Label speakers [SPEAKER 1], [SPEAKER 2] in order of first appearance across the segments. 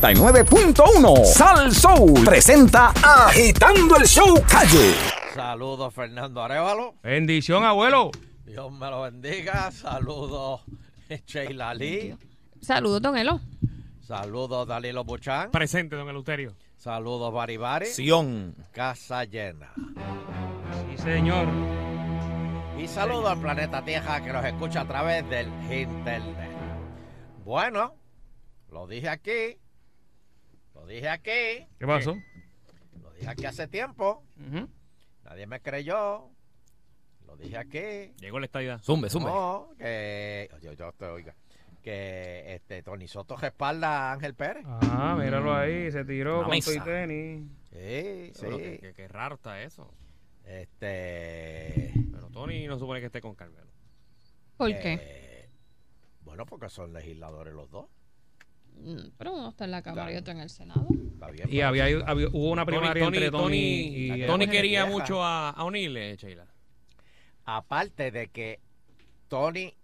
[SPEAKER 1] 99.1 Sal Soul presenta Agitando el Show Calle.
[SPEAKER 2] Saludos, Fernando Arevalo.
[SPEAKER 3] Bendición, abuelo.
[SPEAKER 2] Dios me lo bendiga. Saludos, Sheila Lee.
[SPEAKER 4] Saludos, don Elo.
[SPEAKER 2] Saludos, Dalilo Buchan.
[SPEAKER 3] Presente, don Eleuterio.
[SPEAKER 2] Saludos, Baribari.
[SPEAKER 1] Sion.
[SPEAKER 2] Casa llena.
[SPEAKER 3] Sí, señor.
[SPEAKER 2] Y saludos al planeta Tierra que nos escucha a través del internet. Bueno, lo dije aquí. Lo dije aquí.
[SPEAKER 3] ¿Qué pasó?
[SPEAKER 2] Lo dije aquí hace tiempo.
[SPEAKER 3] Ujú.
[SPEAKER 2] Nadie me creyó. Lo dije aquí.
[SPEAKER 3] Llegó la estadía.
[SPEAKER 1] Zumbe, zumbe.
[SPEAKER 2] No, que. Yo, yo te oiga. Que este, Tony Soto respalda a Ángel Pérez.
[SPEAKER 3] Ah,
[SPEAKER 5] Mm.
[SPEAKER 3] míralo ahí, se tiró
[SPEAKER 1] Una
[SPEAKER 3] con tu
[SPEAKER 1] mesa.
[SPEAKER 3] tenis.
[SPEAKER 2] Sí, sí.
[SPEAKER 5] Pero que, que- que raro está eso.
[SPEAKER 2] Este.
[SPEAKER 5] Pero Tony no supone que esté con Carmelo.
[SPEAKER 4] ¿Por
[SPEAKER 2] eh,
[SPEAKER 4] qué?
[SPEAKER 2] bueno, porque son legisladores los dos.
[SPEAKER 4] Mm, Pero uno está en la Cámara y
[SPEAKER 2] Claro.
[SPEAKER 4] otro en el Senado.
[SPEAKER 2] Eh, Está bien.
[SPEAKER 3] Y había, había- hubo una
[SPEAKER 5] Tony,
[SPEAKER 3] primaria entre Tony, y.
[SPEAKER 5] Tony
[SPEAKER 3] eh,
[SPEAKER 2] Tony
[SPEAKER 5] quería
[SPEAKER 2] Vieja.
[SPEAKER 5] mucho a, a unirle, Sheila.
[SPEAKER 2] Aparte de que Tony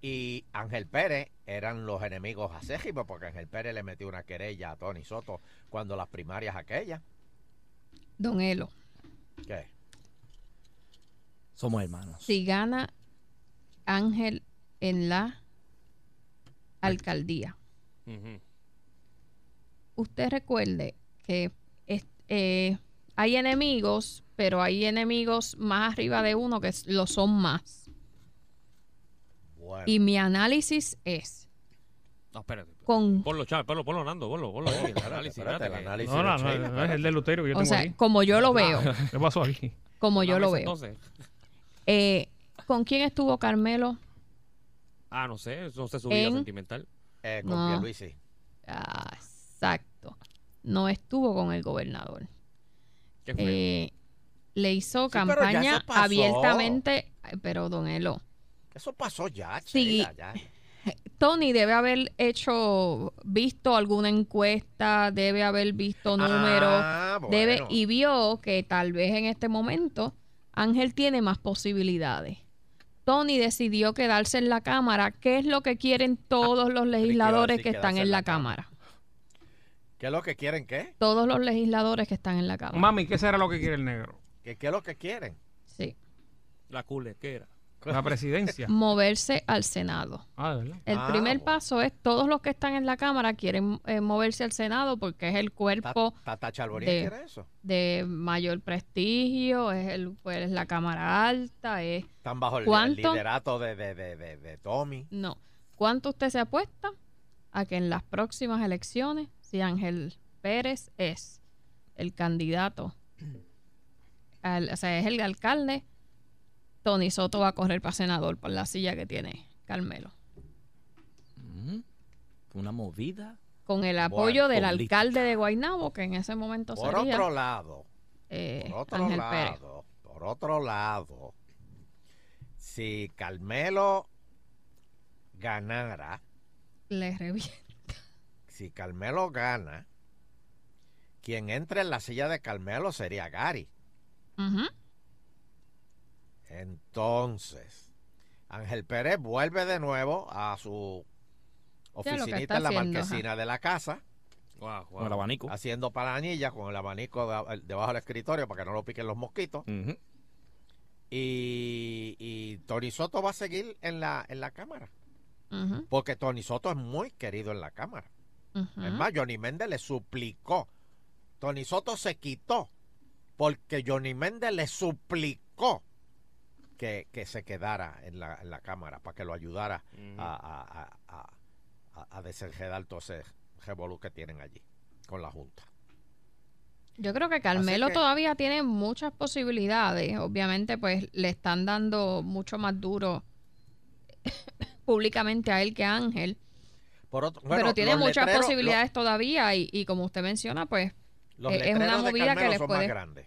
[SPEAKER 2] y Ángel Pérez eran los enemigos acérrimos, porque Ángel Pérez le metió una querella a Tony Soto cuando las primarias aquellas.
[SPEAKER 4] Don Elo,
[SPEAKER 2] ¿Qué?
[SPEAKER 1] Somos hermanos.
[SPEAKER 4] si gana Ángel en la alcaldía,
[SPEAKER 5] Ujú.
[SPEAKER 4] usted recuerde que es- eh, hay enemigos, pero hay enemigos más arriba de uno que s- lo son más.
[SPEAKER 2] Bueno.
[SPEAKER 4] Y mi análisis es
[SPEAKER 5] No, espérate.
[SPEAKER 4] con...
[SPEAKER 5] Ponlo, Chávez, ponlo, ponlo, Nando, ponlo, ponlo. ahí, el análisis,
[SPEAKER 2] Espérate, el
[SPEAKER 5] espérate, que-
[SPEAKER 2] análisis
[SPEAKER 3] No,
[SPEAKER 2] de
[SPEAKER 3] no, no,
[SPEAKER 2] Sheila,
[SPEAKER 3] no, es el
[SPEAKER 2] espérate. Ah.
[SPEAKER 3] del Luterio que yo
[SPEAKER 4] O
[SPEAKER 3] tengo
[SPEAKER 4] sea,
[SPEAKER 3] aquí.
[SPEAKER 4] como yo lo veo,
[SPEAKER 3] ¿Qué pasó aquí?
[SPEAKER 4] como yo
[SPEAKER 5] Ah,
[SPEAKER 4] lo
[SPEAKER 5] pues,
[SPEAKER 4] veo.
[SPEAKER 5] entonces.
[SPEAKER 4] Eh, ¿Con quién estuvo Carmelo?
[SPEAKER 5] Ah, no sé, no sé su vida
[SPEAKER 4] En-
[SPEAKER 5] sentimental.
[SPEAKER 2] Eh,
[SPEAKER 4] No.
[SPEAKER 2] con Pierluisi.
[SPEAKER 4] Ah, exacto. No estuvo con el gobernador.
[SPEAKER 5] ¿Qué fue?
[SPEAKER 4] Eh, le hizo
[SPEAKER 2] pero ya
[SPEAKER 4] campaña
[SPEAKER 2] eso pasó.
[SPEAKER 4] abiertamente, Ay, pero don Elo,
[SPEAKER 2] Eso pasó ya,
[SPEAKER 4] Sí.
[SPEAKER 2] Sheila, ya.
[SPEAKER 4] Tony debe haber hecho, visto alguna encuesta, debe haber visto números,
[SPEAKER 2] Ah, bueno.
[SPEAKER 4] debe y vio que tal vez en este momento Ángel tiene más posibilidades. Tony decidió quedarse en la Cámara, que es lo que quieren todos los legisladores
[SPEAKER 2] Ah, decir
[SPEAKER 4] que están
[SPEAKER 2] quedarse
[SPEAKER 4] en
[SPEAKER 2] en
[SPEAKER 4] la
[SPEAKER 2] la
[SPEAKER 4] Cámara.
[SPEAKER 2] ¿Qué es lo que quieren qué?
[SPEAKER 4] Todos los legisladores que están en la Cámara.
[SPEAKER 3] Mami, ¿qué será lo que quiere el negro?
[SPEAKER 2] ¿Qué, qué es lo que quieren?
[SPEAKER 4] Sí.
[SPEAKER 5] La culequera.
[SPEAKER 3] La presidencia.
[SPEAKER 4] Moverse al Senado.
[SPEAKER 3] Ah, de verdad.
[SPEAKER 4] El
[SPEAKER 2] Ah,
[SPEAKER 4] primer
[SPEAKER 2] bueno.
[SPEAKER 4] paso es todos los que están en la Cámara quieren eh, moverse al Senado porque es el
[SPEAKER 2] Ta-
[SPEAKER 4] cuerpo
[SPEAKER 2] Tata Charbonier
[SPEAKER 4] de-
[SPEAKER 2] quiere eso.
[SPEAKER 4] de mayor prestigio, es, el, pues, es la Cámara Alta, es...
[SPEAKER 2] Están bajo el, el
[SPEAKER 4] ¿Cuánto?
[SPEAKER 2] liderato de, de, de, de, de Tommy.
[SPEAKER 4] No. ¿Cuánto usted se apuesta a que en las próximas elecciones, si Ángel Pérez es el candidato, al- o sea, es el alcalde, Tony Soto va a correr para senador por la silla que tiene Carmelo?
[SPEAKER 1] Una movida.
[SPEAKER 4] Con el apoyo del
[SPEAKER 1] política.
[SPEAKER 4] alcalde de Guaynabo, que en ese momento
[SPEAKER 2] Por
[SPEAKER 4] sería...
[SPEAKER 2] otro lado,
[SPEAKER 4] eh,
[SPEAKER 2] por otro
[SPEAKER 4] Ángel Pérez.
[SPEAKER 2] lado, por otro lado, si Carmelo ganara,
[SPEAKER 4] Le reviento.
[SPEAKER 2] si Carmelo gana, quien entre en la silla de Carmelo sería Gary.
[SPEAKER 4] Ujú.
[SPEAKER 2] Entonces, Ángel Pérez vuelve de nuevo a su
[SPEAKER 4] que
[SPEAKER 2] oficinita
[SPEAKER 4] está
[SPEAKER 2] en la
[SPEAKER 4] haciendo,
[SPEAKER 2] marquesina de la casa,
[SPEAKER 5] Guau, guau.
[SPEAKER 1] Con el abanico.
[SPEAKER 2] haciendo palanillas con el abanico de- debajo del escritorio para que no lo piquen los mosquitos.
[SPEAKER 1] Ujú.
[SPEAKER 2] Y, y Tony Soto va a seguir en la, en la cámara.
[SPEAKER 4] Ujú.
[SPEAKER 2] Porque Tony Soto es muy querido en la cámara.
[SPEAKER 4] Ujú.
[SPEAKER 2] Es más, Johnny Méndez le suplicó. Tony Soto se quitó porque Johnny Méndez le suplicó que, que se quedara en la, en la cámara para que lo ayudara
[SPEAKER 5] Ujú.
[SPEAKER 2] a, a, a- a- a- a desenredar todo ese revolú que tienen allí con la Junta.
[SPEAKER 4] Yo creo que Carmelo
[SPEAKER 2] que-
[SPEAKER 4] todavía tiene muchas posibilidades. Obviamente, pues le están dando mucho más duro públicamente a él que a Ángel.
[SPEAKER 2] Por otro- bueno,
[SPEAKER 4] pero tiene
[SPEAKER 2] los
[SPEAKER 4] muchas
[SPEAKER 2] letreros-
[SPEAKER 4] posibilidades todavía y, y como usted menciona, pues,
[SPEAKER 2] lo- los
[SPEAKER 4] Eh, es una
[SPEAKER 2] letreros de
[SPEAKER 4] movida que
[SPEAKER 2] Carmelo
[SPEAKER 4] les
[SPEAKER 2] son
[SPEAKER 4] puede-
[SPEAKER 2] más grandes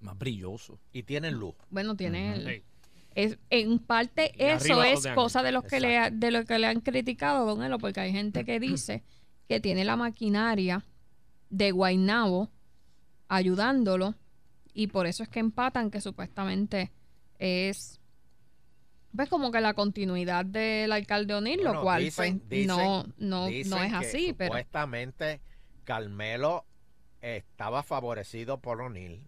[SPEAKER 1] Más brilloso.
[SPEAKER 2] y tienen luz.
[SPEAKER 4] bueno, tiene el-
[SPEAKER 5] Sí.
[SPEAKER 4] es- en parte
[SPEAKER 5] Y
[SPEAKER 4] eso
[SPEAKER 5] arriba los
[SPEAKER 4] es
[SPEAKER 5] de Ángel.
[SPEAKER 4] cosa de los que le ha- de lo que le han criticado Don Elo, porque hay gente que dice que tiene la maquinaria de Guainabo ayudándolo y por eso es que empatan que supuestamente es pues como que la continuidad del alcalde O'Neill,
[SPEAKER 2] Bueno,
[SPEAKER 4] lo cual
[SPEAKER 2] dicen-
[SPEAKER 4] pues, no,
[SPEAKER 2] dicen-
[SPEAKER 4] no,
[SPEAKER 2] Dicen
[SPEAKER 4] no es
[SPEAKER 2] que
[SPEAKER 4] así, pero
[SPEAKER 2] Supuestamente, Carmelo estaba favorecido por O'Neill.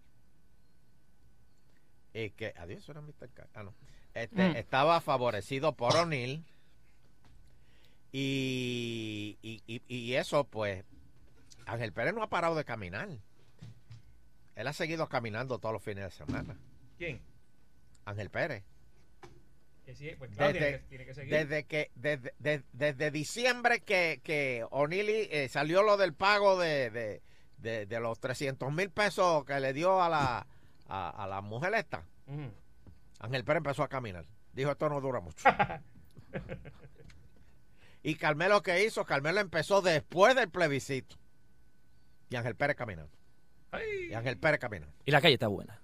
[SPEAKER 2] Y que. Adiós, era Mr. Car- Ah, no. Este,
[SPEAKER 4] Mm.
[SPEAKER 2] Estaba favorecido por O'Neill. Y, y, y- y eso, pues. Ángel Pérez no ha parado de caminar. Él ha seguido caminando todos los fines de semana.
[SPEAKER 3] ¿Quién?
[SPEAKER 2] Ángel Pérez.
[SPEAKER 3] Que sí, pues
[SPEAKER 2] claro,
[SPEAKER 3] claro,
[SPEAKER 2] Desde-
[SPEAKER 3] tiene,
[SPEAKER 2] tiene
[SPEAKER 3] que, seguir.
[SPEAKER 2] Desde que desde, de- desde diciembre que, que O'Neill eh, salió lo del pago de, de, de- de los 300 mil pesos que le dio a la, a, a la mujer esta, Ángel Pérez empezó a caminar. Dijo, esto no dura mucho. y Carmelo, ¿qué hizo? Carmelo empezó después del plebiscito. Y Ángel Pérez caminando. Y Ángel Pérez caminando.
[SPEAKER 6] Y la calle está buena.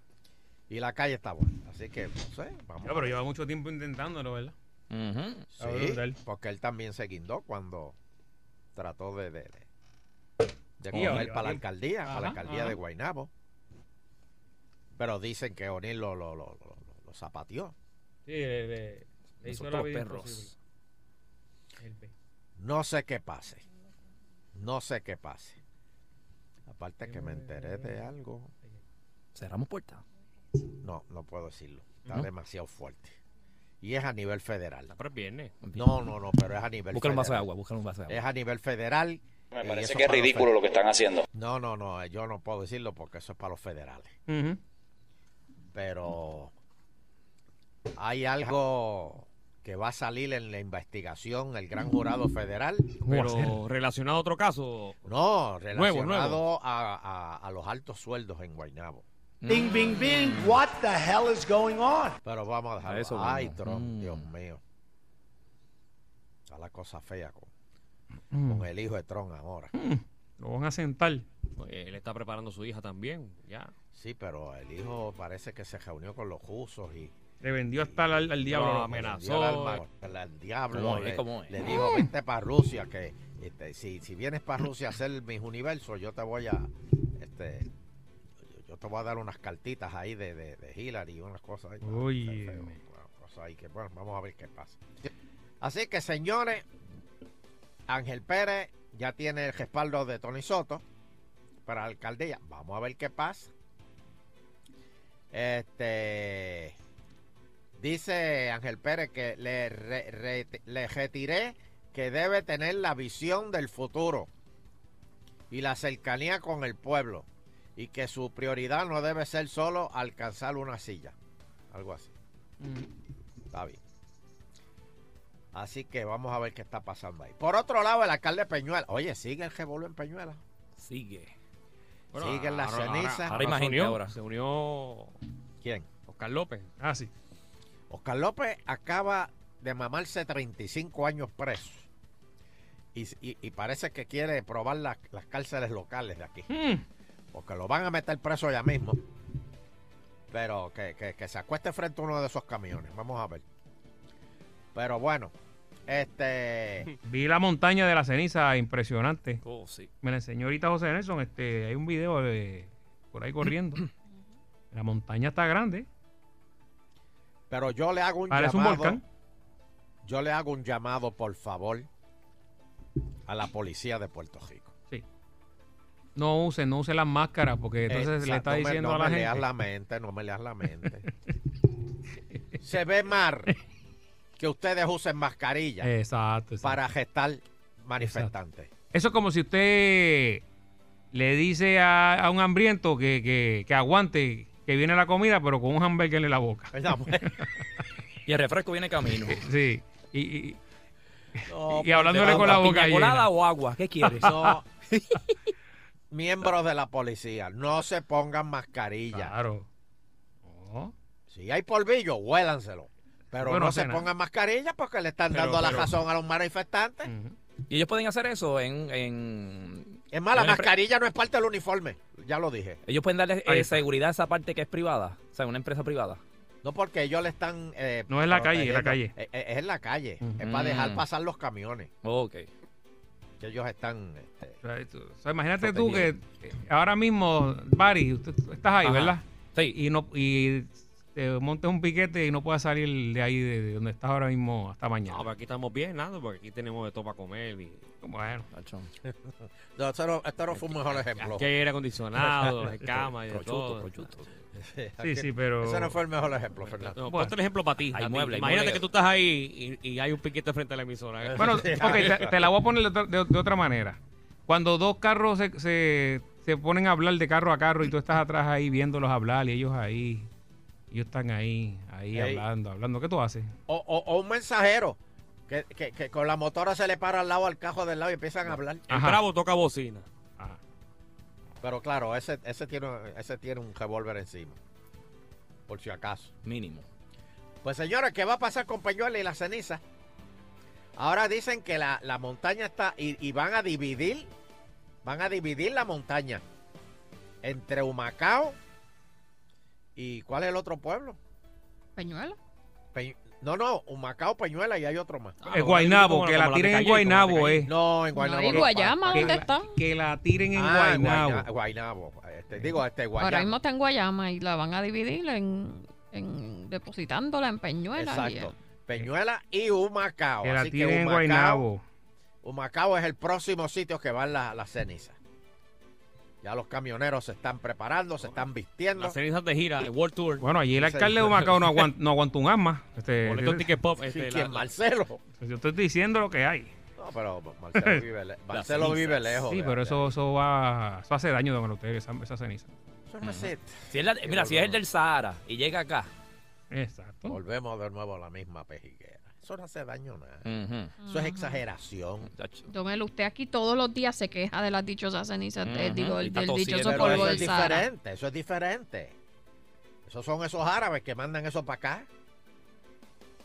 [SPEAKER 2] Y la calle está buena. Así que, no sé, vamos.
[SPEAKER 3] pero lleva mucho tiempo intentándolo, ¿verdad?
[SPEAKER 6] Ujú.
[SPEAKER 3] Ah,
[SPEAKER 2] Sí,
[SPEAKER 3] brutal.
[SPEAKER 2] porque él también se guindó cuando trató de, de, de-
[SPEAKER 3] Sí,
[SPEAKER 2] de correr
[SPEAKER 3] ahora-
[SPEAKER 2] para la alcaldía, para la
[SPEAKER 3] Ajá,
[SPEAKER 2] alcaldía
[SPEAKER 3] ajá.
[SPEAKER 2] de Guaynabo. Pero dicen que O'Neill lo, lo, lo, lo- lo zapateó.
[SPEAKER 3] Sí, le, le- le
[SPEAKER 6] Le
[SPEAKER 3] hizo
[SPEAKER 6] soltó
[SPEAKER 3] la
[SPEAKER 6] los
[SPEAKER 3] vida
[SPEAKER 6] perros.
[SPEAKER 3] imposible. El pe-
[SPEAKER 2] No sé qué pase. No sé qué pase. Aparte que me enteré de algo.
[SPEAKER 6] Cerramos puerta.
[SPEAKER 2] No, no puedo decirlo. Está
[SPEAKER 6] ¿No?
[SPEAKER 2] demasiado fuerte. Y es a nivel federal.
[SPEAKER 5] No, pero es eh. viernes.
[SPEAKER 2] No, no, no, pero es a nivel
[SPEAKER 6] Buscar un vaso de
[SPEAKER 2] federal.
[SPEAKER 6] agua, buscar un vaso de
[SPEAKER 2] Es
[SPEAKER 6] agua.
[SPEAKER 2] a nivel federal.
[SPEAKER 7] Me
[SPEAKER 2] y
[SPEAKER 7] parece
[SPEAKER 2] eso
[SPEAKER 7] que es
[SPEAKER 2] para los
[SPEAKER 7] ridículo lo que están haciendo.
[SPEAKER 2] No, no, no, eh, yo no puedo decirlo porque eso es para los federales.
[SPEAKER 4] Mm.
[SPEAKER 3] Ujú.
[SPEAKER 2] Pero hay algo que va a salir en la investigación, el gran jurado federal.
[SPEAKER 5] Pero relacionado a otro caso.
[SPEAKER 2] No,
[SPEAKER 5] Nuevo,
[SPEAKER 2] relacionado
[SPEAKER 5] nuevo.
[SPEAKER 2] A, a- a los altos sueldos en Guaynabo.
[SPEAKER 6] Mm.
[SPEAKER 2] Pero vamos a dejarlo.
[SPEAKER 6] A eso
[SPEAKER 2] Ay,
[SPEAKER 6] vamos.
[SPEAKER 2] Trump,
[SPEAKER 6] Mm.
[SPEAKER 2] Dios mío. Está la cosa fea con,
[SPEAKER 3] Mm.
[SPEAKER 2] con el hijo de Trump ahora.
[SPEAKER 3] Lo van a sentar.
[SPEAKER 5] Mm. Él está preparando a su hija también. Ya.
[SPEAKER 2] Sí, pero el hijo parece que se reunió con los rusos y...
[SPEAKER 3] Le vendió hasta al, al diablo.
[SPEAKER 5] No,
[SPEAKER 3] loco.
[SPEAKER 5] amenaza.
[SPEAKER 2] Le dio
[SPEAKER 5] Amenazó.
[SPEAKER 2] al mar- al- al diablo.
[SPEAKER 6] ¿Cómo es?
[SPEAKER 2] le,
[SPEAKER 6] ¿Cómo es?
[SPEAKER 2] le dijo,
[SPEAKER 3] Ah.
[SPEAKER 2] vente para Rusia, que este, si, si vienes para Rusia a hacer mis universos, yo te voy a... Este, yo- yo te voy a dar unas cartitas ahí de, de, de Hillary y unas cosas ahí.
[SPEAKER 3] Uy. eh,
[SPEAKER 2] Está feo, bueno, cosas ahí que, bueno, vamos a ver qué pasa. Así que, señores, Ángel Pérez ya tiene el respaldo de Tony Soto para la alcaldía. Vamos a ver qué pasa. Este. Dice Ángel Pérez que le, re- re- le retiré que debe tener la visión del futuro y la cercanía con el pueblo y que su prioridad no debe ser solo alcanzar una silla. Algo así.
[SPEAKER 8] Mm.
[SPEAKER 2] Está bien. Así que vamos a ver qué está pasando ahí. Por otro lado, el alcalde de Peñuela. Oye, sigue el revolú en Peñuela.
[SPEAKER 6] Sigue.
[SPEAKER 2] Siguen las
[SPEAKER 5] ahora-
[SPEAKER 2] cenizas.
[SPEAKER 6] Ahora hay más
[SPEAKER 5] se
[SPEAKER 6] gente
[SPEAKER 5] unió-
[SPEAKER 6] ahora.
[SPEAKER 5] Se unió
[SPEAKER 2] ¿Quién?
[SPEAKER 5] Oscar López.
[SPEAKER 3] Ah, sí.
[SPEAKER 2] Oscar López acaba de mamarse 35 años preso. Y, y- y parece que quiere probar las- las cárceles locales de aquí.
[SPEAKER 3] Mm.
[SPEAKER 2] Porque lo van a meter preso ya mismo. Pero que, que- que se acueste frente a uno de esos camiones. Vamos a ver. Pero bueno, este.
[SPEAKER 3] Vi la montaña de la ceniza, impresionante.
[SPEAKER 6] Oh, sí.
[SPEAKER 3] Me la enseñó ahorita José Nelson. Este, hay un video de, por ahí corriendo. La montaña está grande.
[SPEAKER 2] Pero yo le hago un
[SPEAKER 3] Parece un
[SPEAKER 2] llamado.
[SPEAKER 3] volcán.
[SPEAKER 2] Yo le hago un llamado, por favor, a la policía de Puerto Rico.
[SPEAKER 3] No usen, no usen las máscaras porque entonces
[SPEAKER 2] Eh, Exacto,
[SPEAKER 3] le está
[SPEAKER 2] no me-
[SPEAKER 3] diciendo
[SPEAKER 2] no
[SPEAKER 3] a la
[SPEAKER 2] me
[SPEAKER 3] gente.
[SPEAKER 2] leas la mente, no me leas la mente. Se ve mal que ustedes usen mascarilla
[SPEAKER 3] Exacto, exacto.
[SPEAKER 2] para gestar manifestantes.
[SPEAKER 3] Eso es como si usted le dice a, a un hambriento que, que- que aguante, que viene la comida, pero con un hamburger en la boca.
[SPEAKER 2] Es la mujer.
[SPEAKER 6] Y el refresco viene camino.
[SPEAKER 3] Sí. Y, y-
[SPEAKER 2] No,
[SPEAKER 3] Y hablándole
[SPEAKER 2] pero-
[SPEAKER 3] con la boca
[SPEAKER 6] ¿Piña
[SPEAKER 3] llena.
[SPEAKER 6] colada o agua? ¿Qué quieres?
[SPEAKER 2] No. Miembros de la policía, no se pongan mascarilla.
[SPEAKER 3] claro. No.
[SPEAKER 2] Si hay polvillo, huélanselo. Pero
[SPEAKER 3] Bueno,
[SPEAKER 2] no se
[SPEAKER 3] cena.
[SPEAKER 2] pongan mascarilla porque le están
[SPEAKER 3] Pero-
[SPEAKER 2] dando la
[SPEAKER 3] pero-
[SPEAKER 2] razón a los manifestantes.
[SPEAKER 3] Ujú.
[SPEAKER 6] Y ellos pueden hacer eso en... en-
[SPEAKER 2] Es más, la
[SPEAKER 6] Pero-
[SPEAKER 2] mascarilla no es parte del uniforme. Ya lo dije.
[SPEAKER 6] Ellos pueden darle eh,
[SPEAKER 3] Ahí está.
[SPEAKER 6] seguridad a esa parte que es privada. O sea, una empresa privada.
[SPEAKER 2] No porque ellos le están. eh,
[SPEAKER 3] No es la calle, Mm. es la
[SPEAKER 2] protegiendo. Eh, eh, Es, en la calle. Es
[SPEAKER 6] Ujú.
[SPEAKER 2] para dejar pasar los camiones
[SPEAKER 6] Oh, Ok.
[SPEAKER 2] que ellos están. este,
[SPEAKER 3] O sea, tú- o sea, imagínate tú que eh, ahora mismo, Barry, usted tú estás ahí,
[SPEAKER 6] Ajá.
[SPEAKER 3] ¿verdad?
[SPEAKER 6] Sí.
[SPEAKER 3] Y no y te montes un piquete y no puedas salir de ahí, de, de donde estás ahora mismo, hasta
[SPEAKER 5] No,
[SPEAKER 3] mañana.
[SPEAKER 5] pero aquí estamos bien, Nando, porque aquí tenemos de todo para comer. Y...
[SPEAKER 3] bueno,
[SPEAKER 6] Tacho.
[SPEAKER 2] No, esto no, esto no fue un mejor ejemplo.
[SPEAKER 5] Aquí hay aire acondicionado, hay cama y de
[SPEAKER 6] Prochuto,
[SPEAKER 5] todo.
[SPEAKER 6] prochuto.
[SPEAKER 3] sí, sí, pero...
[SPEAKER 2] Ese no fue el mejor ejemplo, Fernando.
[SPEAKER 5] No,
[SPEAKER 3] Bueno.
[SPEAKER 5] ponte el ejemplo para ti.
[SPEAKER 6] Hay
[SPEAKER 5] a ti.
[SPEAKER 6] muebles, hay
[SPEAKER 5] Imagínate
[SPEAKER 6] muebles.
[SPEAKER 5] que tú estás ahí y, y hay un piquete frente a la emisora. ¿eh?
[SPEAKER 3] Bueno, ok, te, te la voy a poner de, otra- de- de otra manera. Cuando dos carros se, se- se ponen a hablar de carro a carro y tú estás atrás ahí viéndolos hablar y ellos ahí, ellos están ahí, ahí
[SPEAKER 2] Ey.
[SPEAKER 3] hablando, hablando. ¿Qué tú haces?
[SPEAKER 2] O, o- o un mensajero que, que- que con la motora se le para al lado al cajo del lado y empiezan a hablar.
[SPEAKER 5] el
[SPEAKER 3] Ajá.
[SPEAKER 5] bravo toca bocina.
[SPEAKER 3] Ah,
[SPEAKER 2] Pero claro, ese, ese, tiene, ese tiene un revólver encima. Por si acaso.
[SPEAKER 6] Mínimo.
[SPEAKER 2] Pues señores, ¿qué va a pasar con Peñuela y la ceniza? Ahora dicen que la, la montaña está y, y van a dividir, van a dividir la montaña entre Humacao y ¿cuál es el otro pueblo?
[SPEAKER 4] Peñuelo.
[SPEAKER 2] Peñ- no, no, Humacao, Peñuela y hay otro más.
[SPEAKER 5] Ah,
[SPEAKER 3] en
[SPEAKER 5] bueno,
[SPEAKER 3] Guaynabo,
[SPEAKER 5] como-
[SPEAKER 3] que
[SPEAKER 5] como
[SPEAKER 3] la
[SPEAKER 5] la
[SPEAKER 3] tiren en
[SPEAKER 5] Tecayito, como la
[SPEAKER 3] Guaynabo, eh.
[SPEAKER 2] No,
[SPEAKER 4] No,
[SPEAKER 2] en Guaynabo.
[SPEAKER 4] y
[SPEAKER 2] no.
[SPEAKER 4] Guayama,
[SPEAKER 3] Que
[SPEAKER 4] ¿dónde
[SPEAKER 3] la-
[SPEAKER 4] está?
[SPEAKER 3] Que la tiren en
[SPEAKER 2] Ah, en Guayna-
[SPEAKER 3] Guaynabo.
[SPEAKER 2] Guaynabo. Este, digo, este
[SPEAKER 4] Ahora mismo
[SPEAKER 2] Guayama.
[SPEAKER 4] está en Guayama y la van a dividir en, en depositándola en Peñuela. y-
[SPEAKER 2] Exacto. Peñuela y Humacao.
[SPEAKER 3] Que la
[SPEAKER 2] Así que
[SPEAKER 3] tiren en
[SPEAKER 2] Humacao-
[SPEAKER 3] Guaynabo.
[SPEAKER 2] Humacao es el próximo sitio que van la- las cenizas. Ya los camioneros se están preparando, se están vistiendo.
[SPEAKER 5] Las cenizas de gira, el World Tour.
[SPEAKER 3] Bueno, allí el
[SPEAKER 2] Sí, sí.
[SPEAKER 3] alcalde de Humacao no aguanta, no aguanta un asma. Este,
[SPEAKER 5] boletos Ticket Pop.
[SPEAKER 2] Sí,
[SPEAKER 5] Este, la-
[SPEAKER 2] ¿Quién? Marcelo.
[SPEAKER 3] yo estoy diciendo lo que hay.
[SPEAKER 2] No, pero pues, Marcelo vive, le- Marcelo
[SPEAKER 5] cenizas.
[SPEAKER 2] vive lejos.
[SPEAKER 3] Sí,
[SPEAKER 2] de-
[SPEAKER 3] pero
[SPEAKER 2] de-
[SPEAKER 3] eso, eso va, eso hace daño, don Eleuterio, esa, esa ceniza.
[SPEAKER 2] Eso no es it.
[SPEAKER 6] Si es la- mira, si es el del Sahara y llega acá.
[SPEAKER 3] Exacto.
[SPEAKER 2] Volvemos de nuevo a la misma pejiguera. Eso no hace daño a nada.
[SPEAKER 6] Ujú.
[SPEAKER 2] Eso es
[SPEAKER 4] Ajá.
[SPEAKER 2] exageración.
[SPEAKER 6] Tacho.
[SPEAKER 4] Domelo, usted aquí todos los días se queja de las dichosas cenizas, eh,
[SPEAKER 6] Ujú,
[SPEAKER 4] digo,
[SPEAKER 6] y
[SPEAKER 4] el-
[SPEAKER 6] está
[SPEAKER 4] del
[SPEAKER 6] tosiendo.
[SPEAKER 4] dichoso
[SPEAKER 2] Pero
[SPEAKER 4] polvo
[SPEAKER 2] eso
[SPEAKER 4] del
[SPEAKER 2] es
[SPEAKER 4] Sahara.
[SPEAKER 2] diferente, eso es diferente. Esos son esos árabes que mandan eso para acá.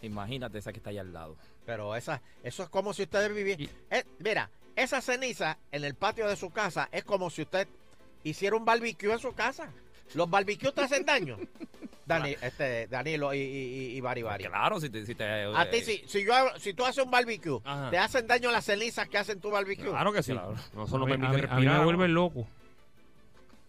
[SPEAKER 6] Imagínate esa que está allá al lado.
[SPEAKER 2] Pero esa, eso es como si ustedes vivieran. mira, esa ceniza en el patio de su casa es como si usted hiciera un barbecue en su casa. Los barbecues te hacen daño. Dani, este, Danilo y, y, y- y Bari Bari.
[SPEAKER 6] Claro, si te. Si te
[SPEAKER 2] A ti, si, si, yo, hago- si tú haces un barbecue,
[SPEAKER 5] Ajá.
[SPEAKER 2] ¿te hacen daño las cenizas que hacen tu barbecue?
[SPEAKER 5] Claro que sí.
[SPEAKER 6] Claro.
[SPEAKER 5] No solo
[SPEAKER 3] a, mí,
[SPEAKER 5] permite
[SPEAKER 3] a mí- a mí
[SPEAKER 5] respirar.
[SPEAKER 3] me vuelven loco.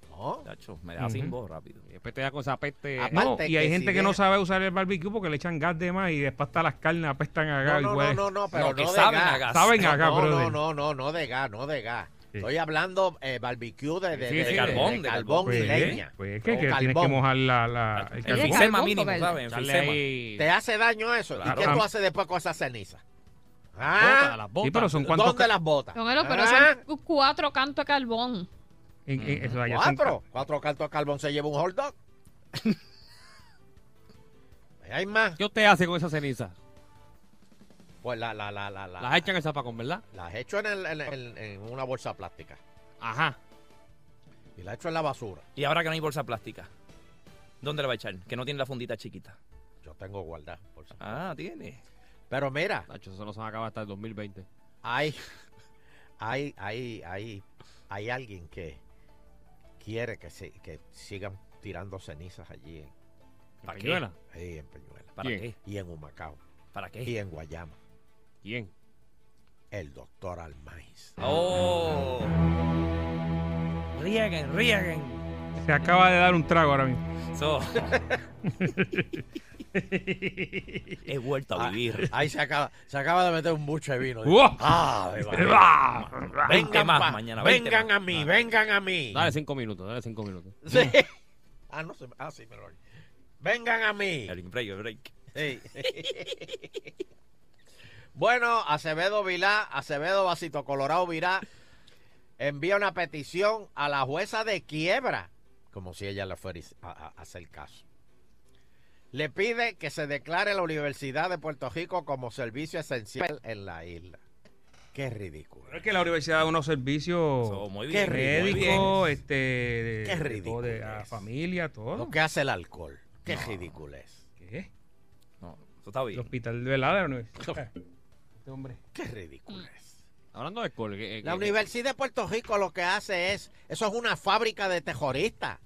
[SPEAKER 2] No.
[SPEAKER 6] Tacho, me deja sin
[SPEAKER 3] Ujú.
[SPEAKER 6] voz rápido.
[SPEAKER 5] Y Después te da con esa peste.
[SPEAKER 2] Ah,
[SPEAKER 3] No,
[SPEAKER 2] Aparte
[SPEAKER 3] y hay
[SPEAKER 2] que
[SPEAKER 3] gente
[SPEAKER 2] si
[SPEAKER 3] que no
[SPEAKER 2] deja-
[SPEAKER 3] sabe usar el barbecue porque le echan gas de más y después hasta las carnes apestan a
[SPEAKER 2] No,
[SPEAKER 3] gas.
[SPEAKER 2] no,
[SPEAKER 3] y
[SPEAKER 2] no,
[SPEAKER 3] huele.
[SPEAKER 2] no, no, pero
[SPEAKER 6] No, que
[SPEAKER 2] no de
[SPEAKER 6] saben
[SPEAKER 2] gas.
[SPEAKER 6] a gas.
[SPEAKER 3] Saben a gas,
[SPEAKER 2] no, no,
[SPEAKER 3] brother.
[SPEAKER 2] no, no, no de gas, no de gas.
[SPEAKER 3] Sí.
[SPEAKER 2] Estoy hablando eh, barbecue de, de,
[SPEAKER 5] Sí,
[SPEAKER 2] de-
[SPEAKER 5] sí,
[SPEAKER 2] de-
[SPEAKER 6] carbón,
[SPEAKER 2] de
[SPEAKER 6] de
[SPEAKER 2] carbón
[SPEAKER 6] carbón.
[SPEAKER 2] y
[SPEAKER 3] Pues,
[SPEAKER 2] leña.
[SPEAKER 3] pues, es que,
[SPEAKER 2] O
[SPEAKER 3] que tienes que
[SPEAKER 2] carbón.
[SPEAKER 3] mojar la, la- el
[SPEAKER 6] El
[SPEAKER 4] carbón.
[SPEAKER 3] carbón.
[SPEAKER 6] enfisema
[SPEAKER 4] Carbón,
[SPEAKER 6] mínimo,
[SPEAKER 4] porque-
[SPEAKER 6] ¿sabes?
[SPEAKER 5] Echarle
[SPEAKER 6] Enfisema.
[SPEAKER 5] ahí.
[SPEAKER 2] ¿Te hace daño eso?
[SPEAKER 6] Claro.
[SPEAKER 2] ¿Y qué tú
[SPEAKER 3] Ah.
[SPEAKER 2] haces después con esas cenizas?
[SPEAKER 5] Bota,
[SPEAKER 2] Ah,
[SPEAKER 5] las botas.
[SPEAKER 3] Sí, pero son cuantos.
[SPEAKER 2] ¿dónde las botas?
[SPEAKER 4] Domelo, pero
[SPEAKER 2] Ah,
[SPEAKER 4] son cu- cuatro cantos de carbón.
[SPEAKER 3] en- en- eso allá son-
[SPEAKER 2] cuatro. Cuatro cartos de carbón se lleva un hot dog. Ahí Hay más.
[SPEAKER 5] ¿Qué usted hace con esa ceniza?
[SPEAKER 2] Pues la, la, la, la, la-
[SPEAKER 5] Las echan en el zapacón, ¿verdad?
[SPEAKER 2] las echo en, el- en el- en una bolsa plástica
[SPEAKER 5] Ajá.
[SPEAKER 2] y la echo en la basura.
[SPEAKER 6] Y ahora que no hay bolsa plástica, ¿dónde la va a echar? Que no tiene la fundita chiquita.
[SPEAKER 2] Yo tengo guardada. por si-
[SPEAKER 6] Ah, tiene.
[SPEAKER 2] Pero mira,
[SPEAKER 5] Nacho, eso no se va a acabar hasta el 2020.
[SPEAKER 2] hay, hay, hay, hay, hay alguien que quiere que, se, que sigan tirando cenizas allí en,
[SPEAKER 6] ¿Para qué?
[SPEAKER 5] Peñuela.
[SPEAKER 2] ahí en Peñuela
[SPEAKER 6] ¿Para
[SPEAKER 5] ¿Quién?
[SPEAKER 6] qué?
[SPEAKER 2] y en Humacao
[SPEAKER 6] ¿Para
[SPEAKER 2] y
[SPEAKER 6] qué?
[SPEAKER 2] en Guayama.
[SPEAKER 5] ¿Quién?
[SPEAKER 2] El doctor Almaiz.
[SPEAKER 6] ¡Oh! Rieguen, rieguen.
[SPEAKER 3] Se acaba de dar un trago ahora mismo.
[SPEAKER 6] So. He vuelto a vivir.
[SPEAKER 2] Ah, Ahí se acaba, se acaba de meter un buche de vino.
[SPEAKER 3] ¡Uah!
[SPEAKER 2] Ah, de verdad.
[SPEAKER 6] Veinte
[SPEAKER 2] Vengan
[SPEAKER 6] más
[SPEAKER 2] pa-
[SPEAKER 6] mañana, veinte
[SPEAKER 2] vengan
[SPEAKER 6] más.
[SPEAKER 2] a mí, vengan a mí.
[SPEAKER 5] Dale cinco minutos, dale cinco minutos.
[SPEAKER 2] Sí. Ah, no, se- ah, sí, me lo Vengan a mí.
[SPEAKER 6] El break, el break.
[SPEAKER 2] Sí. bueno, Acevedo Vilá, Acevedo Basito Colorado Vilá, envía una petición a la jueza de quiebra, como si ella le fuera a, a- a hacer caso. Le pide que se declare la Universidad de Puerto Rico como servicio esencial en la isla. Qué ridículo.
[SPEAKER 3] Pero es que la universidad da unos servicios
[SPEAKER 6] So, muy
[SPEAKER 2] Qué
[SPEAKER 6] bien. muy bien.
[SPEAKER 3] médicos, este, de,
[SPEAKER 2] Qué
[SPEAKER 3] de todo, de la
[SPEAKER 2] ridiculez.
[SPEAKER 3] familia, todo.
[SPEAKER 2] Lo que hace el alcohol. Qué ridículo es.
[SPEAKER 3] ¿Qué?
[SPEAKER 6] No, eso está
[SPEAKER 3] El
[SPEAKER 6] bien.
[SPEAKER 3] hospital de la, de la universidad. Este hombre.
[SPEAKER 2] Qué ridículo es.
[SPEAKER 5] Hablando de eh, colgue.
[SPEAKER 2] La Universidad de Puerto Rico lo que hace es, eso es una fábrica de terroristas.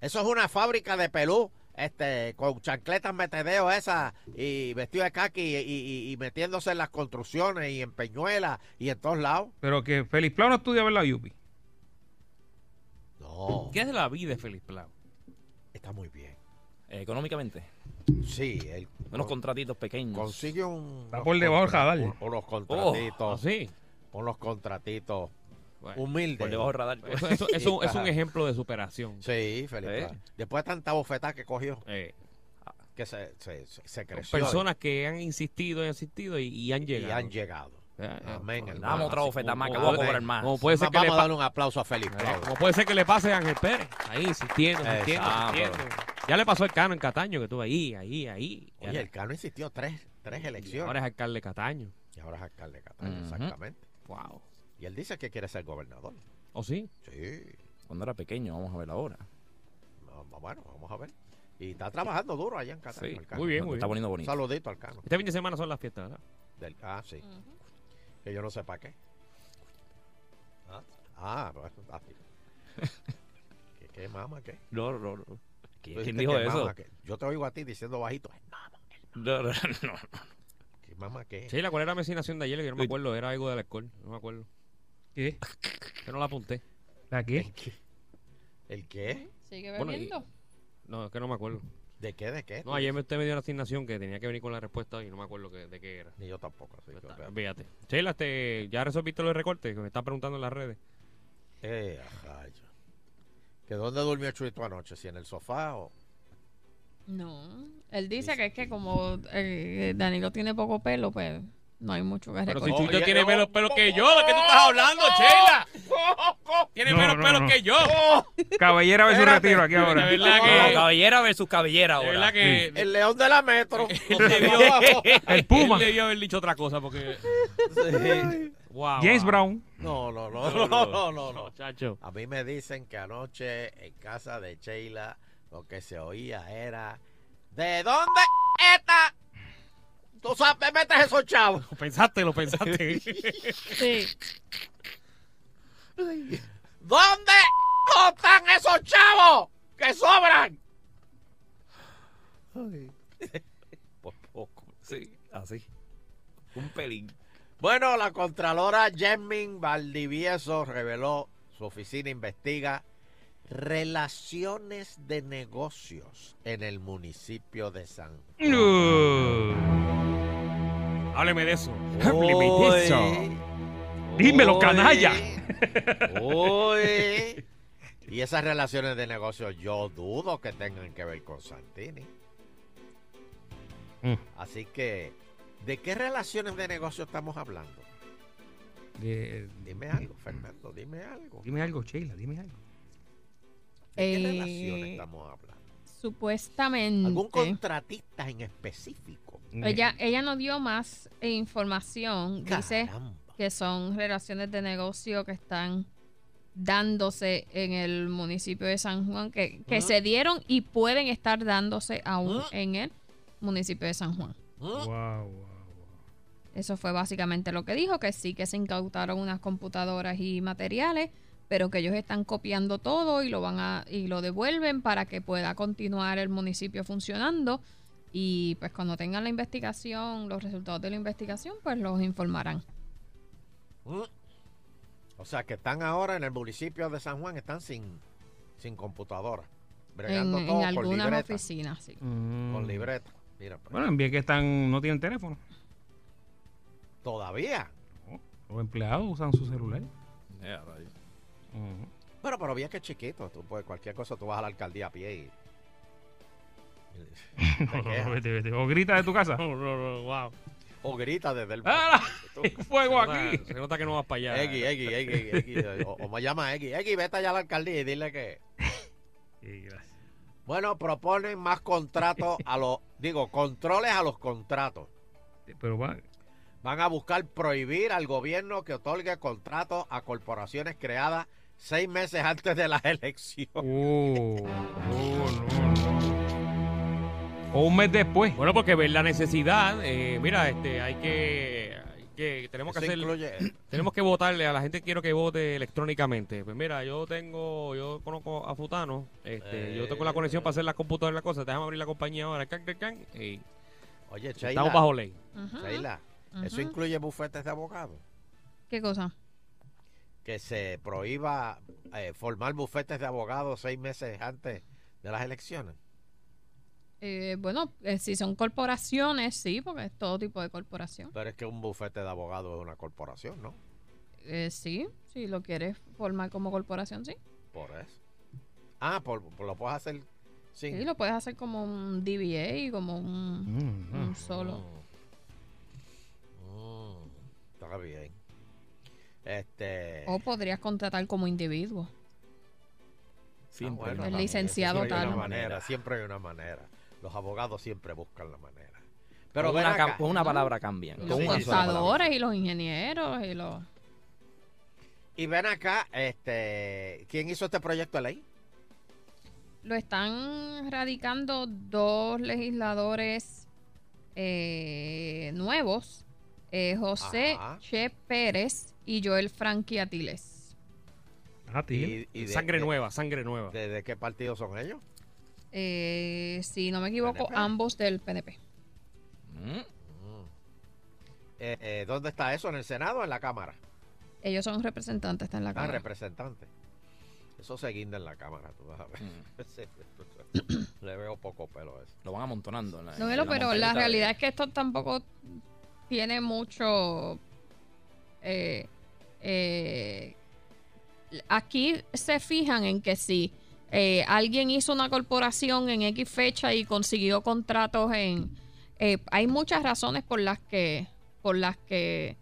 [SPEAKER 2] Eso es una fábrica de pelú, este, con chancletas metedeo esas y vestido de caqui y, y- y metiéndose en las construcciones y en Peñuela y en todos lados.
[SPEAKER 3] Pero que Félix Plau no estudia en la UPI.
[SPEAKER 2] No,
[SPEAKER 5] Oh. ¿Qué es la vida de Félix Plau?
[SPEAKER 2] está muy bien.
[SPEAKER 6] eh, económicamente.
[SPEAKER 2] Sí, él
[SPEAKER 6] Unos
[SPEAKER 2] con-
[SPEAKER 6] contratitos pequeños.
[SPEAKER 2] consigue un.
[SPEAKER 3] Está
[SPEAKER 2] unos
[SPEAKER 3] por debajo del
[SPEAKER 2] contra-
[SPEAKER 3] radar.
[SPEAKER 2] un- Unos
[SPEAKER 6] Oh,
[SPEAKER 5] ¿Ah,
[SPEAKER 2] contratitos.
[SPEAKER 5] sí?
[SPEAKER 2] Unos contratitos
[SPEAKER 5] Bueno,
[SPEAKER 2] humildes.
[SPEAKER 6] por debajo del radar.
[SPEAKER 5] eso, eso- eso- es un- es un ejemplo de superación.
[SPEAKER 2] Sí, Felipe.
[SPEAKER 6] ¿Eh?
[SPEAKER 2] Después de tanta bofetada que cogió,
[SPEAKER 5] Eh,
[SPEAKER 2] que se, se, se- se
[SPEAKER 5] con
[SPEAKER 2] creció.
[SPEAKER 5] personas que han insistido y insistido y, y han
[SPEAKER 2] y
[SPEAKER 5] llegado.
[SPEAKER 2] han llegado. Ah.
[SPEAKER 5] Eh, eh,
[SPEAKER 2] Amén,
[SPEAKER 5] pues,
[SPEAKER 2] hermano.
[SPEAKER 6] Damos otra bofetada más, acabo de
[SPEAKER 5] puede-
[SPEAKER 6] cobrar más.
[SPEAKER 5] Como puede ser
[SPEAKER 2] Vamos
[SPEAKER 5] que le
[SPEAKER 2] a
[SPEAKER 5] pase.
[SPEAKER 2] darle un aplauso a Felipe.
[SPEAKER 5] Como puede ser que le pase a Ángel Pérez. Ahí, insistiendo,
[SPEAKER 2] Exacto.
[SPEAKER 5] insistiendo, insistiendo. Ya le pasó el Cano en Cataño, que estuvo ahí, ahí, ahí.
[SPEAKER 2] Oye, el Cano insistió tres, tres
[SPEAKER 5] Y
[SPEAKER 2] elecciones.
[SPEAKER 5] Ahora es alcalde de Cataño.
[SPEAKER 2] Y ahora es alcalde de Cataño,
[SPEAKER 6] Ujú.
[SPEAKER 2] exactamente.
[SPEAKER 5] Wow.
[SPEAKER 2] Y él dice que quiere ser gobernador.
[SPEAKER 5] ¿O ¿Oh, sí?
[SPEAKER 2] Sí.
[SPEAKER 6] Cuando era pequeño, vamos a ver ahora.
[SPEAKER 2] No, bueno, vamos a ver. Y está trabajando duro allá en Cataño.
[SPEAKER 5] Sí,
[SPEAKER 2] el Cano.
[SPEAKER 5] muy bien,
[SPEAKER 6] Lo
[SPEAKER 5] muy
[SPEAKER 6] está
[SPEAKER 5] bien.
[SPEAKER 6] poniendo
[SPEAKER 2] Un
[SPEAKER 6] bonito.
[SPEAKER 2] saludito al Cano.
[SPEAKER 5] Este fin de semana son las fiestas, ¿verdad?
[SPEAKER 2] Del- ah, sí.
[SPEAKER 4] Ujú.
[SPEAKER 2] Que yo no sé para qué. Ah, ah bueno, ah, sí. ¿Qué, qué mama qué?
[SPEAKER 6] No, no, no.
[SPEAKER 2] Tú
[SPEAKER 6] ¿Quién, quién
[SPEAKER 2] dijiste
[SPEAKER 6] dijo
[SPEAKER 2] que
[SPEAKER 6] eso?
[SPEAKER 2] mama, que- yo te oigo a ti diciendo bajito. "Ay, Mama,
[SPEAKER 6] No, no, no.
[SPEAKER 2] ¿qué mama qué?
[SPEAKER 5] Sheila, ¿cuál era la vecinación de ayer? Que yo no me acuerdo, era algo del alcohol. No me acuerdo.
[SPEAKER 3] ¿Qué?
[SPEAKER 5] Yo no la apunté.
[SPEAKER 3] ¿La qué?
[SPEAKER 2] ¿El qué? ¿El qué?
[SPEAKER 4] Sigue
[SPEAKER 5] Bueno, y-
[SPEAKER 4] bebiendo.
[SPEAKER 5] No, es que no me acuerdo.
[SPEAKER 2] ¿De qué? ¿De qué?
[SPEAKER 5] No, ayer me- usted me dio una asignación que tenía que venir con la respuesta y no me acuerdo que- de qué era.
[SPEAKER 2] Ni yo tampoco. así
[SPEAKER 5] Pero
[SPEAKER 2] que-
[SPEAKER 5] está- Fíjate. Sheila, este, ¿ya resolviste los recortes que me están preguntando en las redes?
[SPEAKER 2] Eh, ajá, yo. ¿Que dónde durmió Chuito anoche? ¿Si en el sofá o...?
[SPEAKER 4] No. Él dice que es que como eh, Danilo tiene poco pelo, pues no hay mucho que
[SPEAKER 5] Pero
[SPEAKER 4] recordar.
[SPEAKER 5] si
[SPEAKER 2] Oh,
[SPEAKER 5] Chuito
[SPEAKER 2] ya-
[SPEAKER 5] tiene
[SPEAKER 2] oh,
[SPEAKER 5] menos pelos que yo, ¿de qué tú estás hablando, Sheila? Tiene
[SPEAKER 3] No,
[SPEAKER 5] menos
[SPEAKER 3] no,
[SPEAKER 5] pelos
[SPEAKER 3] no.
[SPEAKER 5] que yo.
[SPEAKER 2] ¡Oh!
[SPEAKER 3] Caballera versus
[SPEAKER 2] Espérate.
[SPEAKER 3] retiro aquí ahora.
[SPEAKER 5] De verdad
[SPEAKER 6] No,
[SPEAKER 5] que.
[SPEAKER 6] cabellera versus cabellera
[SPEAKER 5] De
[SPEAKER 6] ahora.
[SPEAKER 5] verdad que.
[SPEAKER 2] El león de la metro.
[SPEAKER 5] Él debió,
[SPEAKER 3] El Puma.
[SPEAKER 5] él debió haber dicho otra cosa porque.
[SPEAKER 2] Sí.
[SPEAKER 5] Wow,
[SPEAKER 3] James
[SPEAKER 5] wow.
[SPEAKER 3] Brown.
[SPEAKER 2] No, no, no, no, no, no, no.
[SPEAKER 5] Chacho.
[SPEAKER 2] A mí me dicen que anoche en casa de Sheila lo que se oía era ¿De dónde está? Tú sabes, metes esos chavos.
[SPEAKER 5] Lo pensaste, lo pensaste.
[SPEAKER 4] Sí.
[SPEAKER 2] ¿Dónde no están esos chavos que sobran?
[SPEAKER 6] Por poco. Sí, así. Un pelín.
[SPEAKER 2] Bueno, la Contralora Jasmine Valdivieso reveló su oficina investiga relaciones de negocios en el municipio de San
[SPEAKER 5] Hábleme de eso.
[SPEAKER 3] Hábleme de eso. Dímelo,
[SPEAKER 2] Uy.
[SPEAKER 3] canalla.
[SPEAKER 2] Uy. Y esas relaciones de negocio yo dudo que tengan que ver con Santini.
[SPEAKER 3] Mm.
[SPEAKER 2] Así que, ¿de qué relaciones de negocio estamos hablando?
[SPEAKER 3] De-
[SPEAKER 2] Dime algo, Fernando, dime algo. ¿De
[SPEAKER 3] Dime algo, Sheila, dime algo.
[SPEAKER 2] qué
[SPEAKER 4] Eh,
[SPEAKER 2] relaciones estamos hablando?
[SPEAKER 4] Supuestamente.
[SPEAKER 2] ¿Algún contratista en específico?
[SPEAKER 4] Ella, ella no dio más eh, información. Dice
[SPEAKER 2] Mm. Caramba.
[SPEAKER 4] que son relaciones de negocio que están dándose en el municipio de San Juan, que, que
[SPEAKER 2] Ah.
[SPEAKER 4] se dieron y pueden estar dándose aún
[SPEAKER 2] Ah.
[SPEAKER 4] en el municipio de San Juan.
[SPEAKER 2] ¿Mm?
[SPEAKER 3] Wow, wow, wow.
[SPEAKER 4] Eso fue básicamente lo que dijo, que sí que se incautaron unas computadoras y materiales, pero que ellos están copiando todo y lo van a y lo devuelven para que pueda continuar el municipio funcionando y pues cuando tengan la investigación, los resultados de la investigación, pues los informarán.
[SPEAKER 2] ¿Mm? O sea, que están ahora en el municipio de San Juan, están sin, sin computadora.
[SPEAKER 4] En,
[SPEAKER 2] Bregando
[SPEAKER 4] en
[SPEAKER 2] todo con
[SPEAKER 4] algunas
[SPEAKER 2] libreta.
[SPEAKER 4] oficinas, sí.
[SPEAKER 2] Con libreta. Mira,
[SPEAKER 3] Mm.
[SPEAKER 2] pues,
[SPEAKER 3] Bueno, bien que están, no tienen teléfono.
[SPEAKER 2] todavía.
[SPEAKER 3] Los empleados usan su celular. Ujú.
[SPEAKER 2] Bueno, pero bien que es chiquito. Tú, pues, cualquier cosa tú vas a la alcaldía a pie y. y te
[SPEAKER 3] No, no, no,
[SPEAKER 2] quejas.
[SPEAKER 3] vete, vete. O grita de tu casa.
[SPEAKER 5] No, no, no, wow.
[SPEAKER 2] o grita desde el.
[SPEAKER 3] ¡Ah!
[SPEAKER 2] Tú,
[SPEAKER 3] Fuego
[SPEAKER 5] Se nota-
[SPEAKER 3] aquí.
[SPEAKER 5] Se nota que no vas para allá.
[SPEAKER 2] Eggy, Eggy, Eggy, Eggy, O, o me llama Eggy. Eggy, vete allá a la alcaldía y dile que.
[SPEAKER 5] Oh.
[SPEAKER 3] Sí, gracias.
[SPEAKER 2] Bueno, proponen más contratos a los. Digo, controles a los contratos.
[SPEAKER 3] Pero va.
[SPEAKER 2] Van a buscar prohibir al gobierno que otorgue contratos a corporaciones creadas seis meses antes de las elecciones.
[SPEAKER 3] Oh, oh, no, no. O un mes después.
[SPEAKER 5] Bueno, porque ver la necesidad, eh, mira, este, hay que, hay que tenemos que
[SPEAKER 2] Eso
[SPEAKER 5] hacer,
[SPEAKER 2] incluye-
[SPEAKER 5] tenemos que votarle a la gente que quiero que vote electrónicamente. Pues mira, yo tengo, yo conozco a Futano, este, yo tengo la conexión
[SPEAKER 2] Eh.
[SPEAKER 5] para hacer la computadora y la cosa, déjame abrir la compañía ahora, can, can, can, y
[SPEAKER 2] Oye,
[SPEAKER 5] estamos
[SPEAKER 2] Sheila,
[SPEAKER 5] bajo ley.
[SPEAKER 4] Ujú,
[SPEAKER 2] Sheila,
[SPEAKER 4] ujú.
[SPEAKER 2] eso incluye bufetes de abogados.
[SPEAKER 4] ¿Qué cosa?
[SPEAKER 2] Que se prohíba eh, formar bufetes de abogados seis meses antes de las elecciones.
[SPEAKER 4] Eh, bueno, eh, si son corporaciones, sí, porque es todo tipo de corporación.
[SPEAKER 2] Pero es que un bufete de abogados es una corporación, ¿no?
[SPEAKER 4] Eh, sí, si lo quieres formar como corporación, sí.
[SPEAKER 2] Por eso. Ah, por, por- lo puedes hacer sin.
[SPEAKER 4] Sí, lo puedes hacer como un DBA, como un,
[SPEAKER 2] Mm-hmm.
[SPEAKER 4] un solo.
[SPEAKER 2] Mm, está bien. Este.
[SPEAKER 4] O podrías contratar como individuo.
[SPEAKER 6] Siempre.
[SPEAKER 2] bueno,
[SPEAKER 4] Ah, El
[SPEAKER 2] también,
[SPEAKER 4] licenciado
[SPEAKER 2] siempre hay
[SPEAKER 4] tal.
[SPEAKER 2] una manera, siempre hay una manera. Los abogados siempre buscan la manera. Pero
[SPEAKER 6] Pero
[SPEAKER 2] ven
[SPEAKER 6] una,
[SPEAKER 2] acá.
[SPEAKER 6] cam- con una palabra cambian.
[SPEAKER 4] Los
[SPEAKER 6] Con una sola palabra.
[SPEAKER 4] contadores y los ingenieros y los...
[SPEAKER 2] Y ven acá, este, ¿quién hizo este proyecto de ley?
[SPEAKER 4] Lo están radicando dos legisladores eh, nuevos, eh, José
[SPEAKER 2] Ajá.
[SPEAKER 4] Che Pérez y Joel Frankie Atiles.
[SPEAKER 5] Ah, tío.
[SPEAKER 2] Y- y de-
[SPEAKER 5] sangre
[SPEAKER 2] de-
[SPEAKER 5] nueva, sangre nueva.
[SPEAKER 2] ¿De, de qué partido son ellos?
[SPEAKER 4] Eh, si no me equivoco,
[SPEAKER 2] PNP.
[SPEAKER 4] ambos del PNP.
[SPEAKER 6] Mm,
[SPEAKER 2] Eh, eh, ¿Dónde está eso? ¿En el Senado o en la Cámara?
[SPEAKER 4] Ellos son representantes, está en la
[SPEAKER 2] Ah,
[SPEAKER 4] Cámara.
[SPEAKER 2] representante. Eso se guinda en la Cámara, tú vas a ver.
[SPEAKER 6] mm.
[SPEAKER 2] Sí, Le veo poco pelo a eso.
[SPEAKER 6] Lo van amontonando. en la-
[SPEAKER 4] No,
[SPEAKER 6] en
[SPEAKER 4] Melo, pero la
[SPEAKER 6] montañita de-
[SPEAKER 4] realidad es que esto tampoco tiene mucho. eh, eh, aquí se fijan en que si eh, alguien hizo una corporación en X fecha y consiguió contratos en. eh, hay muchas razones por las que. por las que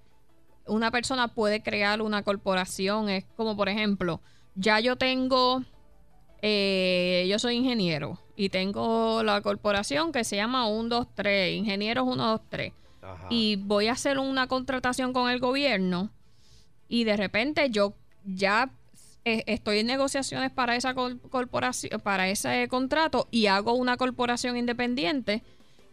[SPEAKER 4] una persona puede crear una corporación. Es como por ejemplo, ya yo tengo. Eh, yo soy ingeniero y tengo la corporación que se llama 123, Ingenieros 123.
[SPEAKER 2] Ajá.
[SPEAKER 4] Y voy a hacer una contratación con el gobierno y de repente yo ya eh, estoy en negociaciones para esa cor- corporación, para ese contrato y hago una corporación independiente.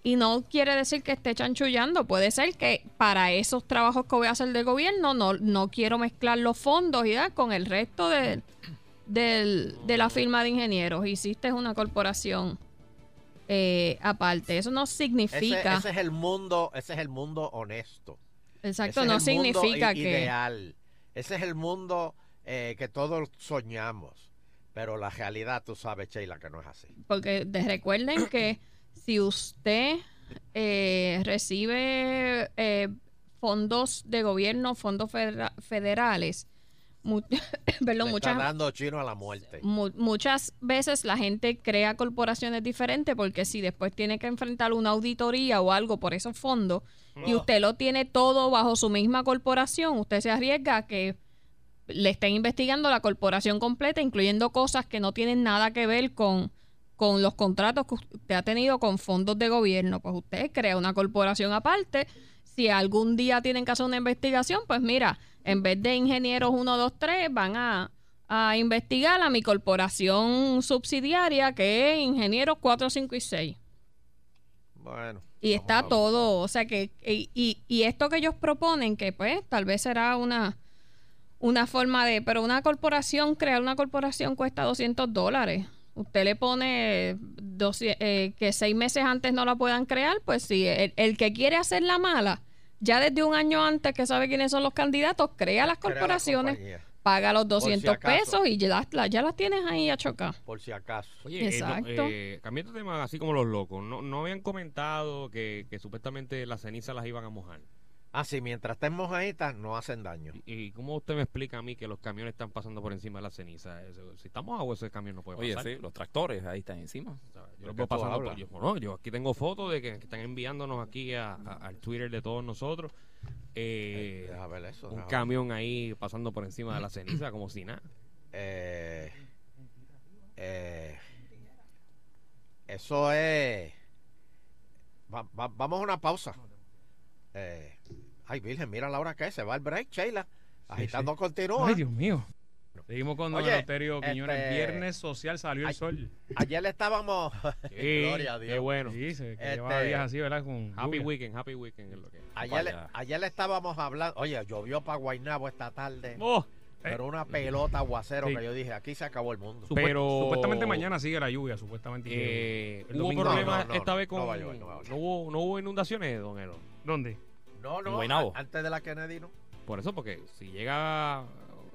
[SPEAKER 4] Y no quiere decir que esté chanchullando, puede ser que para esos trabajos que voy a hacer del gobierno no, no quiero mezclar los fondos y dar con el resto del- del- de la firma de ingenieros. Hiciste una corporación eh, aparte. Eso no
[SPEAKER 2] ese,
[SPEAKER 4] significa...
[SPEAKER 2] ese es el mundo, ese es el mundo honesto.
[SPEAKER 4] Exacto,
[SPEAKER 2] Ese
[SPEAKER 4] no
[SPEAKER 2] es el mundo
[SPEAKER 4] significa
[SPEAKER 2] i-
[SPEAKER 4] que...
[SPEAKER 2] ideal. Ese es el mundo eh, que todos soñamos. Pero la realidad, tú sabes, Sheila, que no es así.
[SPEAKER 4] Porque de- recuerden que si usted eh, recibe eh, fondos de gobierno, fondos federa- federales, mu- perdón,
[SPEAKER 2] Le está
[SPEAKER 4] muchas,
[SPEAKER 2] dando chino a la muerte.
[SPEAKER 4] mu- muchas veces la gente crea corporaciones diferentes porque si después tiene que enfrentar una auditoría o algo por esos fondos y usted lo tiene todo bajo su misma corporación, usted se arriesga a que le estén investigando la corporación completa, incluyendo cosas que no tienen nada que ver con, con los contratos que usted ha tenido con fondos de gobierno. Pues usted crea una corporación aparte. Si algún día tienen que hacer una investigación, pues mira, en vez de ingenieros 1, 2, 3, van a, a investigar a mi corporación subsidiaria que es ingenieros 4, 5 y 6.
[SPEAKER 2] Bueno.
[SPEAKER 4] Y
[SPEAKER 2] vamos a
[SPEAKER 4] está
[SPEAKER 2] ver.
[SPEAKER 4] todo, o sea que, y, y- y esto que ellos proponen, que pues tal vez será una, una forma de, pero una corporación, crear una corporación cuesta 200 dólares. Usted le pone 200, eh, que seis meses antes no la puedan crear, pues si el, el que quiere hacer la mala, ya desde un año antes que sabe quiénes son los candidatos, crea las
[SPEAKER 2] Crea la
[SPEAKER 4] corporaciones,
[SPEAKER 2] compañía,
[SPEAKER 4] paga los
[SPEAKER 2] si
[SPEAKER 4] 200
[SPEAKER 2] acaso.
[SPEAKER 4] pesos y ya, las- ya las tienes ahí a chocar.
[SPEAKER 2] por si acaso.
[SPEAKER 5] Oye, eh, no,
[SPEAKER 4] Exacto.
[SPEAKER 5] eh, cambiando de tema, así como los locos, no, no habían comentado que, que supuestamente las cenizas las iban a mojar.
[SPEAKER 2] Ah, sí, mientras estén mojaditas, no hacen daño.
[SPEAKER 5] ¿Y, y cómo usted me explica a mí que los camiones están pasando por encima de las cenizas? Eso- Si estamos agua, ese camión no puede
[SPEAKER 6] Oye,
[SPEAKER 5] pasar.
[SPEAKER 6] sí, los tractores ahí están encima.
[SPEAKER 5] O sea,
[SPEAKER 2] ¿De
[SPEAKER 5] Yo, los
[SPEAKER 2] qué
[SPEAKER 5] veo
[SPEAKER 2] tú
[SPEAKER 5] pasando
[SPEAKER 2] hablas?
[SPEAKER 5] por- yo- no, yo aquí tengo fotos de que, que están enviándonos aquí a- a- al Twitter de todos nosotros. Eh,
[SPEAKER 2] Deja ver eso.
[SPEAKER 5] un
[SPEAKER 2] deja ver.
[SPEAKER 5] camión ahí pasando por encima de la ceniza como si nada.
[SPEAKER 2] Eh, eh, eso es. va- va- vamos a una pausa. Eh, ay, Virgen, mira la hora que es. Se va el break, Sheila. Agitando continúa.
[SPEAKER 3] Ay, Dios mío. Seguimos con Don
[SPEAKER 2] Oye,
[SPEAKER 3] Eleuterio Quiñones.
[SPEAKER 2] este-
[SPEAKER 3] Viernes social salió
[SPEAKER 2] Ay.
[SPEAKER 3] el sol.
[SPEAKER 2] Ayer le estábamos. Gloria a
[SPEAKER 5] Qué
[SPEAKER 2] Dios.
[SPEAKER 5] bueno.
[SPEAKER 3] Sí, se que
[SPEAKER 2] Este-
[SPEAKER 3] llevaba días así, ¿verdad? Con
[SPEAKER 5] Happy
[SPEAKER 3] lluvia.
[SPEAKER 5] weekend, happy weekend es lo que es.
[SPEAKER 2] Ayer, le-
[SPEAKER 6] Vaya.
[SPEAKER 2] ayer le estábamos hablando. Oye, llovió para Guaynabo esta tarde.
[SPEAKER 5] Oh,
[SPEAKER 2] Pero una pelota aguacero
[SPEAKER 3] Sí.
[SPEAKER 2] que yo dije, aquí se acabó el mundo.
[SPEAKER 3] Supuest-
[SPEAKER 5] Pero-
[SPEAKER 3] Supuestamente mañana sigue la lluvia, supuestamente.
[SPEAKER 5] eh,
[SPEAKER 3] El
[SPEAKER 5] hubo
[SPEAKER 3] domingo.
[SPEAKER 5] problemas
[SPEAKER 2] No, no, no,
[SPEAKER 5] esta
[SPEAKER 2] no,
[SPEAKER 5] vez con...
[SPEAKER 2] no
[SPEAKER 5] No,
[SPEAKER 2] va a llover, no va a llover.
[SPEAKER 5] hubo, no hubo inundaciones, don Elo.
[SPEAKER 3] ¿Dónde?
[SPEAKER 2] No, no,
[SPEAKER 6] Guaynabo.
[SPEAKER 2] a- antes de la Kennedy, ¿no?
[SPEAKER 5] Por eso, porque si llega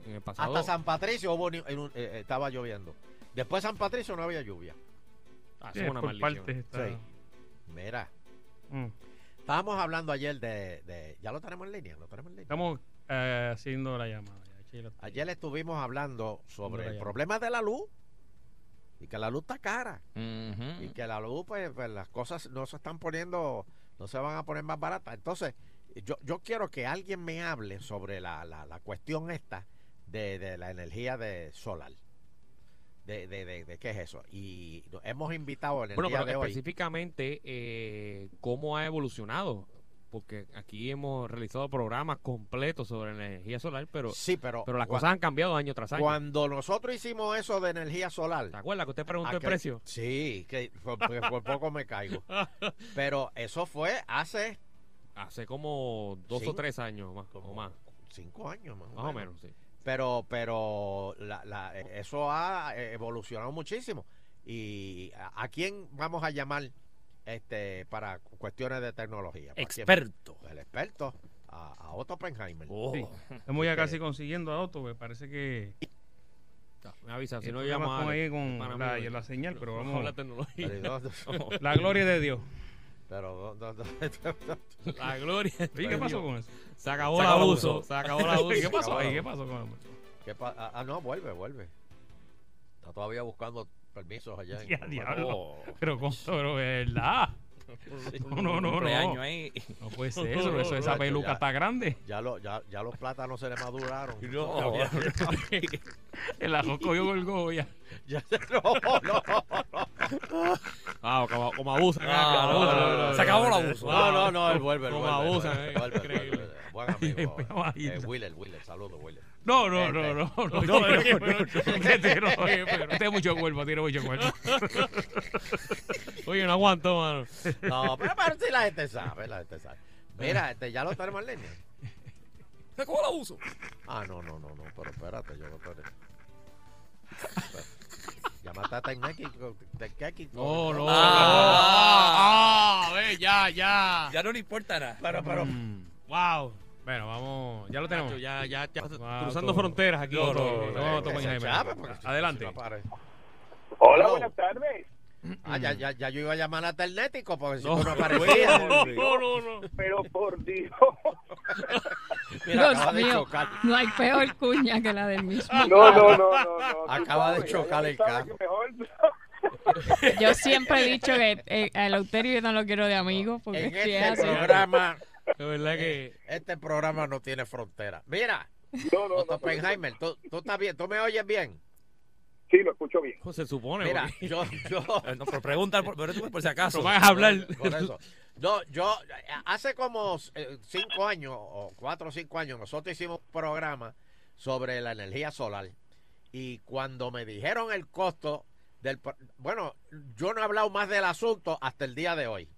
[SPEAKER 5] en el pasado...
[SPEAKER 2] Hasta San Patricio hubo ni- en un- eh, eh, estaba lloviendo. Después de San Patricio no había lluvia.
[SPEAKER 5] Ah,
[SPEAKER 3] Sí,
[SPEAKER 5] eso es una
[SPEAKER 3] por
[SPEAKER 5] maldición.
[SPEAKER 3] partes está-
[SPEAKER 2] Sí. Mira,
[SPEAKER 3] Mm.
[SPEAKER 2] estábamos hablando ayer de, de- Ya lo tenemos en línea, lo tenemos en línea.
[SPEAKER 3] Estamos eh, haciendo la llamada. ya, Sheila.
[SPEAKER 2] Ayer estuvimos hablando sobre
[SPEAKER 3] Mira
[SPEAKER 2] el
[SPEAKER 3] ya.
[SPEAKER 2] problema de la luz y que la luz está cara
[SPEAKER 6] Ujú.
[SPEAKER 2] y que la luz, pues, pues, las cosas no se están poniendo, no se van a poner más baratas. Entonces, yo, yo quiero que alguien me hable sobre la, la- la cuestión esta de, de la energía de solar. De, de, de- de qué es eso. Y nos hemos invitado en el
[SPEAKER 5] Bueno,
[SPEAKER 2] día
[SPEAKER 5] pero
[SPEAKER 2] de hoy.
[SPEAKER 5] específicamente, eh, ¿cómo ha evolucionado? Porque aquí hemos realizado programas completos sobre la energía solar, pero,
[SPEAKER 2] sí, pero,
[SPEAKER 5] pero las
[SPEAKER 2] cua-
[SPEAKER 5] cosas han cambiado año tras año.
[SPEAKER 2] cuando nosotros hicimos eso de energía solar,
[SPEAKER 5] ¿Te acuerdas que usted preguntó el
[SPEAKER 2] Aquel-
[SPEAKER 5] precio?
[SPEAKER 2] Sí, que por, por- por poco me caigo. Pero eso fue hace
[SPEAKER 5] Hace como dos
[SPEAKER 2] Sí.
[SPEAKER 5] o tres años más,
[SPEAKER 2] Como
[SPEAKER 5] o más,
[SPEAKER 2] cinco años más, o
[SPEAKER 5] más o
[SPEAKER 2] menos.
[SPEAKER 5] menos, sí.
[SPEAKER 2] Pero, pero la- la- eso ha eh, evolucionado muchísimo. ¿Y a, a quién vamos a llamar este para cuestiones de tecnología? ¿Para quién?
[SPEAKER 6] Experto.
[SPEAKER 2] El experto, a, a Otto Oppenheimer.
[SPEAKER 6] Oh.
[SPEAKER 3] Sí. Estamos ya casi consiguiendo a Otto, me parece que
[SPEAKER 5] Me avisa, si
[SPEAKER 3] el
[SPEAKER 5] no
[SPEAKER 3] problema
[SPEAKER 5] llama
[SPEAKER 3] con,
[SPEAKER 5] a
[SPEAKER 3] ahí
[SPEAKER 5] Alex,
[SPEAKER 3] con
[SPEAKER 5] el pana
[SPEAKER 3] la,
[SPEAKER 5] mío, eh.
[SPEAKER 3] la señal, pero
[SPEAKER 5] No,
[SPEAKER 3] vamos.
[SPEAKER 5] la tecnología.
[SPEAKER 2] Pero, no, no,
[SPEAKER 3] La gloria de Dios.
[SPEAKER 2] pero no, no, no.
[SPEAKER 5] La gloria.
[SPEAKER 3] Oye, ¿Qué pasó con eso?
[SPEAKER 5] Se acabó
[SPEAKER 6] Se
[SPEAKER 5] el
[SPEAKER 6] acabó el
[SPEAKER 5] abuso.
[SPEAKER 6] abuso.
[SPEAKER 5] Se acabó el abuso.
[SPEAKER 3] ¿Qué pasó ahí? ¿Qué pasó con
[SPEAKER 2] ¿Qué pa- ah, ah, no, vuelve, vuelve. Está todavía buscando permisos allá. en-
[SPEAKER 3] Ya, diablo.
[SPEAKER 2] Oh.
[SPEAKER 3] Pero, con- pero, ¿verdad? No, no, no,
[SPEAKER 6] Cumpleaños
[SPEAKER 3] no.
[SPEAKER 6] ahí.
[SPEAKER 3] No puede ser eso, eso- esa peluca está grande.
[SPEAKER 2] Ya, lo, ya, ya los plátanos se le maduraron.
[SPEAKER 6] No,
[SPEAKER 2] ya,
[SPEAKER 3] El arroz cogió Gorgoya.
[SPEAKER 2] ya- no, no,
[SPEAKER 5] Ah, como, como abusan. ah,
[SPEAKER 6] Ah, no,
[SPEAKER 5] como
[SPEAKER 6] no,
[SPEAKER 5] abusan.
[SPEAKER 6] no, no, se acabó el abuso.
[SPEAKER 2] no, no, no, él vuelve, él
[SPEAKER 5] Como
[SPEAKER 2] vuelve,
[SPEAKER 5] abusan,
[SPEAKER 2] vuelve,
[SPEAKER 5] eh,
[SPEAKER 2] vuelve,
[SPEAKER 5] increíble.
[SPEAKER 2] vuelve. Buen amigo.
[SPEAKER 3] Ay, vamos a ir.
[SPEAKER 2] eh, Willer, Willer, saludos, Willer.
[SPEAKER 3] No, no, no, no, no. no,
[SPEAKER 5] No,
[SPEAKER 3] pero-
[SPEAKER 5] no,
[SPEAKER 3] pero- que tiró, eh, pero- Tiene mucho cuerpo, tiene mucho cuerpo.
[SPEAKER 5] Oye, no aguanto, mano.
[SPEAKER 2] No, pero, pero sí la gente sabe, la gente sabe. Mira, este, ya lo tenemos en línea.
[SPEAKER 6] Se acabó el abuso.
[SPEAKER 2] Ah, no, no, no, no, pero espérate, yo no tengo. Llámate a Tecnequi. Tecnequi.
[SPEAKER 5] No, no.
[SPEAKER 6] Ah.
[SPEAKER 5] Ah, ah, ve, ya, ya.
[SPEAKER 6] Ya Ah, no le importa nada.
[SPEAKER 2] Pero, pero,
[SPEAKER 3] Mm.
[SPEAKER 5] Wow.
[SPEAKER 3] Bueno, vamos. Ya lo tenemos.
[SPEAKER 5] Nacho, ya, ya, ya.
[SPEAKER 3] Wow,
[SPEAKER 5] cruzando
[SPEAKER 3] todo.
[SPEAKER 5] fronteras aquí.
[SPEAKER 3] No,
[SPEAKER 5] todo.
[SPEAKER 3] no, no,
[SPEAKER 2] que
[SPEAKER 3] Topo
[SPEAKER 2] se
[SPEAKER 3] Jaime.
[SPEAKER 2] chape, porque si-
[SPEAKER 3] Adelante.
[SPEAKER 2] si no pare-
[SPEAKER 7] Hola,
[SPEAKER 2] Hello.
[SPEAKER 7] buenas tardes.
[SPEAKER 2] Ah, ya, ya, ya yo iba a llamar a Ternético porque si
[SPEAKER 5] No.
[SPEAKER 2] tú no aparecías.
[SPEAKER 5] No, no, no.
[SPEAKER 7] Pero por Dios,
[SPEAKER 2] Mira,
[SPEAKER 4] Dios
[SPEAKER 2] acaba de
[SPEAKER 4] mío.
[SPEAKER 2] chocar.
[SPEAKER 4] No hay peor cuña que la del mismo.
[SPEAKER 7] no, no, no, no. no. Tú
[SPEAKER 2] Acaba de
[SPEAKER 7] sabes,
[SPEAKER 2] chocar
[SPEAKER 7] ya
[SPEAKER 2] el
[SPEAKER 7] sabes
[SPEAKER 2] carro.
[SPEAKER 7] que mejor.
[SPEAKER 4] Yo siempre he dicho que eh, a Eleuterio yo no lo quiero de amigo porque
[SPEAKER 2] En
[SPEAKER 4] si es
[SPEAKER 2] este
[SPEAKER 4] así-
[SPEAKER 2] programa,
[SPEAKER 5] De verdad que.
[SPEAKER 2] este programa no tiene frontera. Mira,
[SPEAKER 7] No, no,
[SPEAKER 2] Otto
[SPEAKER 7] no. pero-
[SPEAKER 2] Oppenheimer, tú, tú estás bien, tú me oyes bien.
[SPEAKER 7] Sí, lo escucho bien.
[SPEAKER 5] pues, se supone.
[SPEAKER 2] Mira,
[SPEAKER 5] porque-
[SPEAKER 2] yo, yo,
[SPEAKER 6] Eh, No, pero pregunta, por, pero tú, por si acaso.
[SPEAKER 5] No vayas a hablar.
[SPEAKER 2] por eso. No, yo, hace como eh, cinco años, o cuatro o cinco años, nosotros hicimos un programa sobre la energía solar. Y cuando me dijeron el costo del... pro- Bueno, yo no he hablado más del asunto hasta el día de hoy.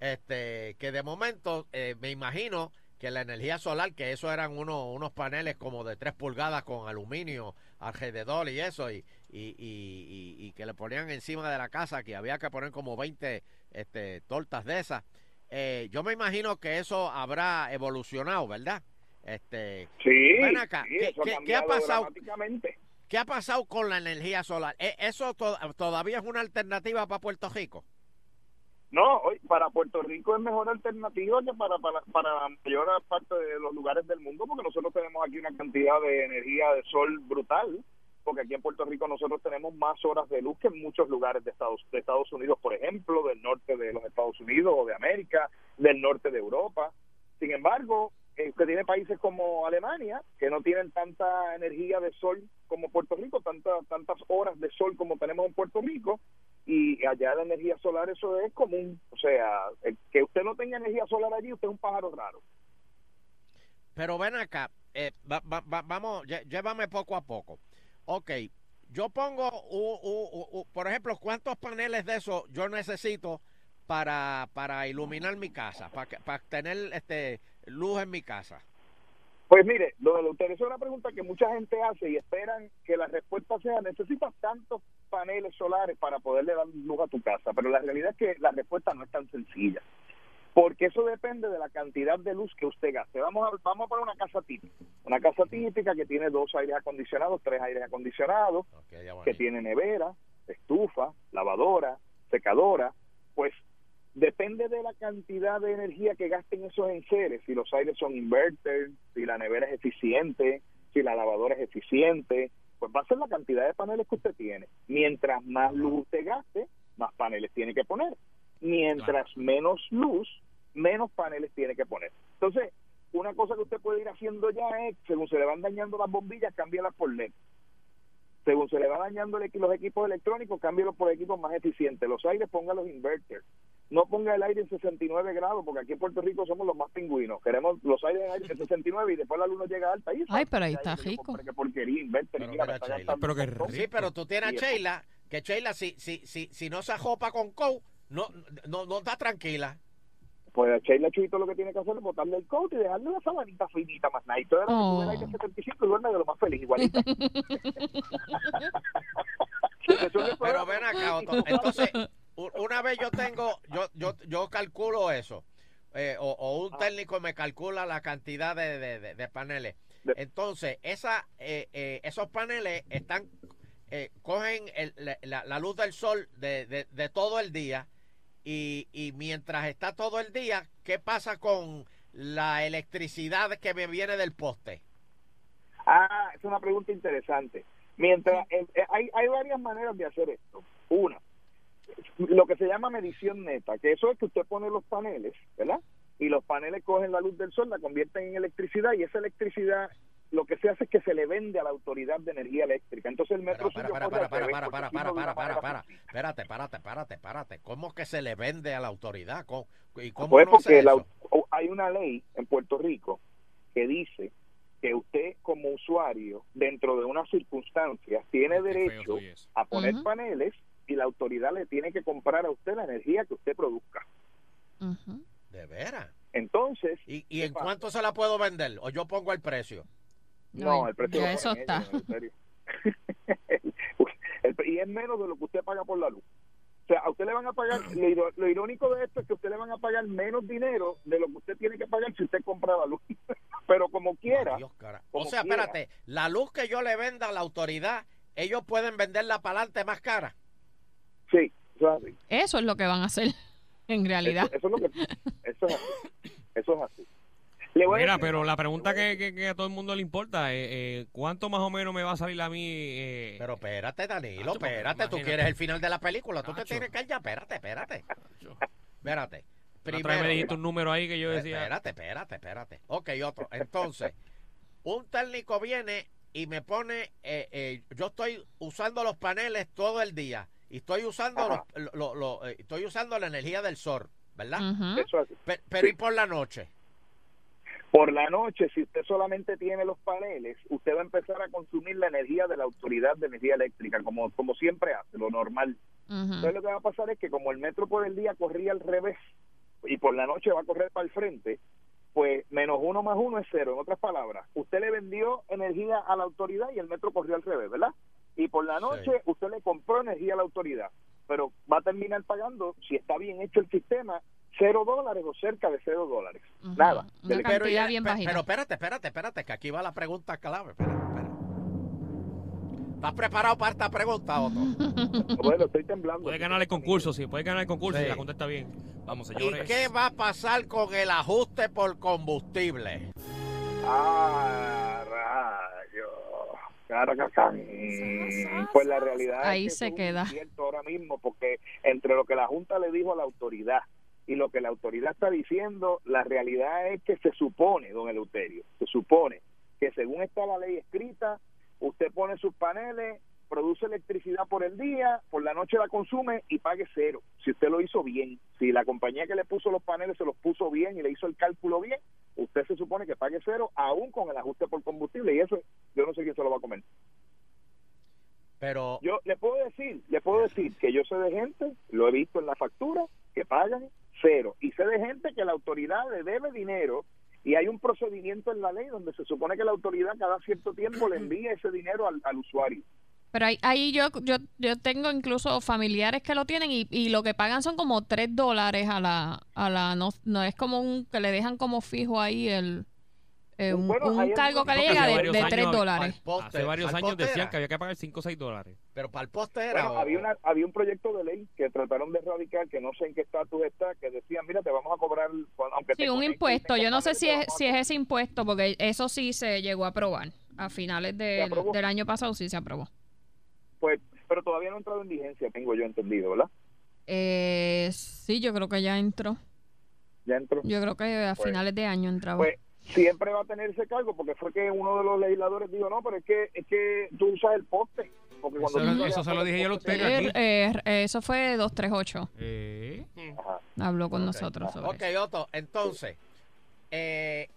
[SPEAKER 2] Este, que de momento eh, me imagino que la energía solar, que eso eran uno- unos paneles como de 3 pulgadas con aluminio alrededor y eso, y, y- y- y- y que le ponían encima de la casa, que había que poner como 20 este, tortas de esas. Eh, yo me imagino que eso habrá evolucionado, ¿verdad? Este,
[SPEAKER 7] Sí.
[SPEAKER 2] Ven acá,
[SPEAKER 7] sí,
[SPEAKER 2] ¿qué-
[SPEAKER 7] eso
[SPEAKER 2] qué- qué ha
[SPEAKER 7] cambiado
[SPEAKER 2] pasado?
[SPEAKER 7] dramáticamente.
[SPEAKER 2] ¿Qué ha pasado con la energía solar? ¿E- ¿Eso to- todavía es una alternativa para Puerto Rico?
[SPEAKER 7] No, hoy para Puerto Rico es mejor alternativa que para, para, para la mayor parte de los lugares del mundo, porque nosotros tenemos aquí una cantidad de energía de sol brutal, porque aquí en Puerto Rico nosotros tenemos más horas de luz que en muchos lugares de Estados, de Estados Unidos, por ejemplo, del norte de los Estados Unidos o de América, del norte de Europa. Sin embargo, eh, usted tiene países como Alemania, que no tienen tanta energía de sol como Puerto Rico, tanta- tantas horas de sol como tenemos en Puerto Rico, y allá la energía solar eso es común. O sea, el que usted no tenga energía solar allí, usted es un pájaro raro.
[SPEAKER 2] Pero ven acá, eh, va- va- va- vamos, lle- llévame poco a poco. Ok, yo pongo, u- u- u- u- por ejemplo, ¿cuántos paneles de eso yo necesito para, para iluminar mi casa, para, que- para tener este luz en mi casa?
[SPEAKER 7] Pues mire, lo de la utilización es una pregunta que mucha gente hace y esperan que la respuesta sea, necesitas tantos paneles solares para poderle dar luz a tu casa, pero la realidad es que la respuesta no es tan sencilla, porque eso depende de la cantidad de luz que usted gaste. Vamos a, vamos a poner una casa típica, una casa típica que tiene dos aires acondicionados, tres aires acondicionados,
[SPEAKER 2] Ok, ya
[SPEAKER 7] que
[SPEAKER 2] bueno.
[SPEAKER 7] tiene nevera, estufa, lavadora, secadora, pues depende de la cantidad de energía que gasten esos enseres, si los aires son inverters, si la nevera es eficiente, si la lavadora es eficiente, pues va a ser la cantidad de paneles que usted tiene. Mientras más luz usted gaste, más paneles tiene que poner. Mientras menos luz, menos paneles tiene que poner. Entonces, una cosa que usted puede ir haciendo ya es, según se le van dañando las bombillas, cámbialas por LED. Según se le va dañando el equi- los equipos electrónicos, cámbialos por equipos más eficientes. Los aires, ponga los inverters. No ponga el aire en 69 grados, porque aquí en Puerto Rico somos los más pingüinos. Queremos los aires en aire- en 69 y después la luz nos llega alta. Y
[SPEAKER 4] Ay, pero ahí
[SPEAKER 7] Ay,
[SPEAKER 4] está
[SPEAKER 7] que yo
[SPEAKER 4] rico.
[SPEAKER 7] compré, Qué porquería, inverter. y
[SPEAKER 2] Pero
[SPEAKER 7] mira,
[SPEAKER 2] mira,
[SPEAKER 7] me está
[SPEAKER 2] Sheila,
[SPEAKER 7] gastando
[SPEAKER 5] Ah, pero qué
[SPEAKER 7] un montón.
[SPEAKER 5] rico.
[SPEAKER 2] Sí, pero tú tienes a
[SPEAKER 7] Y eso.
[SPEAKER 2] Sheila, que Sheila, si, si, si, si no se ajopa con Cow, no, no, no está tranquila.
[SPEAKER 7] Pues a Sheila Chuito lo que tiene que hacer es botarle el coat y dejarle una sabanita finita más nada. Y todo era que tuve el aire
[SPEAKER 4] Oh.
[SPEAKER 7] 75 y duerme de lo más feliz, igualita. Resuelve el
[SPEAKER 2] Pero
[SPEAKER 7] problema.
[SPEAKER 2] ven acá, Otto. Entonces, u- una vez yo tengo, yo, yo, yo calculo eso, eh, o, o un
[SPEAKER 7] Ah.
[SPEAKER 2] técnico me calcula la cantidad de, de- de- de paneles.
[SPEAKER 7] De-
[SPEAKER 2] Entonces, esa, eh, eh, esos paneles están, eh, cogen el- la- la, la luz del sol de, de- de todo el día y, y mientras está todo el día, ¿qué pasa con la electricidad que me viene del poste?
[SPEAKER 7] Ah, es una pregunta interesante. Mientras, eh, eh, hay, hay varias maneras de hacer esto. Una, lo que se llama medición neta, que eso es que usted pone los paneles, ¿verdad? Y los paneles cogen la luz del sol, la convierten en electricidad y esa electricidad lo que se hace es que se le vende a la autoridad de energía eléctrica. Entonces el metro
[SPEAKER 2] Pero, para,
[SPEAKER 7] suyo
[SPEAKER 2] para,
[SPEAKER 7] corre
[SPEAKER 2] para,
[SPEAKER 7] al
[SPEAKER 2] para,
[SPEAKER 7] revés,
[SPEAKER 2] para,
[SPEAKER 7] porque
[SPEAKER 2] para,
[SPEAKER 7] si no,
[SPEAKER 2] para,
[SPEAKER 7] de
[SPEAKER 2] para,
[SPEAKER 7] una
[SPEAKER 2] para,
[SPEAKER 7] manera
[SPEAKER 2] para.
[SPEAKER 7] funciona.
[SPEAKER 2] Espérate, párate, párate, párate. ¿Cómo que se le vende a la autoridad? ¿Cómo- ¿Y cómo
[SPEAKER 7] Pues
[SPEAKER 2] no
[SPEAKER 7] porque
[SPEAKER 2] hace
[SPEAKER 7] la-
[SPEAKER 2] eso?
[SPEAKER 7] o- hay una ley en Puerto Rico que dice que usted como usuario, dentro de unas circunstancias, tiene derecho a poner
[SPEAKER 4] Ujú.
[SPEAKER 7] paneles y la autoridad le tiene que comprar a usted la energía que usted produzca.
[SPEAKER 4] Ujú.
[SPEAKER 2] De veras.
[SPEAKER 7] Entonces,
[SPEAKER 2] ¿Y, y en
[SPEAKER 7] pasa?
[SPEAKER 2] cuánto se la puedo vender? ¿O yo pongo el precio?
[SPEAKER 7] no, el precio
[SPEAKER 4] ya
[SPEAKER 7] lo
[SPEAKER 4] eso
[SPEAKER 7] ponen
[SPEAKER 4] está.
[SPEAKER 7] ellos, en serio. El pre- y es menos de lo que usted paga por la luz. O sea, a usted le van a pagar, lo, iro- lo irónico de esto es que a usted le van a pagar menos dinero de lo que usted tiene que pagar si usted compra la luz. Pero como quiera,
[SPEAKER 2] Adiós, cara. O
[SPEAKER 7] como
[SPEAKER 2] sea,
[SPEAKER 7] quiera.
[SPEAKER 2] espérate, la luz que yo le venda a la autoridad, ellos pueden venderla para adelante más cara.
[SPEAKER 7] sí, eso es así.
[SPEAKER 4] Eso es lo que van a hacer en realidad.
[SPEAKER 7] Eso, eso es lo que, eso es así. Eso es así. Le voy a
[SPEAKER 5] Mira,
[SPEAKER 7] decir-
[SPEAKER 5] pero la pregunta que, que- que a todo el mundo le importa es eh, ¿cuánto más o menos me va a salir a mí? eh,
[SPEAKER 2] Pero espérate, Danilo,
[SPEAKER 5] Nacho, porque
[SPEAKER 2] espérate. Tú
[SPEAKER 5] imagínate.
[SPEAKER 2] quieres el final de la película. Tú te
[SPEAKER 5] Nacho.
[SPEAKER 2] tienes que ir ya. Espérate, espérate. Espérate.
[SPEAKER 5] la otra vez me dijiste
[SPEAKER 2] Primero,
[SPEAKER 5] un número ahí que yo decía...
[SPEAKER 2] Eh, Espérate, espérate, espérate. Ok, otro. Entonces, un técnico viene y me pone, eh, eh, yo estoy usando los paneles todo el día y estoy usando
[SPEAKER 7] Ajá.
[SPEAKER 2] los- lo- lo- eh, estoy usando la energía del sol, ¿verdad?
[SPEAKER 4] Ujú.
[SPEAKER 7] Eso es así.
[SPEAKER 2] Pe- pero
[SPEAKER 7] Sí.
[SPEAKER 2] y por la noche.
[SPEAKER 7] Por la noche, si usted solamente tiene los paneles, usted va a empezar a consumir la energía de la autoridad de energía eléctrica, como, como siempre hace, lo normal. Entonces
[SPEAKER 4] Ujú.
[SPEAKER 7] lo que va a pasar es que como el metro por el día corría al revés y por la noche va a correr para el frente, pues menos uno más uno es cero. En otras palabras, usted le vendió energía a la autoridad y el metro corrió al revés, ¿verdad? Y por la noche
[SPEAKER 2] Sí.
[SPEAKER 7] usted le compró energía a la autoridad, pero va a terminar pagando, si está bien hecho el sistema, cero dólares o cerca de cero dólares.
[SPEAKER 4] Ujú.
[SPEAKER 7] Nada.
[SPEAKER 4] Una
[SPEAKER 7] Del-
[SPEAKER 4] cantidad
[SPEAKER 2] Pero, ya-
[SPEAKER 4] bien
[SPEAKER 2] pe-
[SPEAKER 4] bajita.
[SPEAKER 2] pero espérate, espérate, espérate, que aquí va la pregunta clave. Espérate, espérate. ¿Estás preparado para esta pregunta, Otto?
[SPEAKER 7] Bueno, estoy temblando.
[SPEAKER 5] Puede ganar el concurso, sí, puede ganar el concurso
[SPEAKER 6] Sí.
[SPEAKER 5] si la contesta bien.
[SPEAKER 6] Vamos,
[SPEAKER 2] ¿Y
[SPEAKER 6] señores.
[SPEAKER 2] qué va a pasar con el ajuste por combustible?
[SPEAKER 7] Ah, rayo. Caracacán. Pues la realidad
[SPEAKER 4] Ahí
[SPEAKER 7] es que
[SPEAKER 4] se
[SPEAKER 7] eso es un
[SPEAKER 4] queda.
[SPEAKER 7] incierto ahora mismo, porque entre lo que la Junta le dijo a la autoridad y lo que la autoridad está diciendo, la realidad es que se supone, don Eleuterio, se supone que según está la ley escrita, usted pone sus paneles, produce electricidad por el día, por la noche la consume y pague cero. Si usted lo hizo bien, si la compañía que le puso los paneles se los puso bien y le hizo el cálculo bien, usted se supone que pague cero, aún con el ajuste por combustible, y eso yo no sé quién se lo va a comer.
[SPEAKER 2] Pero
[SPEAKER 7] Yo le puedo decir, le puedo decir que yo sé de gente, lo he visto en la factura, que pagan cero, y sé de gente que la autoridad le debe dinero. Y hay un procedimiento en la ley donde se supone que la autoridad cada cierto tiempo le envía ese dinero al, al usuario.
[SPEAKER 4] Pero ahí, ahí yo, yo, yo tengo incluso familiares que lo tienen y, y lo que pagan son como 3 dólares a la, a la no, no es como un que le dejan como fijo ahí el, eh, un,
[SPEAKER 7] Pues Bueno,
[SPEAKER 4] un
[SPEAKER 7] ahí es
[SPEAKER 4] cargo que
[SPEAKER 7] donde-
[SPEAKER 4] le llega
[SPEAKER 5] Hace
[SPEAKER 4] de,
[SPEAKER 5] varios
[SPEAKER 4] de
[SPEAKER 5] años
[SPEAKER 4] 3
[SPEAKER 5] había-
[SPEAKER 4] dólares.
[SPEAKER 2] Pa'l poste,
[SPEAKER 5] Hace varios
[SPEAKER 2] pa'l
[SPEAKER 5] años
[SPEAKER 2] poste
[SPEAKER 5] decían
[SPEAKER 2] era.
[SPEAKER 5] que había que pagar 5 o 6 dólares.
[SPEAKER 2] Pero para el poste era.
[SPEAKER 7] Bueno,
[SPEAKER 2] o-
[SPEAKER 7] había, una, había un proyecto de ley que trataron de erradicar, que no sé en qué estatus está, que decían, mira, te vamos a cobrar... cuando- Aunque
[SPEAKER 4] Sí,
[SPEAKER 7] te
[SPEAKER 4] un
[SPEAKER 7] conectes
[SPEAKER 4] impuesto. Yo no sé si es,
[SPEAKER 7] inmediatamente,
[SPEAKER 4] si
[SPEAKER 7] te
[SPEAKER 4] es
[SPEAKER 7] vamos a-
[SPEAKER 4] ese impuesto, porque eso sí se llegó a aprobar. A finales
[SPEAKER 7] Se
[SPEAKER 4] del,
[SPEAKER 7] aprobó.
[SPEAKER 4] del año pasado sí se aprobó.
[SPEAKER 7] Pues, pero todavía no ha entrado en vigencia, tengo yo entendido, ¿verdad?
[SPEAKER 4] Eh, sí, yo creo que ya entró.
[SPEAKER 7] Ya entró.
[SPEAKER 4] Yo creo que a
[SPEAKER 7] Pues-
[SPEAKER 4] finales de año entraba.
[SPEAKER 7] Pues siempre va a tener ese cargo, porque fue que uno de los legisladores dijo, no, pero es que, es que tú usas el poste. Porque cuando
[SPEAKER 3] Eso-
[SPEAKER 7] tú usas
[SPEAKER 3] eso
[SPEAKER 7] el
[SPEAKER 3] se lo
[SPEAKER 7] poste,
[SPEAKER 3] dije yo a
[SPEAKER 7] el
[SPEAKER 3] usted,
[SPEAKER 7] poste-
[SPEAKER 3] aquí.
[SPEAKER 4] Eh, eh, eso fue 238.
[SPEAKER 3] Eh,
[SPEAKER 4] Habló con
[SPEAKER 2] Ok.
[SPEAKER 4] nosotros sobre
[SPEAKER 2] Ok,
[SPEAKER 4] eso.
[SPEAKER 2] Otto, entonces, eh,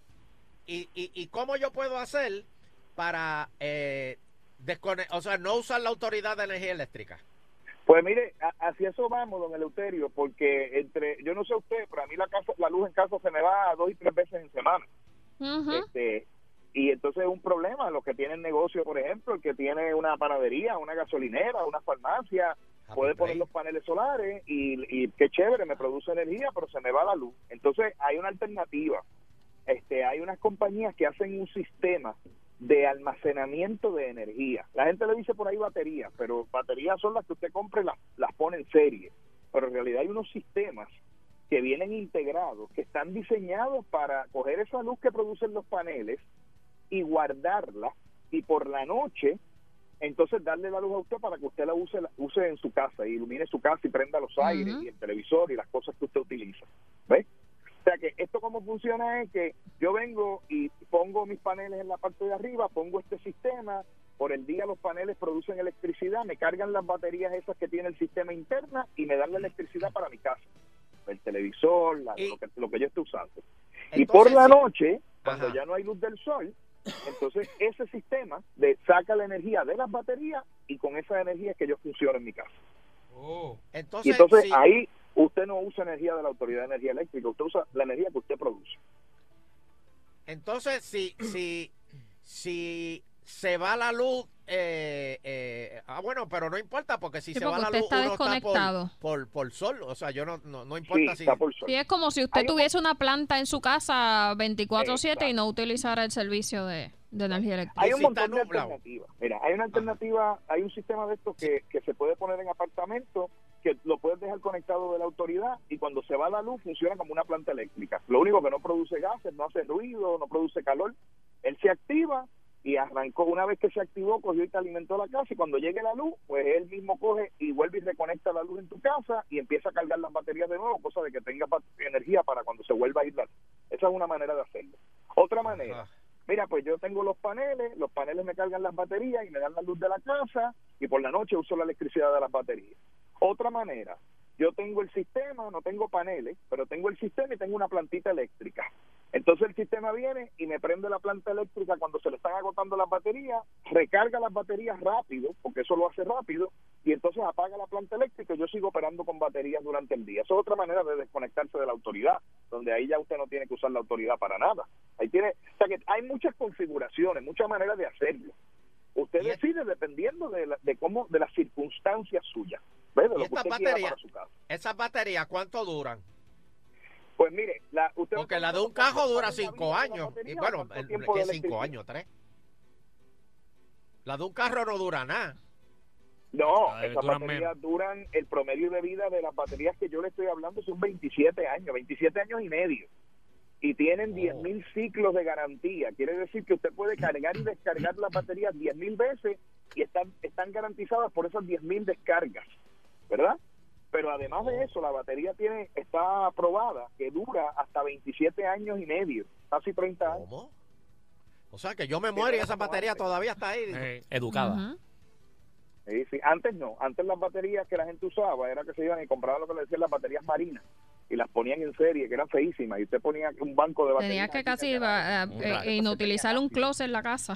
[SPEAKER 2] y, y- y cómo yo puedo hacer para eh, descone- o sea, no usar la autoridad de energía eléctrica?
[SPEAKER 7] Pues mire, a- hacia eso vamos, don Eleuterio, porque entre, yo no sé usted, pero a mí la, casa, la luz en casa se me va dos y tres veces en semana.
[SPEAKER 4] Ujú.
[SPEAKER 7] este y entonces es un problema los que tienen negocio por ejemplo el que tiene una panadería una gasolinera una farmacia
[SPEAKER 2] Happy
[SPEAKER 7] puede poner
[SPEAKER 2] Play.
[SPEAKER 7] los paneles solares y, y qué chévere me produce energía pero se me va la luz entonces hay una alternativa este hay unas compañías que hacen un sistema de almacenamiento de energía la gente le dice por ahí baterías pero baterías son las que usted compra y las, las pone en serie pero en realidad hay unos sistemas que vienen integrados, que están diseñados para coger esa luz que producen los paneles y guardarla y por la noche entonces darle la luz a usted para que usted la use, la use en su casa y ilumine su casa y prenda los
[SPEAKER 4] Ujú.
[SPEAKER 7] aires y el televisor y las cosas que usted utiliza. ¿Ve? O sea que esto cómo funciona es que yo vengo y pongo mis paneles en la parte de arriba, pongo este sistema, por el día los paneles producen electricidad, me cargan las baterías esas que tiene el sistema interna y me dan la electricidad para mi casa, el televisor, la-
[SPEAKER 2] Y-
[SPEAKER 7] lo, que, lo que yo esté usando. y
[SPEAKER 2] Entonces,
[SPEAKER 7] por la
[SPEAKER 2] sí.
[SPEAKER 7] noche, cuando
[SPEAKER 2] Ajá.
[SPEAKER 7] ya no hay luz del sol, entonces ese sistema de saca la energía de las baterías y con esa energía es que yo funciono en mi casa. Y
[SPEAKER 2] Entonces,
[SPEAKER 7] entonces
[SPEAKER 2] sí,
[SPEAKER 7] ahí usted no usa energía de la Autoridad de Energía Eléctrica, usted usa la energía que usted produce.
[SPEAKER 2] entonces si, si, si se va la luz, eh, eh, ah, bueno, pero no importa porque si
[SPEAKER 4] Sí,
[SPEAKER 2] se
[SPEAKER 4] porque
[SPEAKER 2] va la
[SPEAKER 4] usted
[SPEAKER 2] luz,
[SPEAKER 4] está
[SPEAKER 2] uno está por,
[SPEAKER 4] desconectado.
[SPEAKER 2] por, por sol, o sea, yo no, no, no
[SPEAKER 7] Sí,
[SPEAKER 2] importa si...
[SPEAKER 7] está por sol.
[SPEAKER 4] Sí, es como si usted
[SPEAKER 7] Hay un-
[SPEAKER 4] tuviese una planta en su casa 24/7 y
[SPEAKER 7] Exacto.
[SPEAKER 4] no utilizara el servicio de, de energía eléctrica.
[SPEAKER 7] Hay un
[SPEAKER 2] si está
[SPEAKER 7] montón de
[SPEAKER 2] nublado.
[SPEAKER 7] alternativas. Mira, hay una alternativa, hay un sistema de estos que, que se puede poner en apartamento, que lo puedes dejar conectado de la autoridad y cuando se va la luz funciona como una planta eléctrica. Lo único que no produce gases, no hace ruido, no produce calor. Él se activa y arrancó. Una vez que se activó, cogió y te alimentó la casa y cuando llegue la luz, pues él mismo coge y vuelve y reconecta la luz en tu casa y empieza a cargar las baterías de nuevo, cosa de que tenga ba- energía para cuando se vuelva a ir la luz. Esa es una manera de hacerlo. Otra manera
[SPEAKER 2] Ajá.
[SPEAKER 7] mira, pues yo tengo los paneles, los paneles me cargan las baterías y me dan la luz de la casa y por la noche uso la electricidad de las baterías. Otra manera, yo tengo el sistema, no tengo paneles, pero tengo el sistema y tengo una plantita eléctrica. Entonces el sistema viene y me prende la planta eléctrica cuando se le están agotando las baterías, recarga las baterías rápido, porque eso lo hace rápido, y entonces apaga la planta eléctrica y yo sigo operando con baterías durante el día. Esa es otra manera de desconectarse de la autoridad, donde ahí ya usted no tiene que usar la autoridad para nada. Ahí tiene, o sea que hay muchas configuraciones, muchas maneras de hacerlo. Usted
[SPEAKER 2] Y es-
[SPEAKER 7] decide dependiendo de, la- de cómo, de las circunstancias suyas, ¿ve? de
[SPEAKER 2] ¿Y
[SPEAKER 7] lo que
[SPEAKER 2] estas
[SPEAKER 7] usted quiera
[SPEAKER 2] baterías?
[SPEAKER 7] para su casa.
[SPEAKER 2] Esas baterías, ¿cuánto duran?
[SPEAKER 7] Pues mire, la, usted
[SPEAKER 2] Porque la de un cajo dura cinco años. Y bueno, el- tiene cinco años, tres. La de un carro no dura nada.
[SPEAKER 7] No,
[SPEAKER 5] Ah,
[SPEAKER 7] esas
[SPEAKER 5] duran
[SPEAKER 7] baterías duran, el promedio de vida de las baterías que yo le estoy hablando son 27 años, 27 años y medio. Y tienen
[SPEAKER 2] Oh.
[SPEAKER 7] 10.000 ciclos de garantía. Quiere decir que usted puede cargar y descargar las baterías 10.000 veces y están, están garantizadas por esas 10.000 descargas, ¿verdad? Pero además
[SPEAKER 2] Oh.
[SPEAKER 7] de eso, la batería tiene está aprobada que dura hasta 27 años y medio, casi 30 años.
[SPEAKER 2] ¿Cómo? O sea que yo me muero y esa batería todavía está ahí.
[SPEAKER 5] Eh,
[SPEAKER 6] Educada.
[SPEAKER 4] Ujú.
[SPEAKER 7] Sí, sí. Antes no, antes las baterías que la gente usaba era que se iban y compraban lo que le decían las baterías marinas y las ponían en serie, que eran feísimas, y usted ponía un banco de baterías.
[SPEAKER 4] Tenía que
[SPEAKER 7] aquí
[SPEAKER 4] casi
[SPEAKER 7] en la-
[SPEAKER 4] va- eh,
[SPEAKER 7] rato,
[SPEAKER 4] inutilizar
[SPEAKER 7] tenía
[SPEAKER 4] un
[SPEAKER 7] rápido.
[SPEAKER 4] closet en la casa.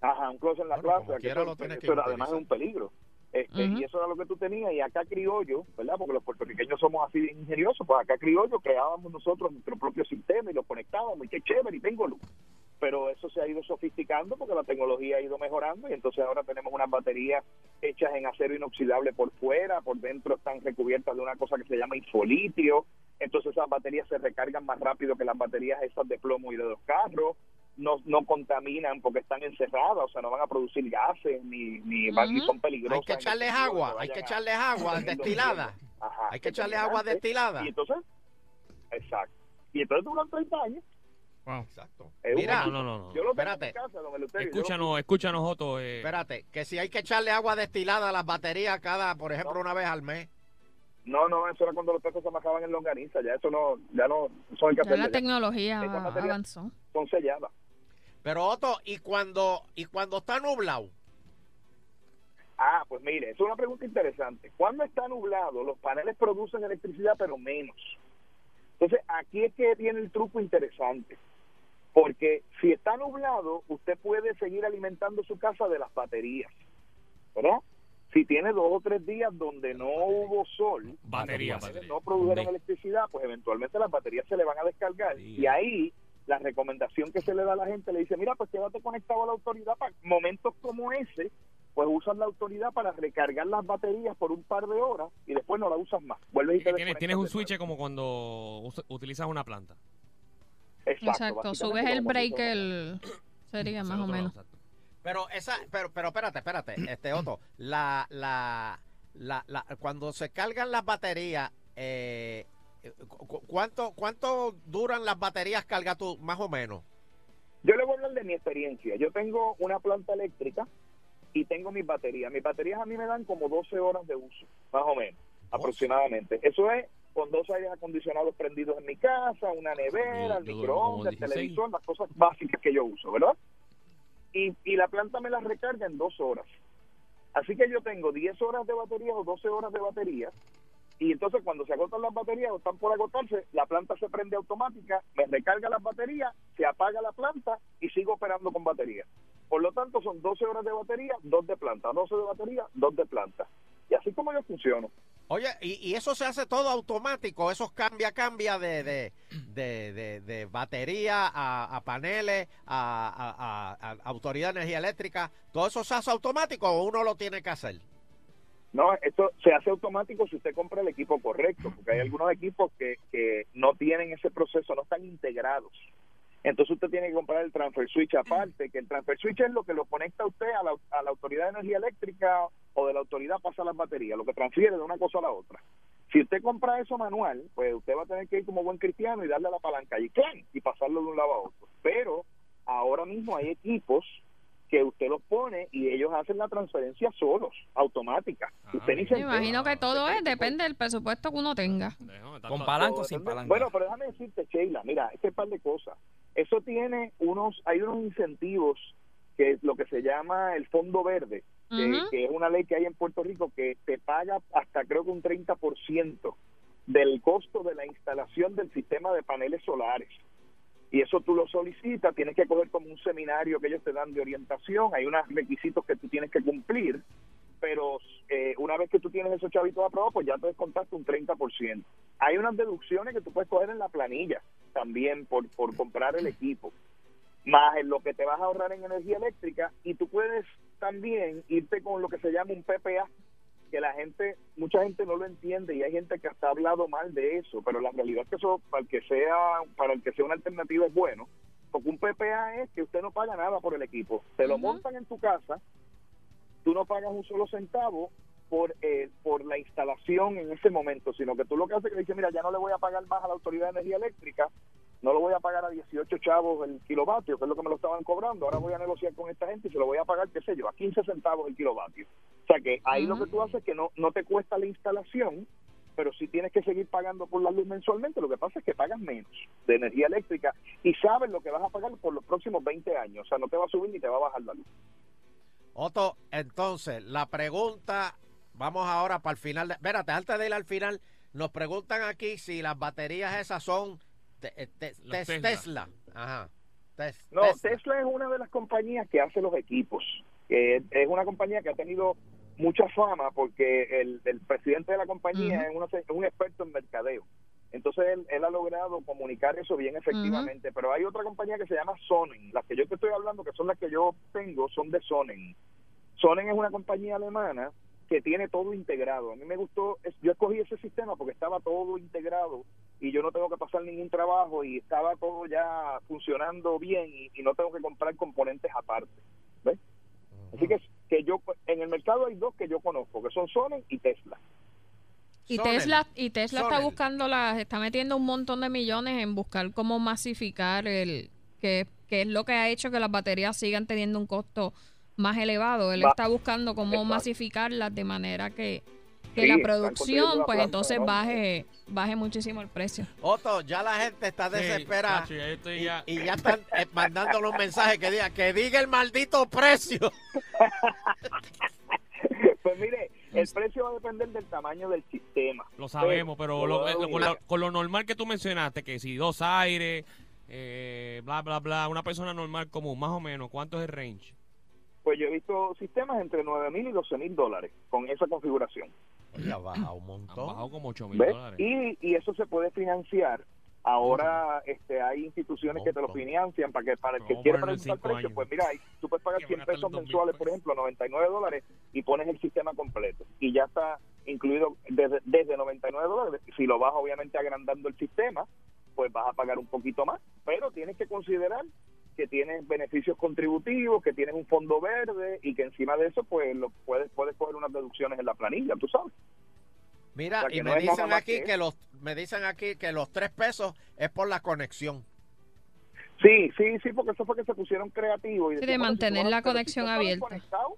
[SPEAKER 7] Ajá, un closet en la
[SPEAKER 2] Bueno, como
[SPEAKER 7] plaza, que
[SPEAKER 2] quiera
[SPEAKER 7] eso,
[SPEAKER 2] lo tienes que
[SPEAKER 7] eso era, además es
[SPEAKER 2] utilizar.
[SPEAKER 7] un peligro. Este,
[SPEAKER 4] Ujú.
[SPEAKER 7] Y eso era lo que tú tenías, y acá criollo, ¿verdad? Porque los puertorriqueños somos así de ingeniosos, pues acá criollo creábamos nosotros nuestro propio sistema y lo conectábamos, y qué chévere, y tengo luz. Pero eso se ha ido sofisticando porque la tecnología ha ido mejorando, y entonces ahora tenemos unas baterías hechas en acero inoxidable por fuera, por dentro están recubiertas de una cosa que se llama infolitio, entonces esas baterías se recargan más rápido que las baterías esas de plomo y de los carros no, no contaminan porque están encerradas, o sea, no van a producir gases ni, ni, van- ni
[SPEAKER 4] Ujú.
[SPEAKER 7] son peligrosas.
[SPEAKER 2] Hay que
[SPEAKER 7] en el
[SPEAKER 2] echarles
[SPEAKER 7] sentido de
[SPEAKER 2] agua,
[SPEAKER 7] que
[SPEAKER 2] hay que
[SPEAKER 7] vayan a-
[SPEAKER 2] echarles agua
[SPEAKER 7] comiendo
[SPEAKER 2] destilada.
[SPEAKER 7] mierda. Ajá,
[SPEAKER 2] Hay que echarle agua
[SPEAKER 7] tengan antes.
[SPEAKER 2] destilada.
[SPEAKER 7] Y entonces, exacto. Y entonces duran 30 años.
[SPEAKER 3] Wow.
[SPEAKER 2] Exacto.
[SPEAKER 7] es
[SPEAKER 2] Mira,
[SPEAKER 5] No, no, no. no.
[SPEAKER 7] Yo lo tengo
[SPEAKER 2] espérate.
[SPEAKER 7] en casa, don Eleuterio, yo lo-
[SPEAKER 5] Escúchanos, escúchanos, Otto. eh,
[SPEAKER 2] espérate, que si hay que echarle agua destilada a las baterías cada, por ejemplo, una vez al mes.
[SPEAKER 7] No, no, eso era cuando los peces se amajaban en longaniza, ya eso no, ya no, son hay que
[SPEAKER 4] Ya la
[SPEAKER 7] hacerle, ya
[SPEAKER 4] tecnología
[SPEAKER 7] Esa materia-
[SPEAKER 4] avanzó.
[SPEAKER 7] son selladas.
[SPEAKER 2] Pero Otto, ¿y cuando, y cuando está nublado?
[SPEAKER 7] Ah, pues mire, es una pregunta interesante. Cuando está nublado, los paneles producen electricidad, pero menos. Entonces, aquí es que viene el truco interesante. Porque si está nublado, usted puede seguir alimentando su casa de las baterías. ¿Verdad? Si tiene dos o tres días donde no hubo sol,
[SPEAKER 5] Batería,
[SPEAKER 7] los paneles
[SPEAKER 5] batería.
[SPEAKER 7] no produjeron
[SPEAKER 6] Hombre.
[SPEAKER 7] electricidad, pues eventualmente las baterías se le van a descargar.
[SPEAKER 6] Sí.
[SPEAKER 7] Y ahí la recomendación que se le da a la gente le dice, mira, pues quédate conectado a la autoridad para momentos como ese, pues usas la autoridad para recargar las baterías por un par de horas y después no la usas más. Vuelves y te
[SPEAKER 5] Tienes,
[SPEAKER 7] desconectas
[SPEAKER 5] tienes un
[SPEAKER 7] de nuevo.
[SPEAKER 5] switch como cuando usa- utilizas una planta.
[SPEAKER 4] Exacto, subes el
[SPEAKER 7] básicamente como si fuera-
[SPEAKER 4] breaker, sería
[SPEAKER 5] Hacia
[SPEAKER 4] más
[SPEAKER 5] el
[SPEAKER 4] o
[SPEAKER 5] otro lado,
[SPEAKER 4] menos.
[SPEAKER 5] exacto.
[SPEAKER 2] Pero esa, pero, pero espérate, espérate, este Otto, la, la, la, la- cuando se cargan las baterías, eh, cu- cu- ¿cuánto, cuánto duran las baterías carga tú, más o menos?
[SPEAKER 7] Yo le voy a hablar de mi experiencia. Yo tengo una planta eléctrica y tengo mis baterías. Mis baterías a mí me dan como 12 horas de uso, más o menos, aproximadamente. Eso es con dos aires acondicionados prendidos en mi casa, una nevera, el
[SPEAKER 5] Yo- yo duermo como
[SPEAKER 7] microondas, el
[SPEAKER 5] 16.
[SPEAKER 7] televisor, las cosas básicas que yo uso, ¿verdad? Y, y la planta me las recarga en dos horas. Así que yo tengo 10 horas de batería o 12 horas de batería. Y entonces cuando se agotan las baterías o están por agotarse, la planta se prende automática, me recarga las baterías, se apaga la planta y sigo operando con batería. Por lo tanto, son 12 horas de batería, 2 de planta, 12 de batería, 2 de planta. Y así como yo funciono.
[SPEAKER 2] Oye, y, y eso se hace todo automático, eso cambia, cambia de, de, de, de- de batería a, a paneles, a, a- a- a autoridad de energía eléctrica, todo eso se hace automático o uno lo tiene que hacer.
[SPEAKER 7] No, esto se hace automático si usted compra el equipo correcto, porque hay algunos equipos que, que no tienen ese proceso, no están integrados. Entonces usted tiene que comprar el transfer switch aparte, que el transfer switch es lo que lo conecta usted a la, a la autoridad de energía eléctrica o de la autoridad pasa las baterías, lo que transfiere de una cosa a la otra. Si usted compra eso manual, pues usted va a tener que ir como buen cristiano y darle a la palanca y ¡clan! y pasarlo de un lado a otro. Pero ahora mismo hay equipos que usted los pone y ellos hacen la transferencia solos, automática.
[SPEAKER 5] Ah,
[SPEAKER 7] usted ni
[SPEAKER 5] mira.
[SPEAKER 7] se
[SPEAKER 4] Me imagino
[SPEAKER 7] entera.
[SPEAKER 4] que todo es, depende del presupuesto que uno tenga.
[SPEAKER 5] Déjame, está-
[SPEAKER 6] ¿Con
[SPEAKER 5] está-
[SPEAKER 6] palanca o
[SPEAKER 7] Todo
[SPEAKER 6] sin
[SPEAKER 7] depende-
[SPEAKER 6] palanca?
[SPEAKER 7] Bueno, pero déjame decirte, Sheila, mira, este par de cosas. Eso tiene unos, hay unos incentivos que es lo que se llama el Fondo Verde, que,
[SPEAKER 4] Ujú.
[SPEAKER 7] que es una ley que hay en Puerto Rico que te paga hasta creo que un 30% del costo de la instalación del sistema de paneles solares. Y eso tú lo solicitas, tienes que coger como un seminario que ellos te dan de orientación, hay unos requisitos que tú tienes que cumplir, pero eh, una vez que tú tienes esos chavitos aprobados, pues ya te descontaste un 30%. Hay unas deducciones que tú puedes coger en la planilla también por, por comprar el equipo, más en lo que te vas a ahorrar en energía eléctrica y tú puedes también irte con lo que se llama un PPA, que la gente, mucha gente no lo entiende y hay gente que hasta ha hablado mal de eso, pero la realidad es que eso para el que sea, para el que sea una alternativa es bueno, porque un PPA es que usted no paga nada por el equipo, te lo
[SPEAKER 4] Ujú.
[SPEAKER 7] montan en tu casa, tú no pagas un solo centavo por, eh, por la instalación en ese momento, sino que tú lo que haces es que dices, mira, ya no le voy a pagar más a la Autoridad de Energía Eléctrica, no lo voy a pagar a 18 chavos el kilovatio, que es lo que me lo estaban cobrando, ahora voy a negociar con esta gente y se lo voy a pagar, qué sé yo, a 15 centavos el kilovatio. O sea que ahí
[SPEAKER 4] Ujú.
[SPEAKER 7] lo que tú haces es que no, no te cuesta la instalación, pero si tienes que seguir pagando por la luz mensualmente, lo que pasa es que pagas menos de energía eléctrica y sabes lo que vas a pagar por los próximos 20 años, o sea, no te va a subir ni te va a bajar la luz.
[SPEAKER 2] Otto, entonces, la pregunta, vamos ahora para el final. de- espérate, antes de ir al final, nos preguntan aquí si las baterías esas son te- eh, te-
[SPEAKER 5] Las
[SPEAKER 2] tes-
[SPEAKER 5] Tesla.
[SPEAKER 2] Tesla. Ajá. Tes-
[SPEAKER 7] No, Tesla es una de las compañías que hace los equipos. Eh, es una compañía que ha tenido mucha fama porque el, el presidente de la compañía
[SPEAKER 4] Ujú.
[SPEAKER 7] es, uno- es un experto en mercadeo. Entonces él, él ha logrado comunicar eso bien efectivamente. Pero hay otra compañía que se llama Sonen. Las que yo te estoy hablando, que son las que yo tengo, son de Sonen. Sonen es una compañía alemana que tiene todo integrado. A mí me gustó, es- yo escogí ese sistema porque estaba todo integrado y yo no tengo que pasar ningún trabajo y estaba todo ya funcionando bien y, y no tengo que comprar componentes aparte. ¿ves? Así que, que yo en el mercado hay dos que yo conozco, que son Sony y Tesla.
[SPEAKER 4] Y
[SPEAKER 2] Sonel.
[SPEAKER 4] Tesla, y Tesla está
[SPEAKER 2] Sonel.
[SPEAKER 4] buscando, la, está metiendo un montón de millones en buscar cómo masificar el que, que es lo que ha hecho que las baterías sigan teniendo un costo más elevado. Él
[SPEAKER 7] Va-
[SPEAKER 4] está buscando cómo
[SPEAKER 7] Exacto.
[SPEAKER 4] masificarlas de manera que, que
[SPEAKER 7] Sí,
[SPEAKER 4] la
[SPEAKER 7] están construyendo
[SPEAKER 4] producción,
[SPEAKER 7] una
[SPEAKER 4] pues
[SPEAKER 7] planta
[SPEAKER 4] entonces
[SPEAKER 7] enorme.
[SPEAKER 4] baje, baje muchísimo el precio.
[SPEAKER 2] Otto, ya la gente está desesperada.
[SPEAKER 5] Chacho, ya yo estoy
[SPEAKER 2] y,
[SPEAKER 5] ya-
[SPEAKER 2] y ya están eh, mandándole un mensaje que diga que diga el maldito precio.
[SPEAKER 7] pues mire, el precio va a depender del tamaño del sistema.
[SPEAKER 5] Lo sabemos, pero
[SPEAKER 7] Pero,
[SPEAKER 5] lo- eh,
[SPEAKER 7] pero,
[SPEAKER 5] con, la- con lo normal que tú mencionaste, que si dos aires, eh, bla, bla, bla, una persona normal común, más o menos, ¿cuánto es el range?
[SPEAKER 7] Pues yo he visto sistemas entre 9 mil y 12 mil dólares con esa configuración.
[SPEAKER 2] Ya baja un
[SPEAKER 5] Han
[SPEAKER 2] montón.
[SPEAKER 5] bajado como 8 mil
[SPEAKER 7] ¿Ves?
[SPEAKER 5] dólares.
[SPEAKER 7] Y, y eso se puede financiar. Ahora este, hay instituciones que te lo
[SPEAKER 2] Montón.
[SPEAKER 7] financian para que para el que
[SPEAKER 5] Vamos a
[SPEAKER 7] quiera
[SPEAKER 5] ponerlo en
[SPEAKER 7] preguntar
[SPEAKER 5] cinco
[SPEAKER 7] precio,
[SPEAKER 5] años.
[SPEAKER 7] pues mira, ahí tú puedes pagar
[SPEAKER 5] Que
[SPEAKER 7] 100
[SPEAKER 5] van a estar
[SPEAKER 7] pesos
[SPEAKER 5] en 2000
[SPEAKER 7] mensuales, por ejemplo, 99 dólares y pones el sistema completo y ya está incluido desde, desde 99 dólares. Si lo vas obviamente agrandando el sistema, pues vas a pagar un poquito más, pero tienes que considerar que tienes beneficios contributivos, que tienes un fondo verde y que encima de eso pues lo puedes puedes coger unas deducciones en la planilla, tú sabes.
[SPEAKER 2] Mira,
[SPEAKER 7] O sea, que
[SPEAKER 2] y
[SPEAKER 7] no
[SPEAKER 2] me
[SPEAKER 7] es nada
[SPEAKER 2] dicen
[SPEAKER 7] más
[SPEAKER 2] aquí
[SPEAKER 7] que
[SPEAKER 2] que los me dicen aquí que los tres pesos es por la conexión.
[SPEAKER 7] Sí, sí, sí, porque eso fue que se pusieron creativos. Y
[SPEAKER 4] Sí, de
[SPEAKER 7] decían, bueno,
[SPEAKER 4] mantener
[SPEAKER 7] tú vas a-
[SPEAKER 4] la
[SPEAKER 7] pero
[SPEAKER 4] conexión
[SPEAKER 7] tú estás
[SPEAKER 4] abierta.
[SPEAKER 7] conectado,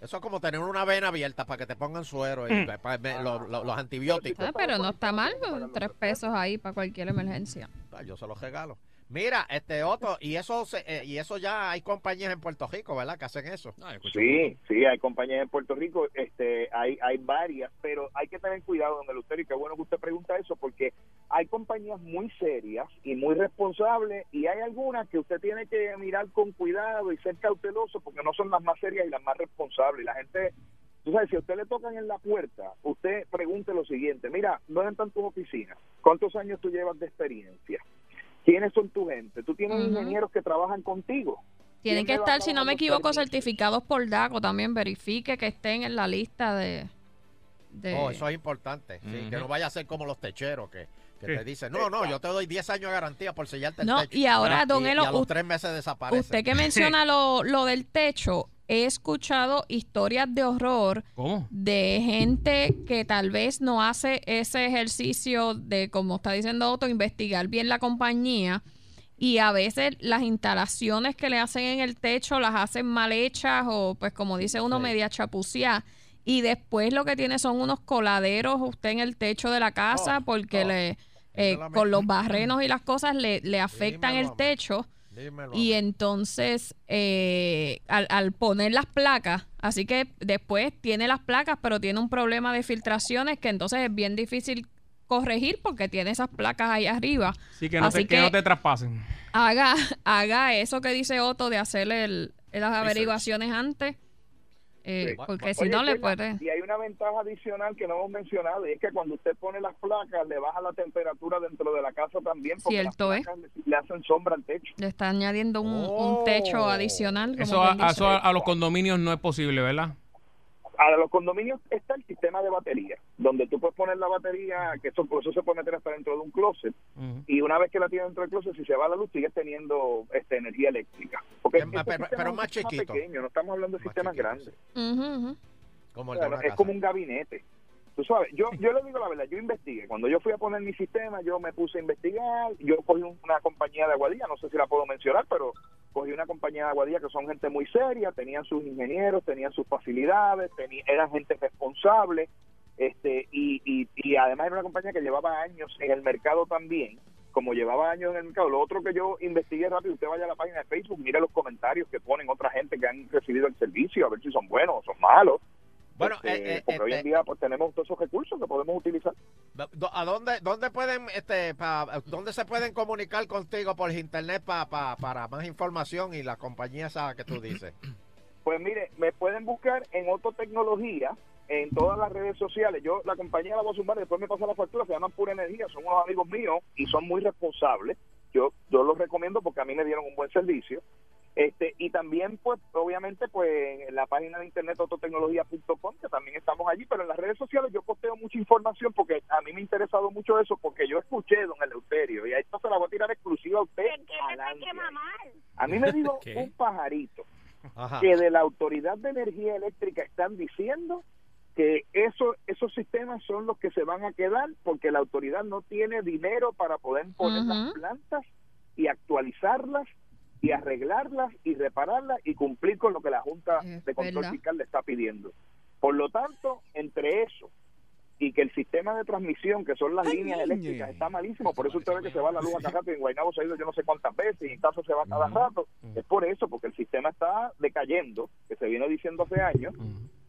[SPEAKER 2] Eso es como tener una vena abierta para que te pongan suero y pa- pa- me- lo- lo- los antibióticos.
[SPEAKER 4] Mm. Ah, pero no está mal, pues, tres pesos ahí para cualquier emergencia.
[SPEAKER 2] Ah, Yo se los regalo. Mira, este Otto, y eso se- eh, y eso ya hay compañías en Puerto Rico, ¿verdad? Que hacen eso.
[SPEAKER 5] Ah, escucha,
[SPEAKER 7] Sí, sí, hay compañías en Puerto Rico, este, hay, hay varias, pero hay que tener cuidado, don Eleuterio, y qué bueno que usted pregunta eso, porque hay compañías muy serias y muy responsables, y hay algunas que usted tiene que mirar con cuidado y ser cauteloso, porque no son las más serias y las más responsables. La gente, tú sabes, si a usted le tocan en la puerta, usted pregunte lo siguiente, mira, ¿dónde están tus oficinas? ¿Cuántos años tú llevas de experiencia? ¿Quiénes son tu gente? ¿Tú tienes
[SPEAKER 4] Ujú.
[SPEAKER 7] ingenieros que trabajan contigo?
[SPEAKER 4] Tienen que
[SPEAKER 7] ¿Quién le va
[SPEAKER 4] estar,
[SPEAKER 7] a
[SPEAKER 4] si no
[SPEAKER 7] pagar
[SPEAKER 4] me
[SPEAKER 7] los
[SPEAKER 4] equivoco,
[SPEAKER 7] servicios?
[SPEAKER 4] certificados por DACO también. Verifique que estén en la lista de... de-
[SPEAKER 2] Oh, eso es importante. sí,
[SPEAKER 5] Ujú.
[SPEAKER 2] Que no vaya a ser como los techeros que, que
[SPEAKER 3] Sí.
[SPEAKER 2] te dicen, no, no, yo te doy 10 años de garantía por sellarte el
[SPEAKER 4] No,
[SPEAKER 2] techo.
[SPEAKER 4] y ahora, don
[SPEAKER 2] y, y
[SPEAKER 4] Elo,
[SPEAKER 2] a los
[SPEAKER 4] usted-
[SPEAKER 2] tres meses desaparece.
[SPEAKER 4] Usted que menciona lo, lo del techo, he escuchado historias de horror
[SPEAKER 5] ¿Cómo?
[SPEAKER 4] de gente que tal vez no hace ese ejercicio de, como está diciendo Otto, investigar bien la compañía y a veces las instalaciones que le hacen en el techo las hacen mal hechas o pues como dice uno
[SPEAKER 2] Sí.
[SPEAKER 4] media chapucía y después lo que tiene son unos coladeros usted en el techo de la casa
[SPEAKER 2] Oh,
[SPEAKER 4] porque
[SPEAKER 2] oh.
[SPEAKER 4] le eh,
[SPEAKER 2] Dímelo a mí.
[SPEAKER 4] con los barrenos y las cosas le, le afectan
[SPEAKER 2] Dímelo a
[SPEAKER 4] el
[SPEAKER 2] mí.
[SPEAKER 4] techo
[SPEAKER 2] Dímelo a
[SPEAKER 4] y
[SPEAKER 2] mí.
[SPEAKER 4] entonces, eh, al, al poner las placas, así que después tiene las placas, pero tiene un problema de filtraciones que entonces es bien difícil corregir porque tiene esas placas ahí arriba.
[SPEAKER 3] Sí, que no,
[SPEAKER 4] Así
[SPEAKER 3] te, que
[SPEAKER 4] que-
[SPEAKER 3] no te traspasen.
[SPEAKER 4] Haga, haga eso que dice Otto de hacer el- las averiguaciones antes, eh,
[SPEAKER 2] Sí.
[SPEAKER 4] porque si
[SPEAKER 7] Este, Oye,
[SPEAKER 4] no le
[SPEAKER 7] Sheila,
[SPEAKER 4] puede...
[SPEAKER 7] Y hay una ventaja adicional que no hemos mencionado, y es que cuando usted pone las placas, le baja la temperatura dentro de la casa también, porque
[SPEAKER 4] Cierto,
[SPEAKER 7] las
[SPEAKER 4] ¿eh?
[SPEAKER 7] placas le, le hacen sombra al techo.
[SPEAKER 4] Le está añadiendo un, un
[SPEAKER 2] Oh.
[SPEAKER 4] techo adicional. como
[SPEAKER 3] Eso,
[SPEAKER 4] quien
[SPEAKER 3] a,
[SPEAKER 4] dice.
[SPEAKER 3] eso a- a los condominios no es posible, ¿verdad?
[SPEAKER 7] A los condominios está el sistema de batería, donde tú puedes poner la batería, que eso, por eso se puede meter hasta dentro de un closet,
[SPEAKER 3] Ujú.
[SPEAKER 7] y una vez que la tienes dentro del closet, si se va la luz, sigues teniendo este, energía eléctrica. Porque
[SPEAKER 2] Em, Pero-
[SPEAKER 7] este
[SPEAKER 2] Ah, pero-
[SPEAKER 7] sistema
[SPEAKER 2] pero
[SPEAKER 7] es un
[SPEAKER 2] más
[SPEAKER 7] sistema
[SPEAKER 2] chiquito.
[SPEAKER 7] pequeño, no estamos hablando de
[SPEAKER 2] Más
[SPEAKER 7] sistemas
[SPEAKER 2] chiquito,
[SPEAKER 7] grandes.
[SPEAKER 4] Ujú, ujú.
[SPEAKER 2] Como el de
[SPEAKER 7] Claro,
[SPEAKER 2] una
[SPEAKER 7] es
[SPEAKER 2] casa.
[SPEAKER 7] como un gabinete. Tú sabes, yo, yo le digo la verdad, yo investigué. Cuando yo fui a poner mi sistema, yo me puse a investigar. Yo cogí un- una compañía de aguadilla, no sé si la puedo mencionar, pero cogí una compañía de aguadilla que son gente muy seria, tenían sus ingenieros, tenían sus facilidades, teni- eran gente responsable. Este, y, y, y además era una compañía que llevaba años en el mercado también. Como llevaba años en el mercado, lo otro que yo investigué rápido, usted vaya a la página de Facebook, mire los comentarios que ponen otra gente que han recibido el servicio, a ver si son buenos o son malos.
[SPEAKER 2] Bueno,
[SPEAKER 7] Este,
[SPEAKER 2] eh, eh,
[SPEAKER 7] porque hoy en
[SPEAKER 2] este,
[SPEAKER 7] día pues tenemos todos esos recursos que podemos utilizar.
[SPEAKER 2] do- ¿a dónde, dónde pueden, este, pa- dónde se pueden comunicar contigo por internet pa- pa- para más información y la compañía esa que tú dices?
[SPEAKER 7] Pues mire, me pueden buscar en Otto Tecnología, en todas las redes sociales. Yo la compañía la voy a sumar, después me pasa la factura, se llaman Pura Energía, son unos amigos míos y son muy responsables. Yo, yo los recomiendo porque a mí me dieron un buen servicio. Este, y también, pues, obviamente, pues, en la página de internet autotecnología.com, que también estamos allí, pero en las redes sociales yo posteo mucha información porque a mí me ha interesado mucho eso, porque yo escuché, don Eleuterio, y a esto se la voy a tirar exclusiva a usted. adelante. A mí me dijo
[SPEAKER 6] ¿Qué?
[SPEAKER 7] un pajarito
[SPEAKER 2] Ajá.
[SPEAKER 7] que de la Autoridad de Energía Eléctrica están diciendo que eso, esos sistemas son los que se van a quedar porque la autoridad no tiene dinero para poder poner las
[SPEAKER 4] Ujú.
[SPEAKER 7] plantas y actualizarlas y arreglarlas y repararlas y cumplir con lo que la Junta
[SPEAKER 4] Es
[SPEAKER 7] de Control
[SPEAKER 4] verdad.
[SPEAKER 7] Fiscal le está pidiendo. Por lo tanto, entre eso y que el sistema de transmisión, que son las líneas eléctricas, está malísimo. Por eso usted ve que se va la luz a cada rato y en Guaynabo se ha ido yo no sé cuántas veces y en caso se va cada rato. Es por eso, porque el sistema está decayendo, que se viene diciendo hace años,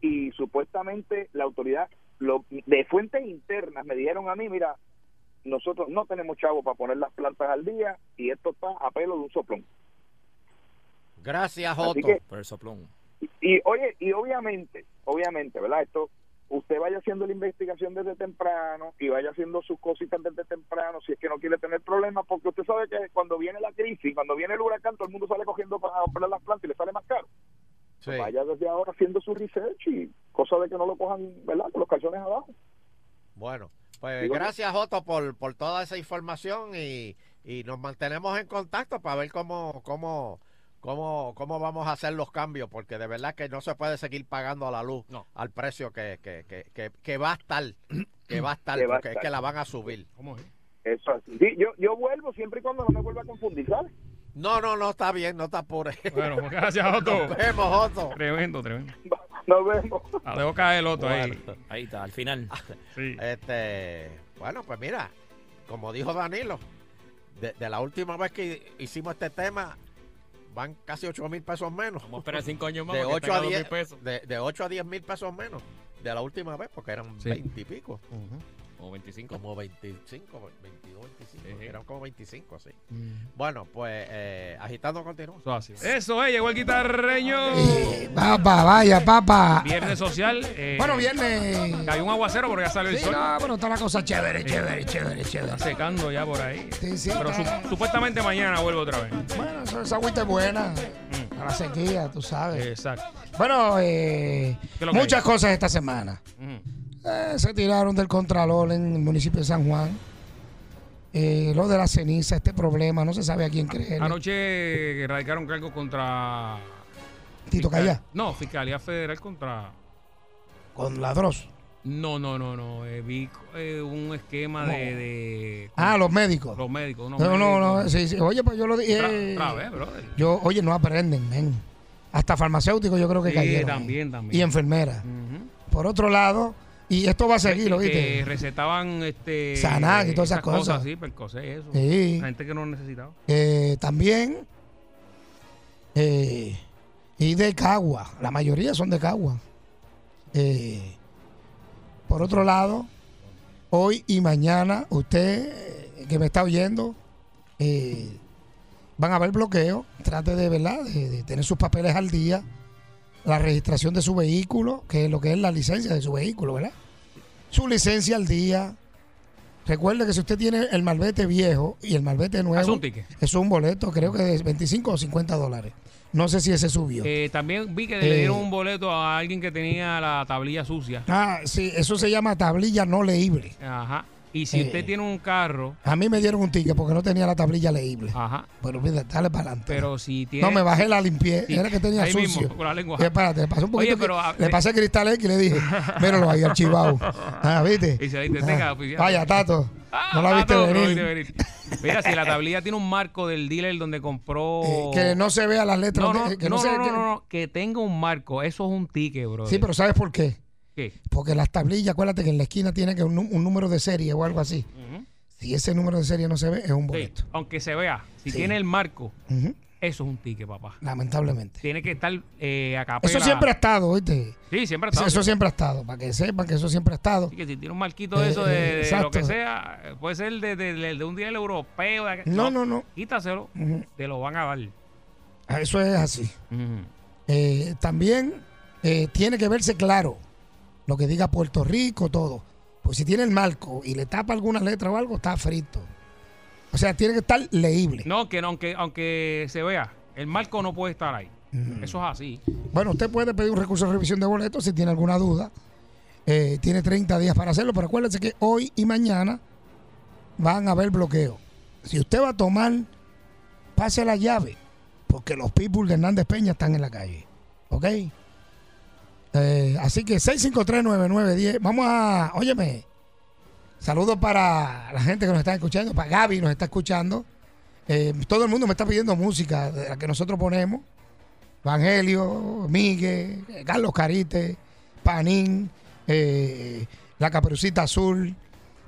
[SPEAKER 7] y supuestamente la autoridad, lo, de fuentes internas me dijeron a mí, mira, nosotros no tenemos chavo para poner las plantas al día y esto está a pelo de un soplón.
[SPEAKER 2] Gracias,
[SPEAKER 7] Así
[SPEAKER 2] Otto.
[SPEAKER 7] que
[SPEAKER 6] Por el soplón.
[SPEAKER 7] y, y, oye, y obviamente, obviamente, ¿verdad? Esto, usted vaya haciendo la investigación desde temprano y vaya haciendo sus cositas desde temprano si es que no quiere tener problemas, porque usted sabe que cuando viene la crisis, cuando viene el huracán, todo el mundo sale cogiendo para comprar las plantas y le sale más caro.
[SPEAKER 2] Sí.
[SPEAKER 7] Vaya desde ahora haciendo su research y cosa de que no lo cojan, ¿verdad? Con los calzones abajo.
[SPEAKER 2] Bueno, pues
[SPEAKER 7] Digo-
[SPEAKER 2] gracias, Otto, por, por toda esa información y, y nos mantenemos en contacto para ver cómo, cómo, cómo, cómo vamos a hacer los cambios, porque de verdad que no se puede seguir pagando la luz
[SPEAKER 5] No.
[SPEAKER 2] al precio que, que, que, que, que va a estar, que va a estar,
[SPEAKER 7] Que va a
[SPEAKER 2] porque es
[SPEAKER 7] estar.
[SPEAKER 2] que la van a subir.
[SPEAKER 3] ¿Cómo es?
[SPEAKER 7] Eso es así. Sí, yo, yo vuelvo siempre y cuando no me vuelva a confundir, ¿sabes?
[SPEAKER 2] No, no, no, está bien, no te apures.
[SPEAKER 3] Bueno, pues, gracias, Otto.
[SPEAKER 2] Nos vemos, Otto.
[SPEAKER 3] Tremendo, tremendo.
[SPEAKER 7] Nos vemos.
[SPEAKER 3] La dejo Ah, caer el Otto ahí.
[SPEAKER 6] Ahí está, al final.
[SPEAKER 3] Sí.
[SPEAKER 2] Este, bueno, pues mira, como dijo Danilo, de, de la última vez que hicimos este tema, van casi 8 mil pesos menos.
[SPEAKER 5] Vamos a esperar cinco años más
[SPEAKER 2] de
[SPEAKER 5] para que
[SPEAKER 2] 8 a
[SPEAKER 5] tenga
[SPEAKER 2] 10
[SPEAKER 5] 2000 pesos.
[SPEAKER 2] De, de 8 a 10 mil pesos menos de la última vez, porque eran
[SPEAKER 3] Sí.
[SPEAKER 2] 20 y pico,
[SPEAKER 3] Ujú.
[SPEAKER 5] O 25.
[SPEAKER 2] como 25, 22, 25,
[SPEAKER 5] Ejé.
[SPEAKER 2] eran como 25 así. Bueno, pues eh, agitando continúa.
[SPEAKER 3] Mm. Eso así. Eso es, llegó el guitarreño.
[SPEAKER 9] Papá, vaya, papá.
[SPEAKER 3] Viernes social. eh,
[SPEAKER 9] Eh, Bueno, viernes.
[SPEAKER 3] Cayó un aguacero, pero ya salió el
[SPEAKER 9] Sí,
[SPEAKER 3] sol.
[SPEAKER 9] no, pero está la cosa chévere, chévere, chévere, chévere.
[SPEAKER 3] Está secando ya por ahí.
[SPEAKER 9] Sí, sí,
[SPEAKER 3] Pero
[SPEAKER 9] está-
[SPEAKER 3] su- supuestamente mañana vuelve otra vez.
[SPEAKER 9] Bueno, esa esa agüita es buena.
[SPEAKER 3] Mm.
[SPEAKER 9] Para la sequía, tú sabes.
[SPEAKER 3] Exacto.
[SPEAKER 9] Bueno, eh,
[SPEAKER 3] ¿Qué es lo que
[SPEAKER 9] muchas cosas esta semana.
[SPEAKER 3] Ujú.
[SPEAKER 9] Eh, se tiraron del Contralor en el municipio de San Juan. Eh, lo de la ceniza, este problema, no se sabe a
[SPEAKER 3] Ah,
[SPEAKER 9] quién creer.
[SPEAKER 3] Anoche radicaron cargos contra.
[SPEAKER 9] Tito Callá,
[SPEAKER 3] No, Fiscalía Federal contra.
[SPEAKER 9] con ladros.
[SPEAKER 3] No, no, no, no. eh, vi eh, un esquema de, de-
[SPEAKER 9] Ah, los médicos.
[SPEAKER 3] los médicos. unos
[SPEAKER 9] No, no, no.
[SPEAKER 3] médicos.
[SPEAKER 9] sí, sí. Oye, pues yo lo dije.
[SPEAKER 3] Otra-
[SPEAKER 9] eh,
[SPEAKER 3] otra vez, brother.
[SPEAKER 9] Yo, oye, no aprenden, men. Hasta farmacéuticos yo creo que
[SPEAKER 3] Sí,
[SPEAKER 9] cayeron.
[SPEAKER 3] también,
[SPEAKER 9] eh.
[SPEAKER 3] también. Mm.
[SPEAKER 9] Y enfermeras.
[SPEAKER 3] Ujú.
[SPEAKER 9] Por otro lado, y esto va a seguir,
[SPEAKER 3] que, que
[SPEAKER 9] ¿oíste?
[SPEAKER 3] recetaban este
[SPEAKER 9] Xanax y todas esas cosas.
[SPEAKER 3] sí, percocé eso.
[SPEAKER 9] Sí.
[SPEAKER 3] La gente que no necesitaba.
[SPEAKER 9] Eh, también. eh, y de Cagua. La mayoría son de Cagua. Eh, por otro lado, hoy y mañana, usted eh, que me está oyendo, eh, van a haber bloqueos. Trate de, ¿verdad? De, de tener sus papeles al día. La registración de su vehículo, que es lo que es la licencia de su vehículo, ¿verdad? Su licencia al día. Recuerde que si usted tiene el malvete viejo y el malvete nuevo.
[SPEAKER 3] Haz un ticket.
[SPEAKER 9] Eso es un boleto, creo que de 25 o 50 dólares. No sé si ese subió.
[SPEAKER 3] Eh, también vi que
[SPEAKER 9] Eh.
[SPEAKER 3] le dieron un boleto a alguien que tenía la tablilla sucia.
[SPEAKER 9] ah, sí, eso se llama tablilla no leíble.
[SPEAKER 3] Ajá. Y si
[SPEAKER 9] Eh.
[SPEAKER 3] usted tiene un carro,
[SPEAKER 9] A mí me dieron un ticket porque no tenía la tablilla leíble.
[SPEAKER 3] ajá.
[SPEAKER 9] Pero mira, dale para adelante.
[SPEAKER 3] Pero si tiene.
[SPEAKER 9] no, me bajé la limpieza.
[SPEAKER 3] Sí,
[SPEAKER 9] Era que tenía
[SPEAKER 3] ahí
[SPEAKER 9] sucio.
[SPEAKER 3] mismo, con la lengua.
[SPEAKER 9] Y espérate, le pasé un poquito.
[SPEAKER 3] Oye, pero,
[SPEAKER 9] que-
[SPEAKER 3] ah,
[SPEAKER 9] le
[SPEAKER 3] eh.
[SPEAKER 9] pasé cristal X y le dije, míralo ahí archivado. Ah, ¿viste?
[SPEAKER 3] Y se ahí te tenga,
[SPEAKER 9] Ah,
[SPEAKER 3] oficial.
[SPEAKER 9] Vaya, Tato.
[SPEAKER 3] Ah,
[SPEAKER 9] no la
[SPEAKER 3] ah,
[SPEAKER 9] viste
[SPEAKER 3] no, no la
[SPEAKER 9] venir.
[SPEAKER 3] viste venir. Mira, si la tablilla tiene un marco del dealer donde compró.
[SPEAKER 9] Eh, que no se vea las
[SPEAKER 3] No,
[SPEAKER 9] letras.
[SPEAKER 3] no,
[SPEAKER 9] de- eh, que
[SPEAKER 3] no,
[SPEAKER 9] se-
[SPEAKER 3] no, no,
[SPEAKER 9] que-
[SPEAKER 3] no, no, que tenga un marco. Eso es un ticket, bro.
[SPEAKER 9] Sí, pero ¿sabes por qué?
[SPEAKER 3] ¿Qué?
[SPEAKER 9] Porque las tablillas, acuérdate que en la esquina tiene que un, nu- un número de serie o algo así.
[SPEAKER 3] Ujú.
[SPEAKER 9] Si ese número de serie no se ve, es un
[SPEAKER 3] Sí,
[SPEAKER 9] boleto.
[SPEAKER 3] aunque se vea, si
[SPEAKER 9] Sí.
[SPEAKER 3] tiene el marco,
[SPEAKER 9] Ujú,
[SPEAKER 3] eso es un ticket, papá.
[SPEAKER 9] Lamentablemente.
[SPEAKER 3] Tiene que estar eh, a capela.
[SPEAKER 9] Eso siempre ha estado, ¿oíste?
[SPEAKER 3] Sí, siempre ha estado.
[SPEAKER 9] Eso siempre ha estado, para que sepan que eso siempre ha estado.
[SPEAKER 3] Así que si tiene un marquito de eso, de,
[SPEAKER 9] Eh, eh,
[SPEAKER 3] de
[SPEAKER 9] exacto.
[SPEAKER 3] lo que sea, eh, puede ser de, de- de- de un día europeo. de-
[SPEAKER 9] No, no, no.
[SPEAKER 3] Quítaselo,
[SPEAKER 9] Ujú,
[SPEAKER 3] te lo van a dar.
[SPEAKER 9] Ah, Eso es así. Eh, también eh, tiene que verse claro lo que diga Puerto Rico, todo. Pues si tiene el marco y le tapa alguna letra o algo, está frito. O sea, tiene que estar leíble.
[SPEAKER 3] No, que no, aunque, aunque se vea, El marco no puede estar ahí.
[SPEAKER 9] Mm.
[SPEAKER 3] Eso es así.
[SPEAKER 9] Bueno, usted puede pedir un recurso de revisión de boletos si tiene alguna duda. Eh, tiene 30 días para hacerlo, pero acuérdese que hoy y mañana van a haber bloqueo. Si usted va a tomar, pase la llave, porque los people de Hernández Peña están en la calle. ¿Ok? Eh, así que 6539910. Vamos a. Óyeme. Saludos para la gente que nos está escuchando, para Gaby nos está escuchando. Eh, todo el mundo me está pidiendo música de la que nosotros ponemos. Evangelio, Miguel, eh, Carlos Carite, Panín, eh, La Caperucita Azul,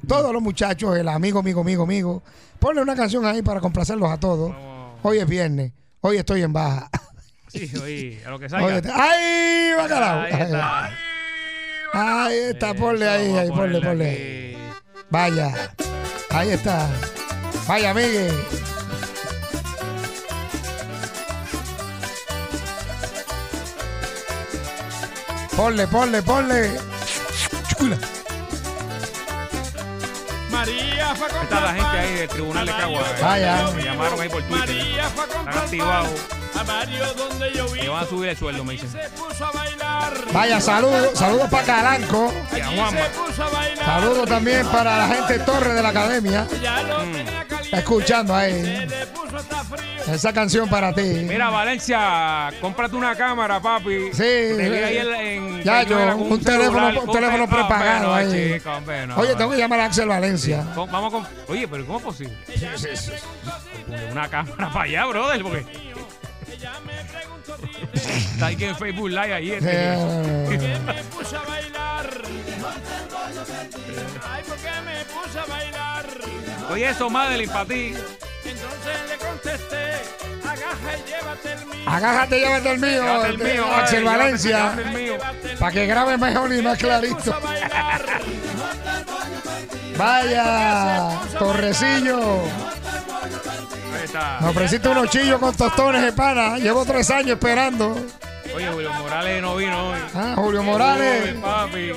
[SPEAKER 9] todos los muchachos, el amigo, amigo, amigo, amigo. Ponle una canción ahí para complacerlos a todos.
[SPEAKER 3] Vamos.
[SPEAKER 9] Hoy es viernes, hoy estoy en baja.
[SPEAKER 3] Sí, oye, a lo que
[SPEAKER 9] Hoy
[SPEAKER 3] salga.
[SPEAKER 9] est- ¡Ay, bacalao!
[SPEAKER 3] Ahí está.
[SPEAKER 9] Ahí está, ponle
[SPEAKER 3] Eh, Eso,
[SPEAKER 9] ahí,
[SPEAKER 3] vamos a
[SPEAKER 9] ahí, ponle,
[SPEAKER 3] ponerle
[SPEAKER 9] ponle.
[SPEAKER 3] aquí.
[SPEAKER 9] Vaya, ahí está. Vaya, Miguel. Ponle, ponle, ponle. Chula.
[SPEAKER 5] María fue a
[SPEAKER 3] Está la gente ahí del Tribunal de Cagua. eh.
[SPEAKER 9] Vaya.
[SPEAKER 3] Me llamaron ahí por Twitter.
[SPEAKER 5] fue a
[SPEAKER 3] Están activados.
[SPEAKER 5] A Mario donde yo
[SPEAKER 3] Me van a subir el sueldo, me dicen.
[SPEAKER 5] puso a bailar.
[SPEAKER 9] Vaya, saludos. Saludos para Calanco.
[SPEAKER 3] Y a Juanma.
[SPEAKER 5] puso a bailar.
[SPEAKER 9] Saludos también para la gente Torre de la Academia.
[SPEAKER 5] Ya lo
[SPEAKER 3] tenía
[SPEAKER 9] Está escuchando ahí.
[SPEAKER 5] le puso hasta frío.
[SPEAKER 9] Esa canción para ti.
[SPEAKER 3] Mira, Valencia, cómprate una cámara, papi.
[SPEAKER 9] Sí,
[SPEAKER 3] Te vi
[SPEAKER 9] eh,
[SPEAKER 3] ahí en- en
[SPEAKER 9] ya
[SPEAKER 3] Cañuela
[SPEAKER 9] yo,
[SPEAKER 3] con
[SPEAKER 9] un teléfono-
[SPEAKER 3] celular.
[SPEAKER 9] un teléfono
[SPEAKER 3] Hombre, no,
[SPEAKER 9] prepagado
[SPEAKER 3] hombre, no,
[SPEAKER 9] ahí.
[SPEAKER 3] chica, hombre, no,
[SPEAKER 9] Oye, tengo que
[SPEAKER 3] hombre.
[SPEAKER 9] llamar a Axel Valencia.
[SPEAKER 3] Com- Vamos con. Oye, pero ¿cómo es posible?
[SPEAKER 9] Sí, sí, sí.
[SPEAKER 3] Ponle Una cámara para allá, brother, porque. Está ahí que en Facebook Live ahí. este.
[SPEAKER 9] Eh,
[SPEAKER 5] Me puse a bailar. Ay, ¿por qué me puse a bailar?
[SPEAKER 3] Oye, eso, Madeline, para ti.
[SPEAKER 5] Entonces le contesté, agaja y llévate el mío.
[SPEAKER 9] Agájate, llévate el mío.
[SPEAKER 3] Llévate el
[SPEAKER 9] este,
[SPEAKER 3] mío,
[SPEAKER 9] Axel
[SPEAKER 3] vale,
[SPEAKER 9] Valencia.
[SPEAKER 3] llévate el mío.
[SPEAKER 9] Para que grabe mejor y más clarito. Vaya, Torrecillo.
[SPEAKER 3] Ahí está.
[SPEAKER 9] Me ofreciste unos chillos con tostones de pana. Llevo tres años esperando.
[SPEAKER 3] Oye, Julio Morales no vino hoy.
[SPEAKER 9] Ah, Julio Morales.
[SPEAKER 3] Uy, papi.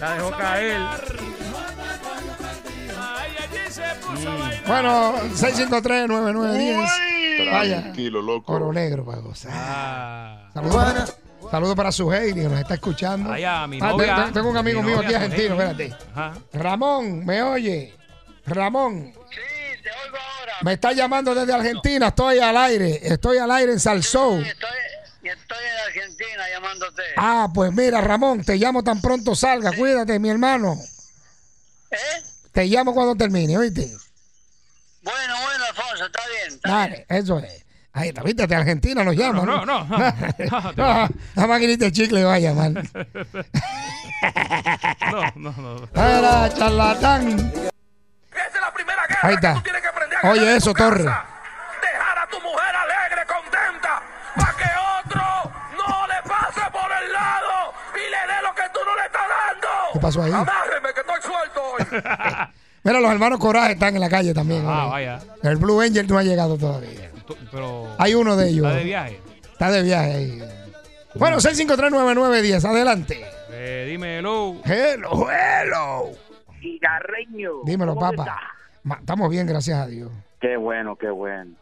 [SPEAKER 3] La dejó caer.
[SPEAKER 9] Bueno, 653-9910. Vaya. Oro negro para gozar.
[SPEAKER 3] Ah.
[SPEAKER 9] Saludos para, saludos para su que nos está escuchando.
[SPEAKER 3] Vaya, mi
[SPEAKER 9] Ah, te-
[SPEAKER 3] novia.
[SPEAKER 9] te- tengo un amigo
[SPEAKER 3] Mi
[SPEAKER 9] mío
[SPEAKER 3] novia,
[SPEAKER 9] aquí argentino,
[SPEAKER 3] Suheili.
[SPEAKER 9] espérate.
[SPEAKER 3] Ajá.
[SPEAKER 9] Ramón, ¿me oye? Ramón. Sí, te oigo ahora. Me está llamando desde Argentina, estoy al aire, estoy al aire en Salsou.
[SPEAKER 10] Estoy, estoy en Argentina llamándote.
[SPEAKER 9] Ah, pues mira, Ramón, te llamo tan pronto salga, cuídate, mi hermano.
[SPEAKER 10] ¿Eh?
[SPEAKER 9] Te llamo cuando termine, ¿oíste?
[SPEAKER 10] Bueno, bueno, Alfonso, está bien. está bien.
[SPEAKER 9] Dale, eso es. Ahí está, viste, de Argentina nos llama.
[SPEAKER 3] No, no, no.
[SPEAKER 9] no, la maquinita de chicle va a llamar.
[SPEAKER 3] No, no, no.
[SPEAKER 9] Era charlatán.
[SPEAKER 11] Esa es la primera guerra
[SPEAKER 9] Ahí está.
[SPEAKER 11] que tú tienes que aprender a
[SPEAKER 9] Oye,
[SPEAKER 11] ganar en
[SPEAKER 9] eso,
[SPEAKER 11] tu casa.
[SPEAKER 9] Torre.
[SPEAKER 11] Dejar a tu mujer alegre, contenta, para que otro no le pase por el lado y le dé lo que tú no le estás dando.
[SPEAKER 9] ¿Qué pasó ahí?
[SPEAKER 11] Amárreme, que estoy suelto hoy.
[SPEAKER 9] Mira, los hermanos Coraje están en la calle también.
[SPEAKER 3] Ah,
[SPEAKER 9] ¿no?
[SPEAKER 3] vaya.
[SPEAKER 9] El Blue Angel no ha llegado todavía.
[SPEAKER 3] Tú- Pero.
[SPEAKER 9] Hay uno de ellos.
[SPEAKER 3] Está de viaje.
[SPEAKER 9] Está de viaje ahí. Bueno, 6539910, adelante.
[SPEAKER 3] Eh, dime, hello.
[SPEAKER 9] Hello, hello.
[SPEAKER 10] Cigarreño.
[SPEAKER 9] Dímelo,
[SPEAKER 10] ¿cómo
[SPEAKER 9] papá.
[SPEAKER 10] estás?
[SPEAKER 9] Ma- Estamos bien, gracias a Dios.
[SPEAKER 10] Qué bueno, qué bueno.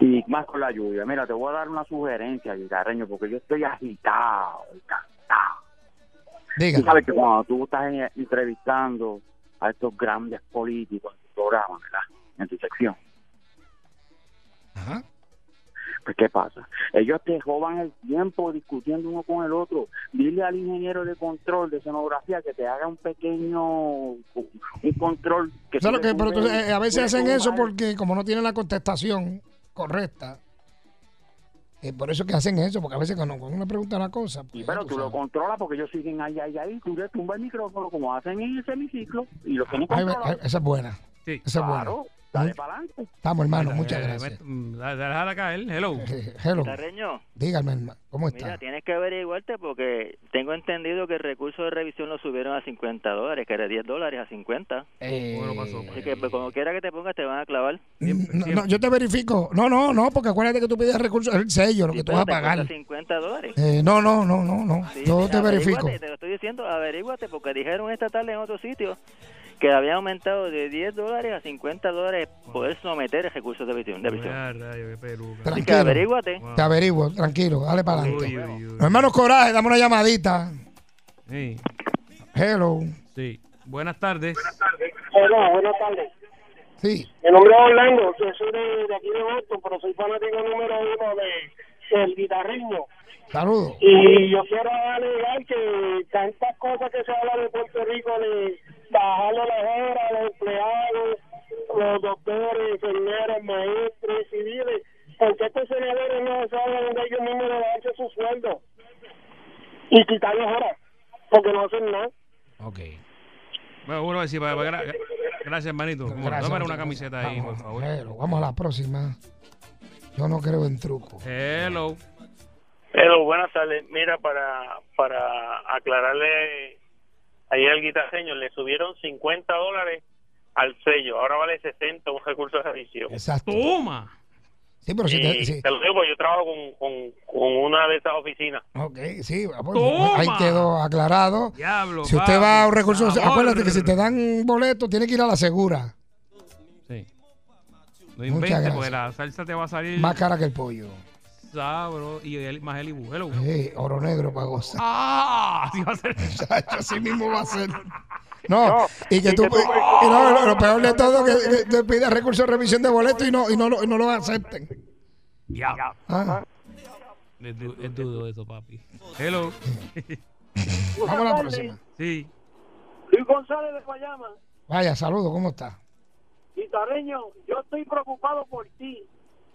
[SPEAKER 10] Y más con la lluvia. Mira, te voy a dar una sugerencia, Cigarreño, porque yo estoy agitado, y cansado. Tú
[SPEAKER 9] Dígame.
[SPEAKER 10] sabes que cuando tú estás en- entrevistando a estos grandes políticos en tu programa, ¿verdad? En tu sección.
[SPEAKER 9] Ajá.
[SPEAKER 10] Pues, ¿qué pasa? Ellos te roban el tiempo discutiendo uno con el otro. Dile al ingeniero de control de escenografía que te haga un pequeño un control. Que
[SPEAKER 9] ¿Sabes lo
[SPEAKER 10] tú le
[SPEAKER 9] que? Pero tú-
[SPEAKER 10] tumbes-
[SPEAKER 9] eh, a veces
[SPEAKER 10] le
[SPEAKER 9] hacen
[SPEAKER 10] tumbas
[SPEAKER 9] eso
[SPEAKER 10] el-
[SPEAKER 9] porque como no tienen la contestación correcta, eh, por eso que hacen eso, porque a veces cuando cuando uno pregunta una cosa... pues,
[SPEAKER 10] Y
[SPEAKER 9] ya
[SPEAKER 10] pero
[SPEAKER 9] tú
[SPEAKER 10] tú lo
[SPEAKER 9] sabes.
[SPEAKER 10] controlas porque ellos siguen ahí, ahí, ahí. Tú le tumbas el micrófono como hacen en el semiciclo y lo tienen
[SPEAKER 9] Ay, ve- ay,
[SPEAKER 10] controlado.
[SPEAKER 9] esa es buena.
[SPEAKER 3] Sí.
[SPEAKER 9] Esa es buena.
[SPEAKER 10] Claro, dale para adelante.
[SPEAKER 9] Estamos, hermano, muchas
[SPEAKER 3] Eh,
[SPEAKER 9] gracias.
[SPEAKER 3] met- mm, da- Déjala caer. Hello.
[SPEAKER 9] Eh, Hello.
[SPEAKER 10] Carreño,
[SPEAKER 9] Dígame, hermano, ¿cómo está?
[SPEAKER 10] tienes que averiguarte porque tengo entendido que el recurso de revisión lo subieron a 50 dólares, que era 10 dólares a 50.
[SPEAKER 9] Eh,
[SPEAKER 3] Bueno, pasó.
[SPEAKER 10] Así que pues, como quiera que te pongas te van a clavar.
[SPEAKER 3] Siempre,
[SPEAKER 9] no, no,
[SPEAKER 3] siempre.
[SPEAKER 9] yo te verifico. No, no, no, porque acuérdate que tú pides recursos, el sello, lo que
[SPEAKER 10] Sí,
[SPEAKER 9] tú
[SPEAKER 10] pero
[SPEAKER 9] vas a
[SPEAKER 10] te
[SPEAKER 9] pagar.
[SPEAKER 10] cuesta 50 dólares.
[SPEAKER 9] Eh, no, no, no, no, no.
[SPEAKER 10] Sí,
[SPEAKER 9] Yo te
[SPEAKER 10] averíguate,
[SPEAKER 9] verifico.
[SPEAKER 10] Te lo estoy diciendo, averíguate, porque dijeron esta tarde en otro sitio
[SPEAKER 12] que habían aumentado de 10 dólares a 50 dólares poder someter recursos de visión. De visión. Así que
[SPEAKER 9] Tranquilo.
[SPEAKER 12] averíguate.
[SPEAKER 9] Te averiguo, tranquilo, dale para adelante. Los hermanos Coraje, dame una llamadita.
[SPEAKER 3] Sí,
[SPEAKER 9] Hello.
[SPEAKER 3] sí. Buenas tardes.
[SPEAKER 13] Hola, buenas tardes.
[SPEAKER 9] Sí.
[SPEAKER 13] Mi nombre es Orlando, yo soy de, de aquí de Boston, pero soy fanático número uno de, del guitarrismo.
[SPEAKER 9] Saludos.
[SPEAKER 13] Y yo quiero alegar que tantas cosas que se habla de Puerto Rico, de bajarle las horas a los empleados, los doctores, enfermeros, maestros, civiles, porque estos senadores no saben donde ellos mismos le dan su sueldo y quitarles horas, porque no hacen nada.
[SPEAKER 3] Ok. Bueno, vuelvo a decir, para- para- gra- gracias, hermanito. Bueno,
[SPEAKER 9] Gracias,
[SPEAKER 3] dame una
[SPEAKER 9] muchas
[SPEAKER 3] camiseta ahí, por favor.
[SPEAKER 9] Hello, vamos a la próxima. Yo no creo en truco.
[SPEAKER 3] Hello.
[SPEAKER 5] Pero buenas tardes. Mira, para, para aclararle ayer al guitarreño, le subieron 50 dólares al sello. Ahora vale 60 un recurso de servicio.
[SPEAKER 9] Exacto.
[SPEAKER 3] Toma.
[SPEAKER 9] Sí, pero si
[SPEAKER 5] Y
[SPEAKER 9] te. si-
[SPEAKER 5] te lo digo porque yo trabajo con, con, con una de esas oficinas.
[SPEAKER 9] Ok, sí, pues,
[SPEAKER 5] Toma.
[SPEAKER 9] ahí quedó aclarado.
[SPEAKER 3] Diablo.
[SPEAKER 9] Si usted
[SPEAKER 3] papi.
[SPEAKER 9] va a un recurso,
[SPEAKER 3] Sabor.
[SPEAKER 9] acuérdate que si te dan un boleto, tiene que ir a la segura.
[SPEAKER 3] No
[SPEAKER 9] Muchas
[SPEAKER 3] inventes,
[SPEAKER 9] gracias.
[SPEAKER 3] porque la salsa te va a salir.
[SPEAKER 9] Más cara que el pollo.
[SPEAKER 3] Sabro y el, más el ibu. Hello.
[SPEAKER 9] Sí, oro negro para gozar.
[SPEAKER 3] ¡Ah! Así va a ser.
[SPEAKER 9] así mismo va a ser. No, y que tú. y no, lo, lo peor de todo es que, que te pida recurso de revisión de boleto y no, y no, lo- y no lo acepten.
[SPEAKER 3] Diablo.
[SPEAKER 9] Ah,
[SPEAKER 3] Es, du- es duro eso, papi. Hello.
[SPEAKER 9] vamos a la próxima.
[SPEAKER 3] Sí.
[SPEAKER 13] Luis González de Guayama.
[SPEAKER 9] Vaya, saludo, ¿cómo está?
[SPEAKER 13] Guitarreño, yo estoy preocupado por ti,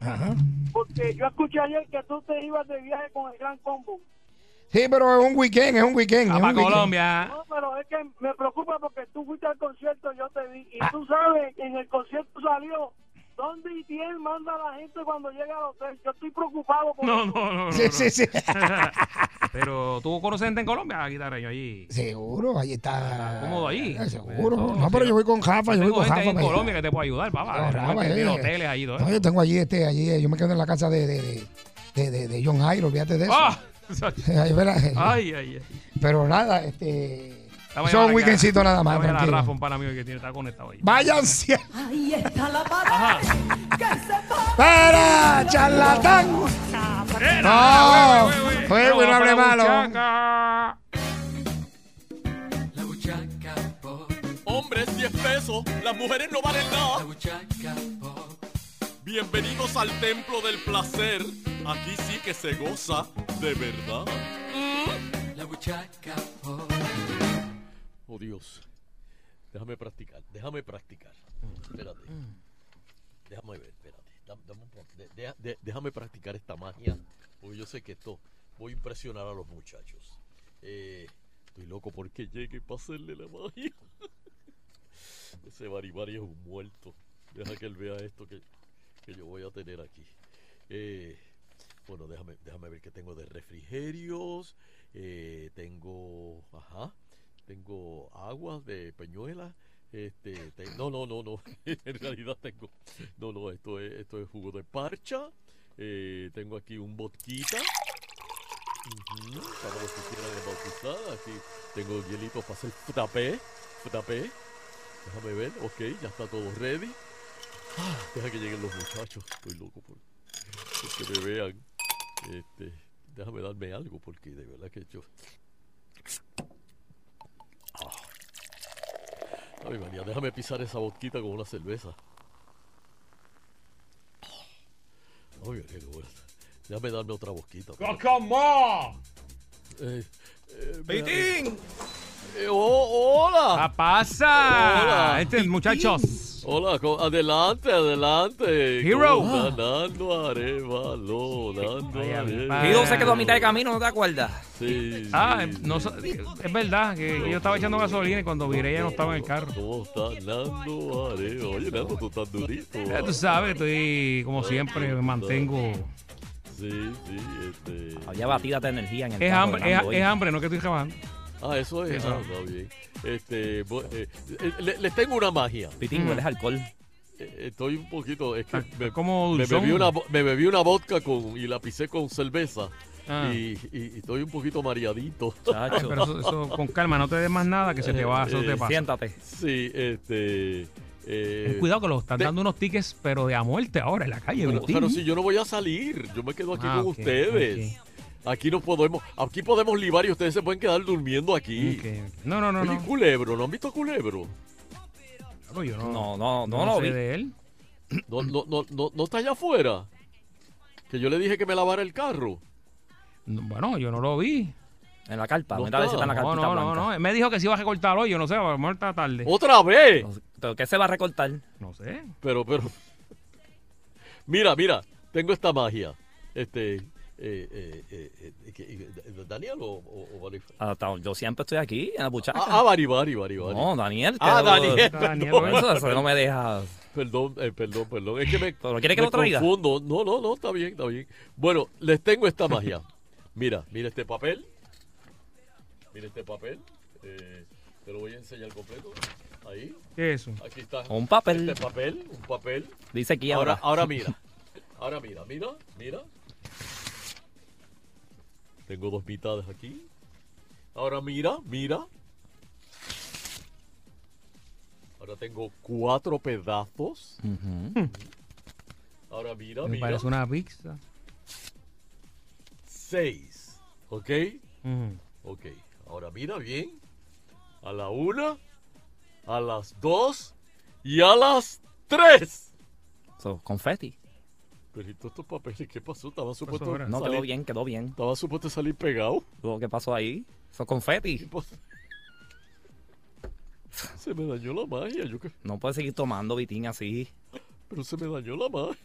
[SPEAKER 9] Ajá.
[SPEAKER 13] porque yo escuché ayer que tú te ibas de viaje con el Gran Combo.
[SPEAKER 9] Sí, pero es un weekend, es un
[SPEAKER 3] Ah,
[SPEAKER 9] weekend. es un weekend.
[SPEAKER 13] No, pero es que me preocupa porque tú fuiste al concierto, yo te vi, y tú sabes que en el concierto salió dónde y quién manda a la gente cuando llega al hotel. Yo estoy preocupado por
[SPEAKER 3] No,
[SPEAKER 13] eso.
[SPEAKER 3] no, no. no,
[SPEAKER 9] Sí,
[SPEAKER 3] no.
[SPEAKER 9] sí, sí.
[SPEAKER 3] Pero tuvo conocente en Colombia, guitarreño allí.
[SPEAKER 9] Seguro, ahí está. Eh,
[SPEAKER 3] Cómodo Pues allí.
[SPEAKER 9] Seguro. No, pero yo voy con Jafa, pues, yo voy
[SPEAKER 3] Tengo
[SPEAKER 9] con
[SPEAKER 3] gente ahí
[SPEAKER 9] Jafa.
[SPEAKER 3] en
[SPEAKER 9] para allá.
[SPEAKER 3] Colombia que te puede ayudar, papá.
[SPEAKER 9] No,
[SPEAKER 3] Tengo
[SPEAKER 9] Rafa,
[SPEAKER 3] gente que tiene
[SPEAKER 9] eh.
[SPEAKER 3] hoteles allí. todo
[SPEAKER 9] No, yo tengo allí este, allí, eh, yo me quedo en la casa de, de, de, de, de- de John Jairo, olvídate de eso.
[SPEAKER 3] ¡Ah!
[SPEAKER 9] Ay, verá.
[SPEAKER 3] ay, ay. ay.
[SPEAKER 9] Pero nada, este.
[SPEAKER 3] Dame
[SPEAKER 9] Son
[SPEAKER 3] llamar
[SPEAKER 9] un
[SPEAKER 3] acá.
[SPEAKER 9] weekendcito nada más,
[SPEAKER 3] Dame llamar a
[SPEAKER 9] tranquilo.
[SPEAKER 3] Rafa, un pana mío que tiene, está conectado ahí.
[SPEAKER 9] Váyanse.
[SPEAKER 14] Ahí está la
[SPEAKER 9] ¡Para! ¡Charlatán! ¡No! Fue
[SPEAKER 14] Vamos
[SPEAKER 9] no hable
[SPEAKER 14] para la
[SPEAKER 9] malo.
[SPEAKER 14] Hombres 10 pesos, las mujeres no valen nada. Bienvenidos al templo del placer. Aquí sí que se goza de verdad. La buchaca
[SPEAKER 8] Oh, Dios. Déjame practicar, déjame practicar. Espérate. Déjame ver, espérate. Dam- dame un po- de- deja- de- déjame practicar esta magia. Porque yo sé que esto voy a impresionar a los muchachos. Eh, estoy loco porque llegue para hacerle la magia. Ese Baribari es un muerto. Deja que él vea esto que, que yo voy a tener aquí. Eh, bueno, déjame, déjame ver qué tengo de refrigerios. Eh, tengo. Ajá. Tengo aguas de peñuela. Este, te- no, no, no, no. en realidad tengo. No, no, esto es, esto es jugo de parcha. Eh, tengo aquí un vodquita. Ujú, para los que quieran bautizar. Aquí tengo hielito para hacer frappé. Frappé. Déjame ver. Ok, ya está todo ready. Ah, deja que lleguen los muchachos. Estoy loco por, por que me vean. Este, déjame darme algo porque de verdad que yo... Ah. Ay, María, déjame pisar esa boquita con una cerveza. Ay, María, qué bueno. Déjame darme otra boquita. pues.
[SPEAKER 3] ¡Cocomó!
[SPEAKER 8] Eh, eh,
[SPEAKER 3] ¡Pitín!
[SPEAKER 8] Eh, oh, hola.
[SPEAKER 3] ¿Qué pasa?
[SPEAKER 8] Hola.
[SPEAKER 3] Este es muchachos.
[SPEAKER 8] Hola, co- adelante, adelante.
[SPEAKER 3] Hero.
[SPEAKER 8] Con Nando Arevalo, Nando Arevalo.
[SPEAKER 6] Guido se quedó a mitad de camino, ¿no te acuerdas?
[SPEAKER 8] Sí.
[SPEAKER 3] Ah, no, sa- es verdad que que yo estaba echando gasolina y cuando viré ya no estaba en el carro.
[SPEAKER 8] ¿Cómo está Nando Arevalo? Oye, Nando, tú estás durito.
[SPEAKER 3] Ya tú sabes, estoy como siempre, me mantengo.
[SPEAKER 8] Sí, sí, este...
[SPEAKER 6] Había batida de energía en el
[SPEAKER 3] Es
[SPEAKER 6] carro
[SPEAKER 3] hambre,
[SPEAKER 6] de
[SPEAKER 3] es,
[SPEAKER 6] Nando hoy.
[SPEAKER 3] es hambre, no que estoy trabajando.
[SPEAKER 8] Ah, eso es.
[SPEAKER 3] Eso.
[SPEAKER 8] Ah, está bien. Este, bo- eh, eh, le- les tengo una magia.
[SPEAKER 6] Pitín, hueles
[SPEAKER 8] alcohol. Estoy un poquito. Es que me,
[SPEAKER 3] como
[SPEAKER 8] me
[SPEAKER 3] Ah, dulzón.
[SPEAKER 8] bebí una, vo- me bebí una vodka con, y la pisé con cerveza.
[SPEAKER 3] Ah.
[SPEAKER 8] y, y- y estoy un poquito mareadito.
[SPEAKER 3] Ay, pero eso, eso, con calma, no te des más nada que se te va, eso
[SPEAKER 8] Eh,
[SPEAKER 3] te pasa.
[SPEAKER 8] Sí, este. eh,
[SPEAKER 3] Ten cuidado que los están
[SPEAKER 8] te-
[SPEAKER 3] dando unos tickets, pero de a muerte ahora en la calle.
[SPEAKER 8] Pero,
[SPEAKER 3] Agustín.
[SPEAKER 8] pero si yo no voy a salir, yo me quedo aquí
[SPEAKER 3] Ah,
[SPEAKER 8] con
[SPEAKER 3] ok,
[SPEAKER 8] ustedes. Aquí no podemos, aquí podemos libar y ustedes se pueden quedar durmiendo aquí.
[SPEAKER 3] No, no, no,
[SPEAKER 8] Oye,
[SPEAKER 3] no.
[SPEAKER 8] Culebro, ¿no han visto Culebro?
[SPEAKER 3] No, yo no.
[SPEAKER 6] No, no,
[SPEAKER 8] No
[SPEAKER 6] no, lo
[SPEAKER 8] sé
[SPEAKER 6] vi.
[SPEAKER 8] de
[SPEAKER 3] él?
[SPEAKER 8] No, no, no, no, no está allá afuera. Que yo le dije que me lavara el carro.
[SPEAKER 3] No, Bueno, yo no lo vi.
[SPEAKER 6] En la carpa,
[SPEAKER 3] no,
[SPEAKER 6] mira a ver si está en la
[SPEAKER 3] no,
[SPEAKER 6] carpita
[SPEAKER 3] no, no,
[SPEAKER 6] blanca.
[SPEAKER 3] no. Él Me dijo que se iba a recortar hoy, yo no sé, a lo mejor está tarde.
[SPEAKER 8] ¿Otra vez?
[SPEAKER 6] Pero, ¿Qué se va a recortar?
[SPEAKER 3] No sé.
[SPEAKER 8] Pero, pero. Mira, mira, tengo esta magia. Este. eh, eh, eh, eh, que- eh, ¿Daniel o, o, o Bali-
[SPEAKER 6] Ah, está- Yo siempre estoy aquí, en la buchaca.
[SPEAKER 8] Ah, ah, Bari, Bari, Bari, Bari.
[SPEAKER 6] No, Daniel. que-
[SPEAKER 8] Ah, Daniel, perdón.
[SPEAKER 6] Eso, eso no me deja.
[SPEAKER 8] Perdón, eh, perdón, perdón. Es que me,
[SPEAKER 6] ¿Pero quiere que
[SPEAKER 8] me
[SPEAKER 6] lo traiga?
[SPEAKER 8] confundo. No, no, no, está bien, está bien. Bueno, les tengo esta magia. Mira, mira este papel. Mira este papel. Eh, te lo voy a enseñar completo. Ahí.
[SPEAKER 3] ¿Qué es eso?
[SPEAKER 8] Aquí está.
[SPEAKER 6] Un papel.
[SPEAKER 8] Este papel, un papel.
[SPEAKER 6] Dice aquí ahora.
[SPEAKER 8] Ahora mira. Ahora mira, mira, mira. Tengo dos mitades aquí. Ahora mira, mira. Ahora tengo cuatro pedazos. Ahora mira,
[SPEAKER 3] Me
[SPEAKER 8] mira.
[SPEAKER 3] parece una pizza.
[SPEAKER 8] Seis. ¿Ok?
[SPEAKER 3] Ujú.
[SPEAKER 8] Ok. Ahora mira bien. A la una, a las dos y a las tres.
[SPEAKER 6] So, confeti.
[SPEAKER 8] Pero ¿y todos estos papeles qué pasó? Estaba supuesto
[SPEAKER 6] No, quedó
[SPEAKER 8] salir-
[SPEAKER 6] bien, quedó bien.
[SPEAKER 8] Estaba supuesto salir pegado.
[SPEAKER 6] ¿Qué pasó ahí? Eso es confeti.
[SPEAKER 8] Se me dañó la magia. Yo que...
[SPEAKER 6] No puedes seguir tomando vitín así.
[SPEAKER 8] Pero se me dañó la magia.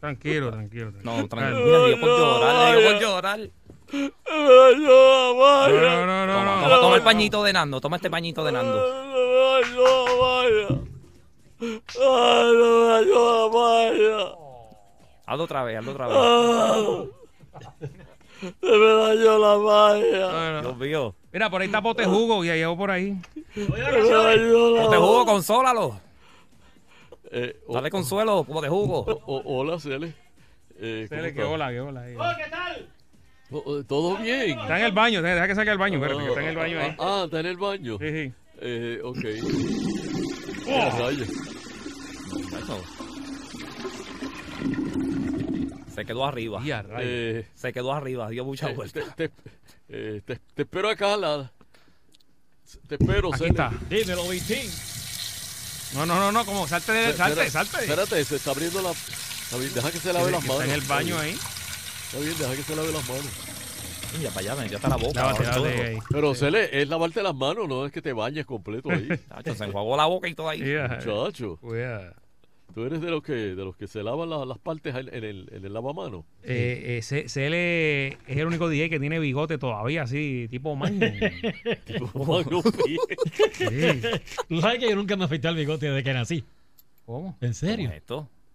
[SPEAKER 3] Tranquilo, tranquilo.
[SPEAKER 6] No, tranquilo.
[SPEAKER 3] Calma.
[SPEAKER 6] Mira, yo por llorar, le digo por llorar.
[SPEAKER 8] No,
[SPEAKER 6] no, no. Toma, toma, toma el pañito de Nando, toma este pañito de Nando. Hazlo otra vez, hazlo otra vez.
[SPEAKER 8] Se me dañó la
[SPEAKER 3] No,
[SPEAKER 8] magia.
[SPEAKER 3] no.
[SPEAKER 6] Dios mío.
[SPEAKER 3] Mira, por ahí está Pote Jugo y ahí llevo por ahí.
[SPEAKER 6] Como te jugo, consólalo.
[SPEAKER 8] Eh, o-
[SPEAKER 6] Dale consuelo, como te jugo.
[SPEAKER 8] o- oh, hola, Cele. Eh, ¿cómo
[SPEAKER 3] Cele, que
[SPEAKER 8] estás?
[SPEAKER 3] hola, que hola. ahí.
[SPEAKER 8] O- o- ¿Todo bien?
[SPEAKER 3] Está en el baño, deja deja que salga el baño, espérate, que está en el baño ahí.
[SPEAKER 8] Ah, está en el baño.
[SPEAKER 3] Sí, Oh. sí.
[SPEAKER 8] Eh, ok. Eh, rayos.
[SPEAKER 6] Se quedó arriba.
[SPEAKER 8] Eh,
[SPEAKER 6] Se quedó arriba, dio mucha
[SPEAKER 8] eh,
[SPEAKER 6] vuelta.
[SPEAKER 8] Te, te- eh, te- te espero acá. la- te espero,
[SPEAKER 3] Aquí
[SPEAKER 8] Cele.
[SPEAKER 3] está. Dímelo, Vitín. No, no, no, no, como salte, de, salte,
[SPEAKER 8] Espera-
[SPEAKER 3] salte.
[SPEAKER 8] Espérate, se está abriendo la. Está bien, deja que se lave
[SPEAKER 3] Que-
[SPEAKER 8] las
[SPEAKER 3] que
[SPEAKER 8] manos.
[SPEAKER 3] está en el baño
[SPEAKER 8] bien.
[SPEAKER 3] ahí.
[SPEAKER 8] Está bien, deja que se lave las manos.
[SPEAKER 6] Mira, para allá, me hasta la boca.
[SPEAKER 8] Lávate,
[SPEAKER 6] ahora
[SPEAKER 8] lávate
[SPEAKER 6] todo.
[SPEAKER 8] ahí. Pero Cele, es lavarte las manos, no es que te bañes completo ahí.
[SPEAKER 6] Chacho, se enjuagó la boca y todo ahí.
[SPEAKER 8] Muchacho. Tú eres de los que, de los que se lavan la- las partes en en el, en el lavamano.
[SPEAKER 3] Eh, eh, C- CL es el único DJ que tiene bigote todavía, así, tipo man. Sí.
[SPEAKER 14] Tú sabes que yo nunca me afeité el bigote desde que nací.
[SPEAKER 3] ¿Cómo?
[SPEAKER 14] ¿En serio?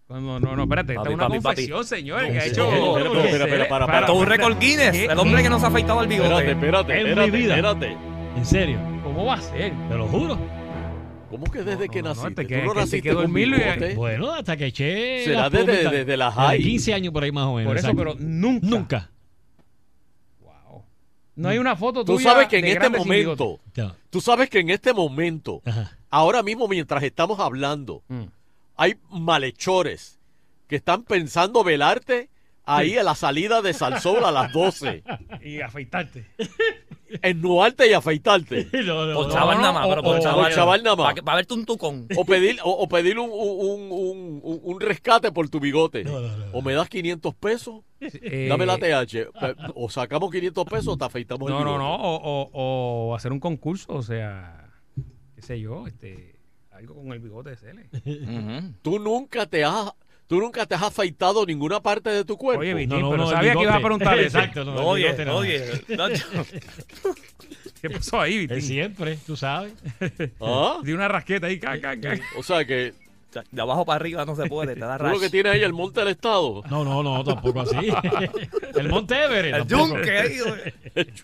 [SPEAKER 3] No, no, no, espérate, esta es una confesión, señores, que ha hecho.
[SPEAKER 6] Todo un récord Guinness. El hombre que no se ha afeitado el bigote.
[SPEAKER 8] Espérate, espérate,
[SPEAKER 6] En mi
[SPEAKER 8] espérate,
[SPEAKER 6] vida.
[SPEAKER 8] espérate.
[SPEAKER 14] ¿En serio?
[SPEAKER 3] ¿Cómo va a ser?
[SPEAKER 14] Te lo juro.
[SPEAKER 8] ¿Cómo que desde que naciste?
[SPEAKER 14] te
[SPEAKER 8] ¿Tú no naciste con bigote?
[SPEAKER 14] Bueno, hasta que eché.
[SPEAKER 8] Será
[SPEAKER 14] las
[SPEAKER 8] desde-
[SPEAKER 14] plumitas.
[SPEAKER 8] desde la
[SPEAKER 14] Desde
[SPEAKER 8] high.
[SPEAKER 14] 15 años por ahí más o menos.
[SPEAKER 3] Por eso,
[SPEAKER 14] exacto.
[SPEAKER 3] pero nunca.
[SPEAKER 14] Nunca.
[SPEAKER 3] No hay una foto
[SPEAKER 8] Mm. Tú
[SPEAKER 3] tuya
[SPEAKER 8] sabes que en
[SPEAKER 3] de
[SPEAKER 8] este
[SPEAKER 3] grande sin
[SPEAKER 8] momento,
[SPEAKER 3] bigote.
[SPEAKER 8] tú sabes que en este momento, ahora mismo mientras estamos hablando,
[SPEAKER 3] Mm.
[SPEAKER 8] hay malhechores que están pensando velarte ahí
[SPEAKER 3] Sí.
[SPEAKER 8] a la salida de Salsol a las 12,
[SPEAKER 3] Y afeitarte.
[SPEAKER 8] ennuarte y afeitarte.
[SPEAKER 6] Por chaval nada más, pero por chaval.
[SPEAKER 8] Por chaval nada más.
[SPEAKER 6] Pa- pa' verte un tucón.
[SPEAKER 8] O pedir, o, o pedir un, un- un- un- un rescate por tu bigote. O me das 500 pesos,
[SPEAKER 3] Eh,
[SPEAKER 8] dame la TH. pe- O sacamos 500 pesos o te afeitamos el
[SPEAKER 3] No, no,
[SPEAKER 8] bigote.
[SPEAKER 3] no. O, o- o hacer un concurso, o sea, qué sé yo, este, algo con el bigote de Cele.
[SPEAKER 8] Tú nunca te has... Tú nunca te has afeitado ninguna parte de tu cuerpo.
[SPEAKER 3] Oye, Vitín, No, no, pero no, el sabía que bigote. ibas a preguntar eso. Exacto, no, el Oye, bigote nada oye, ¿Qué pasó ahí, Vitín?
[SPEAKER 14] Es siempre, tú sabes.
[SPEAKER 8] ¿Ah?
[SPEAKER 3] De una rasqueta ahí, ca, ca, ca.
[SPEAKER 8] O sea que.
[SPEAKER 6] De abajo para arriba no se puede, te da
[SPEAKER 8] Tú lo que
[SPEAKER 6] rash.
[SPEAKER 8] tienes ahí el monte del estado.
[SPEAKER 14] No, no, no, tampoco así. El Monte Everest.
[SPEAKER 6] El
[SPEAKER 14] tampoco.
[SPEAKER 6] yunque ahí,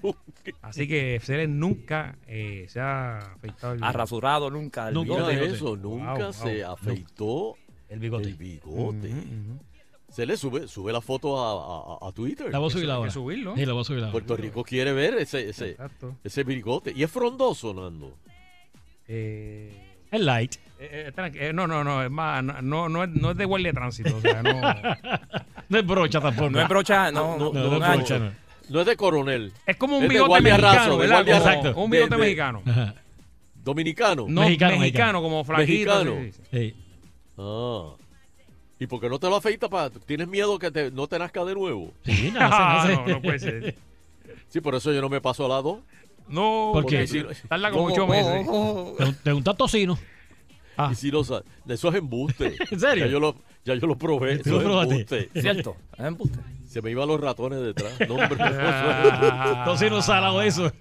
[SPEAKER 6] güey.
[SPEAKER 3] Así que Cele nunca eh, se ha afeitado el
[SPEAKER 6] Ha rasurado nunca el
[SPEAKER 8] Nunca
[SPEAKER 6] bigote.
[SPEAKER 8] eso, nunca se afeitó
[SPEAKER 14] el bigote.
[SPEAKER 8] El bigote. Se le sube, sube la foto a, a- a- a Twitter.
[SPEAKER 14] La voy a subir Eso hay ahora. que subirlo. Sí, la voy a subir ahora.
[SPEAKER 8] Puerto Rico quiere ver ese, ese,
[SPEAKER 14] Exacto.
[SPEAKER 8] ese bigote. Y es frondoso, Nando.
[SPEAKER 14] El light.
[SPEAKER 3] Eh, eh, tranqui- eh, no, no, no, es más, no, no, no es, no es de guardia de tránsito, o sea, no.
[SPEAKER 14] No es brocha tampoco.
[SPEAKER 6] No es brocha, no,
[SPEAKER 8] No,
[SPEAKER 6] no,
[SPEAKER 8] no
[SPEAKER 6] un
[SPEAKER 8] es brocha,
[SPEAKER 6] ancho.
[SPEAKER 8] no. No es de coronel.
[SPEAKER 3] Es como un
[SPEAKER 8] de
[SPEAKER 3] bigote
[SPEAKER 8] guardia
[SPEAKER 3] mexicano,
[SPEAKER 8] raso, de
[SPEAKER 3] ¿verdad?
[SPEAKER 8] guardia
[SPEAKER 3] Como-
[SPEAKER 8] raso,
[SPEAKER 3] como un
[SPEAKER 8] de-
[SPEAKER 3] bigote
[SPEAKER 8] de-
[SPEAKER 3] mexicano.
[SPEAKER 14] Ajá.
[SPEAKER 8] ¿Dominicano?
[SPEAKER 3] No, Mexicano, mexicano, mexicano. como flaquito,
[SPEAKER 8] Mexicano.
[SPEAKER 3] sí, sí,
[SPEAKER 8] Ah. ¿Y por qué no te lo afeitas? Pa? ¿Tienes miedo que te- no te nazca de nuevo?
[SPEAKER 14] Sí, no, no sé, no Ah, sé. no, no puede
[SPEAKER 3] ser.
[SPEAKER 8] Sí, por eso yo no me paso al lado.
[SPEAKER 3] No,
[SPEAKER 14] ¿Por qué?
[SPEAKER 8] porque si no-
[SPEAKER 14] Tarda como ocho meses. Te un- Te untas tocino.
[SPEAKER 3] Ah.
[SPEAKER 8] Y si no sa- eso es embuste.
[SPEAKER 14] ¿En serio?
[SPEAKER 8] Ya yo lo, ya yo lo probé.
[SPEAKER 14] Tú
[SPEAKER 8] Eso
[SPEAKER 14] lo
[SPEAKER 8] es
[SPEAKER 14] probaste.
[SPEAKER 8] embuste.
[SPEAKER 14] Cierto,
[SPEAKER 6] es embuste.
[SPEAKER 8] Se me iban los ratones detrás. No, hombre.
[SPEAKER 14] Ah, tocino salado eso.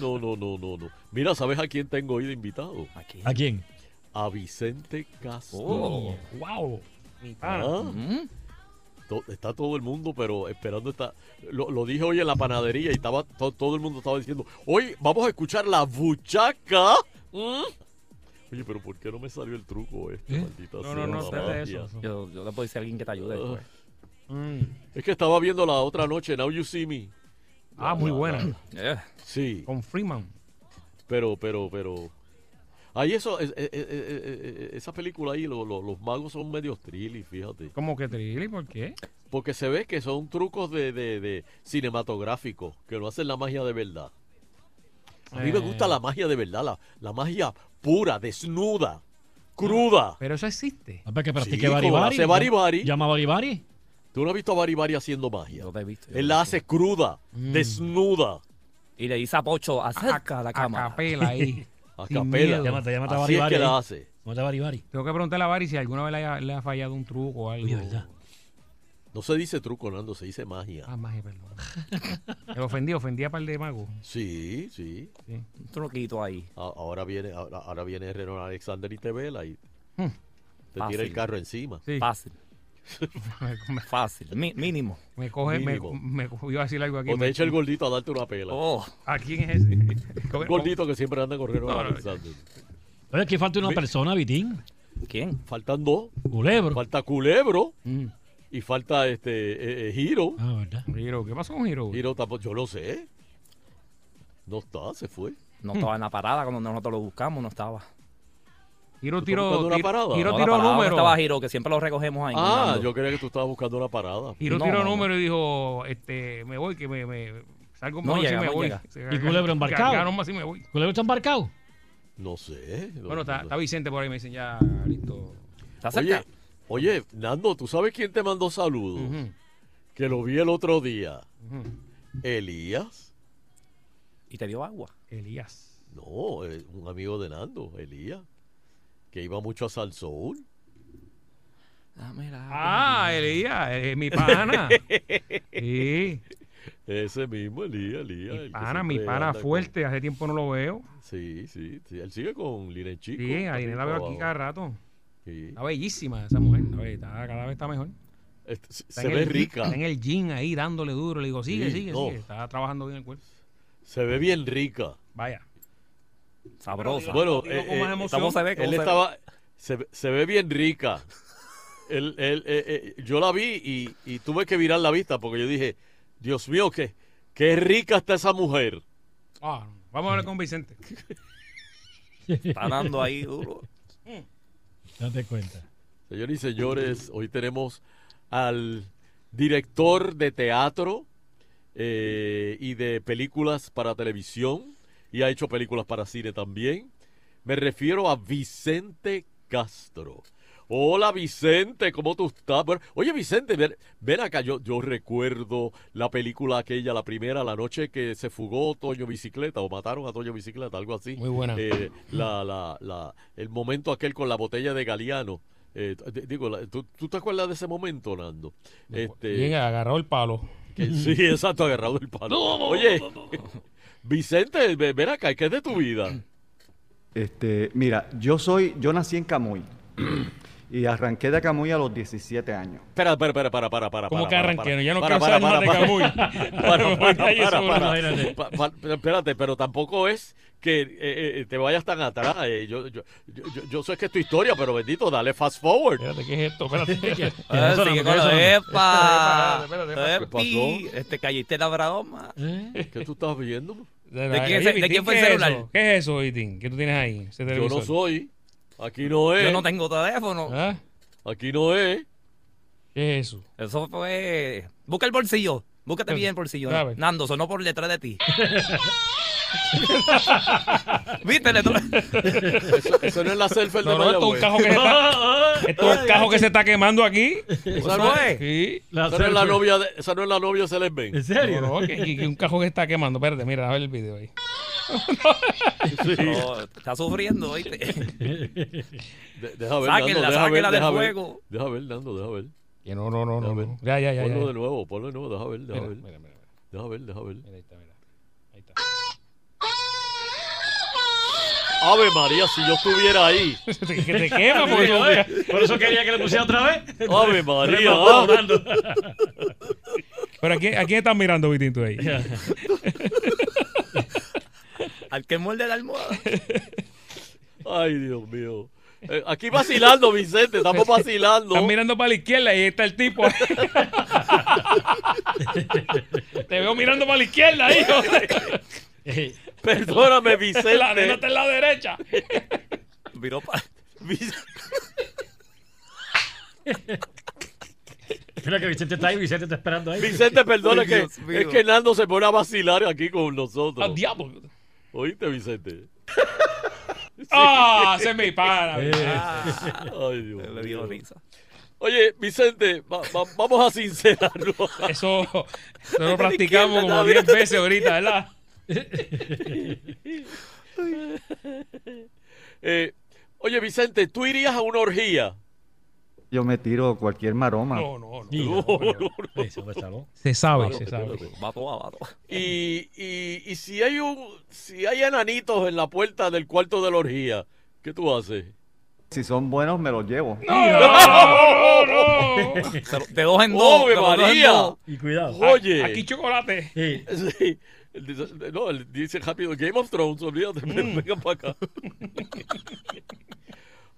[SPEAKER 8] No, no, no, no, no. Mira, ¿sabes a quién tengo hoy de invitado? ¿A quién?
[SPEAKER 14] ¿A quién?
[SPEAKER 8] A Vicente Castro.
[SPEAKER 14] Oh, wow. Mi pana.
[SPEAKER 8] Ah.
[SPEAKER 14] Mm.
[SPEAKER 8] To- Está todo el mundo, pero esperando está. Lo, lo dije hoy en la panadería y estaba to- todo el mundo estaba diciendo, hoy vamos a escuchar la buchaca. ¿Mm? Oye, pero ¿por qué no me salió el truco este, maldita sea,
[SPEAKER 6] ¿Eh? No, no, no,
[SPEAKER 8] la
[SPEAKER 6] espérate
[SPEAKER 8] magia? Ah.
[SPEAKER 6] eso. Yo, yo le puedo decir a alguien que te ayude después.
[SPEAKER 8] Es que estaba viendo la otra noche, Now You See Me.
[SPEAKER 3] Ah, muy buena.
[SPEAKER 8] Sí.
[SPEAKER 3] Eh. Con Freeman.
[SPEAKER 8] Pero, pero, pero. Ahí eso, es- eh, es- es- es- es- eh, esa película ahí, lo- lo- los magos son medios trilly, fíjate.
[SPEAKER 3] ¿Cómo que Trilly? ¿Por qué?
[SPEAKER 8] Porque se ve que son trucos de, de, de cinematográficos, que no hacen la magia de verdad. A mí me
[SPEAKER 3] Eh.
[SPEAKER 8] gusta la magia de verdad, la, la magia pura, desnuda, cruda.
[SPEAKER 3] Pero eso existe.
[SPEAKER 14] Ah, pero que practique
[SPEAKER 8] Sí,
[SPEAKER 14] Bari
[SPEAKER 8] como la
[SPEAKER 14] Bari.
[SPEAKER 8] hace Bari Bari.
[SPEAKER 14] Llama Bari Bari.
[SPEAKER 8] ¿Tú no has visto a Baribari haciendo magia?
[SPEAKER 6] No te he visto.
[SPEAKER 8] Él la hace cruda,
[SPEAKER 3] Mm.
[SPEAKER 8] desnuda.
[SPEAKER 6] Y le dice a Pocho, acerca la cámara.
[SPEAKER 3] capela ahí.
[SPEAKER 8] A
[SPEAKER 3] Sin
[SPEAKER 8] capela.
[SPEAKER 3] miedo.
[SPEAKER 14] Llámate, llámate a
[SPEAKER 8] Así
[SPEAKER 14] Bari
[SPEAKER 8] es
[SPEAKER 14] Bari.
[SPEAKER 8] que la
[SPEAKER 14] ahí.
[SPEAKER 8] hace.
[SPEAKER 14] Llámate a Bari Bari.
[SPEAKER 3] Tengo que preguntarle a Barry si alguna vez le ha, le ha fallado un truco o algo.
[SPEAKER 8] No se dice truco, Nando, se dice magia.
[SPEAKER 3] Ah, magia, perdón. Me ofendí, ofendí a par de magos.
[SPEAKER 8] Sí, sí.
[SPEAKER 6] Un truquito ahí.
[SPEAKER 8] Ahora viene, ahora, ahora viene Renan Alexander y te vela y
[SPEAKER 3] Hmm.
[SPEAKER 8] te
[SPEAKER 6] Fácil.
[SPEAKER 8] tira el carro encima.
[SPEAKER 6] Fácil. Fácil. Mi- mínimo.
[SPEAKER 3] Me coge, me,
[SPEAKER 8] Mínimo.
[SPEAKER 3] me, me iba a decir algo aquí.
[SPEAKER 8] O te
[SPEAKER 3] me-
[SPEAKER 8] echa el gordito a darte una pela.
[SPEAKER 6] Oh.
[SPEAKER 3] ¿A quién es ese?
[SPEAKER 8] Un gordito que siempre anda con Renan
[SPEAKER 3] No, no,
[SPEAKER 8] Alexander.
[SPEAKER 14] Oye, aquí falta una
[SPEAKER 8] Ve-
[SPEAKER 14] persona, Vitín.
[SPEAKER 6] ¿Quién?
[SPEAKER 8] Faltan dos.
[SPEAKER 14] Culebro.
[SPEAKER 8] Falta Culebro. Y falta este eh, eh, Hiro.
[SPEAKER 14] Ah, ¿verdad?
[SPEAKER 3] Hiro, ¿qué pasó con Hiro?
[SPEAKER 8] Hiro tampoco, yo lo sé. No está, se fue.
[SPEAKER 6] No estaba en la parada cuando nosotros lo buscamos, no estaba.
[SPEAKER 3] Giro
[SPEAKER 8] ¿Tú estás buscando una parada?
[SPEAKER 6] No, la parada donde Estaba Giro, que siempre lo recogemos ahí.
[SPEAKER 8] Ah,
[SPEAKER 6] Nando.
[SPEAKER 8] yo creía que tú estabas buscando una parada.
[SPEAKER 3] Hiro tiró número y dijo, este, me voy, que me, me salgo
[SPEAKER 8] No
[SPEAKER 3] por noche y
[SPEAKER 8] llega,
[SPEAKER 3] me
[SPEAKER 8] no
[SPEAKER 3] voy.
[SPEAKER 8] llega.
[SPEAKER 3] Se-
[SPEAKER 14] Y Culebro embarcado.
[SPEAKER 3] Cargaron más y me voy.
[SPEAKER 14] ¿Culebro está embarcado?
[SPEAKER 8] No sé. no-
[SPEAKER 3] Bueno, está,
[SPEAKER 8] no-
[SPEAKER 3] está Vicente por ahí, me dicen ya, listo.
[SPEAKER 8] Oye, oye, Nando, ¿tú sabes quién te mandó saludos?
[SPEAKER 3] Ujú.
[SPEAKER 8] Que lo vi el otro día.
[SPEAKER 3] Ujú.
[SPEAKER 8] Elías.
[SPEAKER 6] ¿Y te dio agua?
[SPEAKER 3] Elías.
[SPEAKER 8] No, eh, un amigo de Nando, Elías. Que iba mucho a Salsoul.
[SPEAKER 6] Dame la
[SPEAKER 3] Ah, Elías, eh, mi pana. sí.
[SPEAKER 8] Ese mismo, Elías, Elías. el que
[SPEAKER 3] Pana, mi
[SPEAKER 8] siempre
[SPEAKER 3] pana
[SPEAKER 8] anda con-
[SPEAKER 3] fuerte, hace tiempo no lo veo.
[SPEAKER 8] Sí, sí, sí, Él sigue con Lina Chico.
[SPEAKER 3] Sí, a Irene la veo
[SPEAKER 8] Abajo.
[SPEAKER 3] aquí cada rato.
[SPEAKER 8] Sí.
[SPEAKER 3] Está bellísima esa mujer. está bella, está- cada vez está mejor.
[SPEAKER 8] Este, se-
[SPEAKER 3] Está
[SPEAKER 8] se
[SPEAKER 3] en
[SPEAKER 8] ve
[SPEAKER 3] el-
[SPEAKER 8] rica.
[SPEAKER 3] Está en el jean ahí dándole duro. Le digo, sigue,
[SPEAKER 8] Sí,
[SPEAKER 3] sigue,
[SPEAKER 8] no.
[SPEAKER 3] sigue. Está trabajando bien el cuerpo.
[SPEAKER 8] Se ve bien rica.
[SPEAKER 3] Vaya.
[SPEAKER 6] Sabrosa.
[SPEAKER 8] Bueno,
[SPEAKER 6] Digo,
[SPEAKER 8] eh,
[SPEAKER 6] con más
[SPEAKER 8] eh,
[SPEAKER 6] emoción. ¿Cómo se ve? ¿Cómo
[SPEAKER 8] él
[SPEAKER 6] se ve?
[SPEAKER 8] estaba. Se, ve- se ve bien rica. Él- él, eh, eh, yo la vi y, y tuve que virar la vista porque yo dije, Dios mío, qué, qué rica está esa mujer.
[SPEAKER 3] Ah, vamos a hablar con Vicente.
[SPEAKER 6] Está dando ahí duro.
[SPEAKER 14] Date cuenta.
[SPEAKER 8] Señores y señores, hoy tenemos al director de teatro eh, y de películas para televisión y ha hecho películas para cine también. Me refiero a Vicente Castro. Hola Vicente, ¿cómo tú estás? Bueno, oye Vicente, ven, ven acá, yo, yo recuerdo la película aquella, la primera, la noche que se fugó Toño Bicicleta o mataron a Toño Bicicleta, algo así.
[SPEAKER 3] Muy buena.
[SPEAKER 8] Eh, la, la, la, el momento aquel con la botella de Galeano. Eh, t- d- digo, la- ¿tú, tú te acuerdas de ese momento, Nando? Este,
[SPEAKER 3] Llega, agarró el palo.
[SPEAKER 8] que- sí, exacto, agarrado el palo. Oye, Vicente, ve- ven acá, ¿qué es de tu vida?
[SPEAKER 15] Este, mira, yo soy, yo nací en Camuy. y arranqué de Camuy a los 17 años.
[SPEAKER 8] Espera, espera, espera, para, para, para.
[SPEAKER 15] ¿Cómo
[SPEAKER 8] para,
[SPEAKER 15] que
[SPEAKER 8] para,
[SPEAKER 15] arranqué?
[SPEAKER 8] para.
[SPEAKER 15] Ya no
[SPEAKER 8] Para,
[SPEAKER 15] quiero
[SPEAKER 8] para,
[SPEAKER 15] saber más
[SPEAKER 8] para,
[SPEAKER 15] de Camuy.
[SPEAKER 8] para, para,
[SPEAKER 15] Ya
[SPEAKER 8] para,
[SPEAKER 15] yo
[SPEAKER 8] para,
[SPEAKER 15] solo,
[SPEAKER 8] para.
[SPEAKER 15] imagínate.
[SPEAKER 8] Pa- pa- pero Espérate, pero tampoco es que eh, eh, te vayas tan atrás. eh, Yo, yo, yo, yo- yo sé que es tu historia, pero bendito, dale fast forward. Espérate,
[SPEAKER 14] ¿qué es esto? Espérate.
[SPEAKER 6] Ah, sí, que con lo- ¡Epa!
[SPEAKER 8] ¿Qué pasó?
[SPEAKER 6] Epi, Este, caíste la broma.
[SPEAKER 14] ¿Eh?
[SPEAKER 8] ¿Qué tú estás viendo?
[SPEAKER 6] ¿De quién, se- de quién fue el
[SPEAKER 3] ¿Qué es
[SPEAKER 6] celular?
[SPEAKER 3] eso? ¿Qué es eso, Itin? ¿Qué tú tienes ahí? ese
[SPEAKER 8] Yo no
[SPEAKER 3] televisor?
[SPEAKER 8] soy. Aquí no es. ¿Ah?
[SPEAKER 6] Yo no tengo teléfono.
[SPEAKER 8] Aquí no es.
[SPEAKER 3] ¿Qué es eso?
[SPEAKER 6] Eso fue. Busca el bolsillo. Búscate bien el bolsillo.
[SPEAKER 3] Dame.
[SPEAKER 6] Nando, sonó por letra de ti. ¿Viste? Le
[SPEAKER 8] Eso, eso no es la selfie
[SPEAKER 3] No, no, esto es un cajo que se está, esto es un cajo que se está quemando aquí.
[SPEAKER 8] Esa no es.
[SPEAKER 3] Sí.
[SPEAKER 8] esa, no es la novia de, esa no es la novia de Celeste Ben.
[SPEAKER 3] No, no, que, que- que un cajo que está quemando. Espérate, mira, a ver el video ahí.
[SPEAKER 6] No, está sufriendo, ¿oíste?
[SPEAKER 8] De- deja ver,
[SPEAKER 6] Sáquenla,
[SPEAKER 8] Nando, deja ver,
[SPEAKER 6] sáquenla del
[SPEAKER 8] deja ver.
[SPEAKER 6] fuego.
[SPEAKER 8] Deja ver, Nando, deja ver.
[SPEAKER 3] Que no, no, no,
[SPEAKER 8] Deja
[SPEAKER 3] no,
[SPEAKER 8] ver.
[SPEAKER 3] no. Ya, ya, ya,
[SPEAKER 8] Ponlo
[SPEAKER 3] ya.
[SPEAKER 8] de nuevo, ponlo de nuevo, deja ver, deja
[SPEAKER 3] Mira,
[SPEAKER 8] ver.
[SPEAKER 3] mira, mira,
[SPEAKER 8] Deja ver, deja ver. Ahí
[SPEAKER 3] está, mira.
[SPEAKER 8] Ave María, si yo estuviera ahí.
[SPEAKER 14] Que te quema, porque tú- por eso quería que le pusiera otra vez.
[SPEAKER 8] Ave María.
[SPEAKER 14] Pero me estaba
[SPEAKER 3] Pero ¿a quién, a quién estás mirando, Vitín, tú ahí?
[SPEAKER 6] Al que muerde la almohada.
[SPEAKER 8] Ay, Dios mío. Eh, aquí vacilando, Vicente, estamos vacilando.
[SPEAKER 3] Estás mirando para la izquierda y ahí está el tipo. Te veo mirando para la izquierda, hijo. Eh,
[SPEAKER 8] Perdóname, Vicente.
[SPEAKER 3] La nena está en la derecha.
[SPEAKER 6] Miró pa-
[SPEAKER 14] Mira que Vicente está ahí, Vicente está esperando ahí.
[SPEAKER 8] Vicente, perdona
[SPEAKER 14] Ay,
[SPEAKER 8] que
[SPEAKER 14] Dios mío.
[SPEAKER 8] es que Nando se pone a vacilar aquí con nosotros.
[SPEAKER 14] ¡Ah, diablo!
[SPEAKER 8] ¿Oíste, Vicente?
[SPEAKER 3] ¡Ah! se me para.
[SPEAKER 14] Eh.
[SPEAKER 8] Ah, Ay, Dios mío. Oye, Vicente, va- va- vamos a sincerarlo.
[SPEAKER 3] Eso no lo practicamos como 10 veces ahorita, ¿verdad?
[SPEAKER 8] Eh, oye, Vicente, ¿tú irías a una orgía?
[SPEAKER 15] Yo me tiro cualquier maroma.
[SPEAKER 8] No, no, no.
[SPEAKER 3] Se sabe,
[SPEAKER 8] Claro,
[SPEAKER 3] se sabe.
[SPEAKER 6] Va toda, va toda.
[SPEAKER 8] Y, y, y si hay un si hay enanitos en la puerta del cuarto de la orgía, ¿qué tú haces?
[SPEAKER 15] Si son buenos, me los llevo.
[SPEAKER 6] Pero De dos en dos.
[SPEAKER 8] ¡Ave
[SPEAKER 6] de los dos en
[SPEAKER 8] María! Ah,
[SPEAKER 6] dos.
[SPEAKER 14] Y cuidado.
[SPEAKER 8] Oye.
[SPEAKER 3] Aquí chocolate.
[SPEAKER 8] Sí. Él dice- No, él dice rápido, Game of Thrones, olvídate,
[SPEAKER 3] Mm.
[SPEAKER 8] vengan para acá.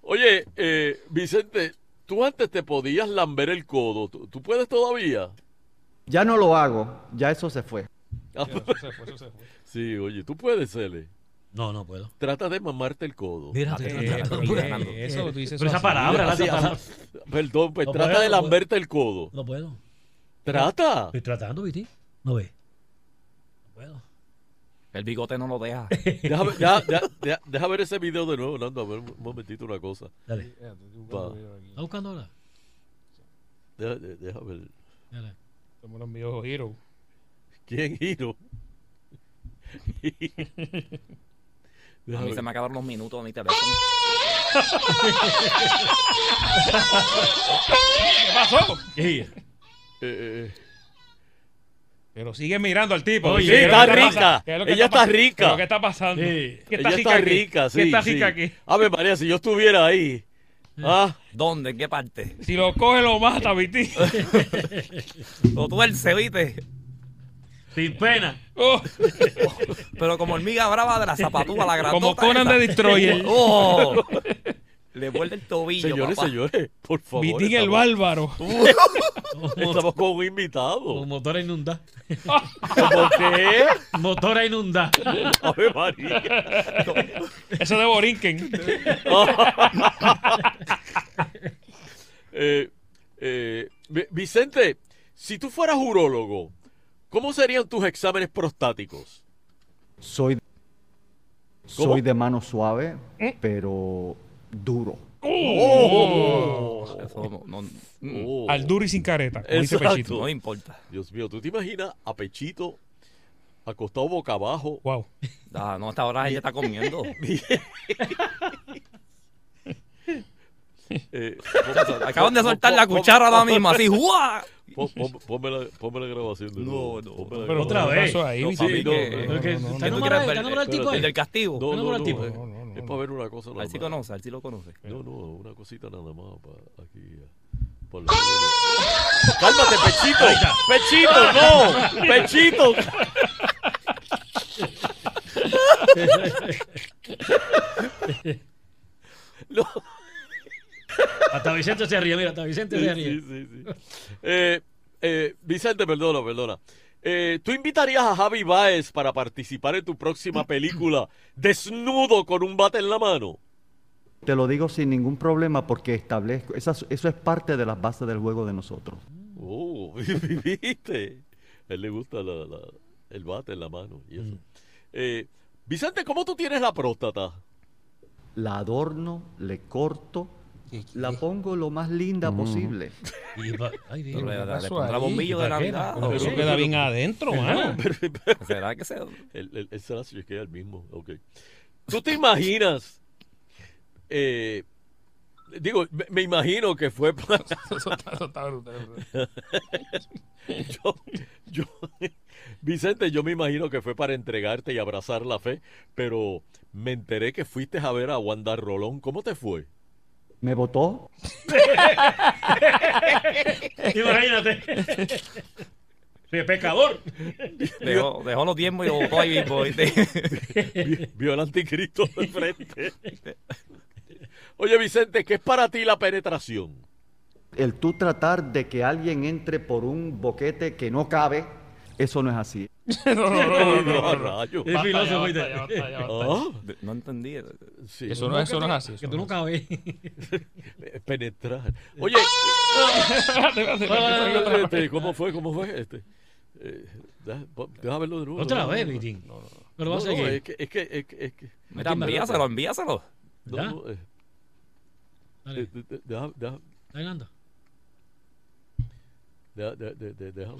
[SPEAKER 8] Oye, eh, Vicente, tú antes te podías lamber el codo, ¿tú, tú puedes todavía?
[SPEAKER 15] Ya no lo hago, ya eso se fue.
[SPEAKER 8] Sí, oye, tú puedes, Cele.
[SPEAKER 14] No, no puedo.
[SPEAKER 8] Trata de mamarte el codo.
[SPEAKER 14] Mira, te- Eh, te- pero te- Fernando. eso, tú dices Eh, Pero eso esa así. palabra,
[SPEAKER 8] palabras
[SPEAKER 14] esa palabra.
[SPEAKER 8] ah, Perdón, pues
[SPEAKER 14] No
[SPEAKER 8] trata
[SPEAKER 14] puedo,
[SPEAKER 8] de
[SPEAKER 14] no puedo.
[SPEAKER 8] lamberte el codo.
[SPEAKER 14] No puedo. Pues
[SPEAKER 8] Trata.
[SPEAKER 14] Estoy tratando, Viti. No ve.
[SPEAKER 6] El bigote no lo deja.
[SPEAKER 8] Deja, ver- ya- ya- deja- deja ver ese video de nuevo, Nando, a ver un momentito una cosa.
[SPEAKER 14] Dale.
[SPEAKER 8] Va,
[SPEAKER 14] ¿Está buscando ahora?
[SPEAKER 8] deja, de- deja ver.
[SPEAKER 3] Somos los míos Hero.
[SPEAKER 8] ¿Quién giro?
[SPEAKER 6] A mí se me acabaron los minutos de mi teléfono.
[SPEAKER 3] ¿Qué pasó?
[SPEAKER 8] Eh,
[SPEAKER 3] Pero sigue mirando al tipo.
[SPEAKER 8] Oye,
[SPEAKER 3] ¿Qué es lo
[SPEAKER 8] está
[SPEAKER 3] que
[SPEAKER 8] rica.
[SPEAKER 3] pasando? ¿Qué es lo que
[SPEAKER 8] Ella está
[SPEAKER 3] pasando?
[SPEAKER 8] rica.
[SPEAKER 3] ¿Pero ¿Qué está pasando?
[SPEAKER 8] Sí.
[SPEAKER 3] ¿Qué está rica
[SPEAKER 8] Ella está
[SPEAKER 3] aquí?
[SPEAKER 8] rica, sí.
[SPEAKER 3] ¿Qué está
[SPEAKER 8] sí.
[SPEAKER 3] rica aquí?
[SPEAKER 8] Ave María, Ah, si yo estuviera ahí. ¿Ah?
[SPEAKER 6] Mm. ¿Dónde? ¿En qué parte?
[SPEAKER 3] Si lo coge, lo mata, Viti.
[SPEAKER 6] Lo tuerce, ¿viste?
[SPEAKER 14] Sin pena.
[SPEAKER 3] Oh.
[SPEAKER 6] Pero como hormiga brava de la zapatúa, la grandota.
[SPEAKER 3] Como Conan de Destroyer.
[SPEAKER 6] Oh. Le vuelve el tobillo,
[SPEAKER 8] Señores,
[SPEAKER 6] papá.
[SPEAKER 8] señores, por favor.
[SPEAKER 3] Vitín el
[SPEAKER 8] estamos-
[SPEAKER 3] bárbaro.
[SPEAKER 8] Estamos con un invitado.
[SPEAKER 14] Un motor a inundar.
[SPEAKER 8] ¿Cómo qué?
[SPEAKER 14] Motor a inundar.
[SPEAKER 8] Ave María.
[SPEAKER 3] Eso de Borinquen.
[SPEAKER 8] Eh, eh, Vi- Vicente, si tú fueras urólogo, ¿cómo serían tus exámenes prostáticos?
[SPEAKER 15] Soy,
[SPEAKER 8] ¿Cómo?
[SPEAKER 15] soy de mano suave, pero duro.
[SPEAKER 6] Eso no- no-
[SPEAKER 8] Oh.
[SPEAKER 3] Al duro y sin careta, como dice
[SPEAKER 8] Exacto.
[SPEAKER 3] Pechito.
[SPEAKER 6] No importa.
[SPEAKER 8] Dios mío, ¿tú te imaginas a Pechito acostado boca abajo?
[SPEAKER 3] Wow.
[SPEAKER 6] Ah, no, hasta ahora ella está comiendo.
[SPEAKER 8] Eh,
[SPEAKER 6] Acaban de soltar la cuchara ahora mismo, así, ¡guau!
[SPEAKER 8] Ponme la, ponme la grabación. de nuevo. Ponme la grabación.
[SPEAKER 6] Pero otra vez. No,
[SPEAKER 8] Sí,
[SPEAKER 6] papi,
[SPEAKER 8] no,
[SPEAKER 6] que-
[SPEAKER 8] no, no,
[SPEAKER 6] que
[SPEAKER 8] no, no,
[SPEAKER 6] está enamorado,
[SPEAKER 8] no,
[SPEAKER 6] está enamorado el tipo,
[SPEAKER 8] espérate.
[SPEAKER 6] el del castigo.
[SPEAKER 8] No,
[SPEAKER 6] Está
[SPEAKER 8] no,
[SPEAKER 6] enamorado el
[SPEAKER 8] no,
[SPEAKER 6] tipo.
[SPEAKER 8] no, no, no, para ver una cosa
[SPEAKER 6] A
[SPEAKER 8] nada
[SPEAKER 6] ver si
[SPEAKER 8] más.
[SPEAKER 6] conoce, a ver si lo conoce.
[SPEAKER 8] No, no, una cosita nada más para aquí. eh, por la- ¡Cálmate, Pechito!
[SPEAKER 11] Ahí está.
[SPEAKER 8] ¡Pechito, no! ¡Pechito!
[SPEAKER 11] No.
[SPEAKER 14] Hasta Vicente se ríe, mira, hasta Vicente se
[SPEAKER 8] Sí,
[SPEAKER 14] ríe.
[SPEAKER 8] sí, sí, sí. Eh, eh, Vicente, perdona, perdona. Eh, ¿Tú invitarías a Javi Baez para participar en tu próxima película desnudo con un bate en la mano?
[SPEAKER 15] Te lo digo sin ningún problema porque establezco, esas- eso es parte de las bases del juego de nosotros.
[SPEAKER 8] Oh, viste. A él le gusta la- la- el bate en la mano y eso. Eh, Vicente, ¿cómo tú tienes la próstata?
[SPEAKER 15] La adorno, le corto, la pongo lo más linda posible.
[SPEAKER 14] Y va- ay, Dios,
[SPEAKER 15] Pero le-
[SPEAKER 14] ¿qué
[SPEAKER 15] le
[SPEAKER 14] pasó
[SPEAKER 15] pondrá
[SPEAKER 14] ahí?
[SPEAKER 15] bombillo
[SPEAKER 14] ¿Y
[SPEAKER 15] de
[SPEAKER 14] para qué?
[SPEAKER 15] Navidad.
[SPEAKER 14] Pero
[SPEAKER 15] Pero
[SPEAKER 14] eso
[SPEAKER 15] sí,
[SPEAKER 14] queda
[SPEAKER 15] pero-
[SPEAKER 14] bien adentro, mano.
[SPEAKER 6] ¿Será que se.?
[SPEAKER 8] ¿ah? Él, él- él se la chequea él mismo. Ok. ¿Tú te imaginas? eh, digo, me, me imagino que fue. para-
[SPEAKER 11] Eso está- eso está brutal, brutal.
[SPEAKER 8] yo, yo, Vicente, yo me imagino que fue para entregarte y abrazar la fe, pero me enteré que fuiste a ver a Wanda Rolón. ¿Cómo te fue?
[SPEAKER 15] ¿Me votó?
[SPEAKER 14] Imagínate. De pecador.
[SPEAKER 6] Dejó, dejó los diezmos y lo botó ahí mismo.
[SPEAKER 8] Vi- Vio el anticristo de frente. Oye, Vicente, ¿qué es para ti la penetración?
[SPEAKER 15] El tú tratar de que alguien entre por un boquete que no cabe, eso no es así.
[SPEAKER 8] no, no, no.
[SPEAKER 15] Rayo.
[SPEAKER 14] Es filósofo. ¿viste?
[SPEAKER 6] No entendí.
[SPEAKER 8] ¿Ah? Sí.
[SPEAKER 14] Eso no es- eso no es así, eso
[SPEAKER 6] Que
[SPEAKER 14] Que tú no cabes.
[SPEAKER 8] Penetrar. Oye.
[SPEAKER 3] Ah.
[SPEAKER 8] Este, ¿Cómo fue? ¿Cómo fue? Este, eh, da- po- déjame verlo de nuevo.
[SPEAKER 14] Otra
[SPEAKER 8] déjame
[SPEAKER 14] vez,
[SPEAKER 8] verlo.
[SPEAKER 14] Vitín.
[SPEAKER 8] No, no.
[SPEAKER 14] No lo vas a
[SPEAKER 8] No, no,
[SPEAKER 14] seguir.
[SPEAKER 8] Es que. Es que, es que, es que-
[SPEAKER 6] Mira,
[SPEAKER 3] pues.
[SPEAKER 6] envíaselo, envíaselo.
[SPEAKER 8] No,
[SPEAKER 6] ¿Ya?
[SPEAKER 8] no, eh.
[SPEAKER 14] Dale.
[SPEAKER 8] Eh, de- de- deja- deja-
[SPEAKER 14] Está ganando.
[SPEAKER 8] deja- de- de- de- deja-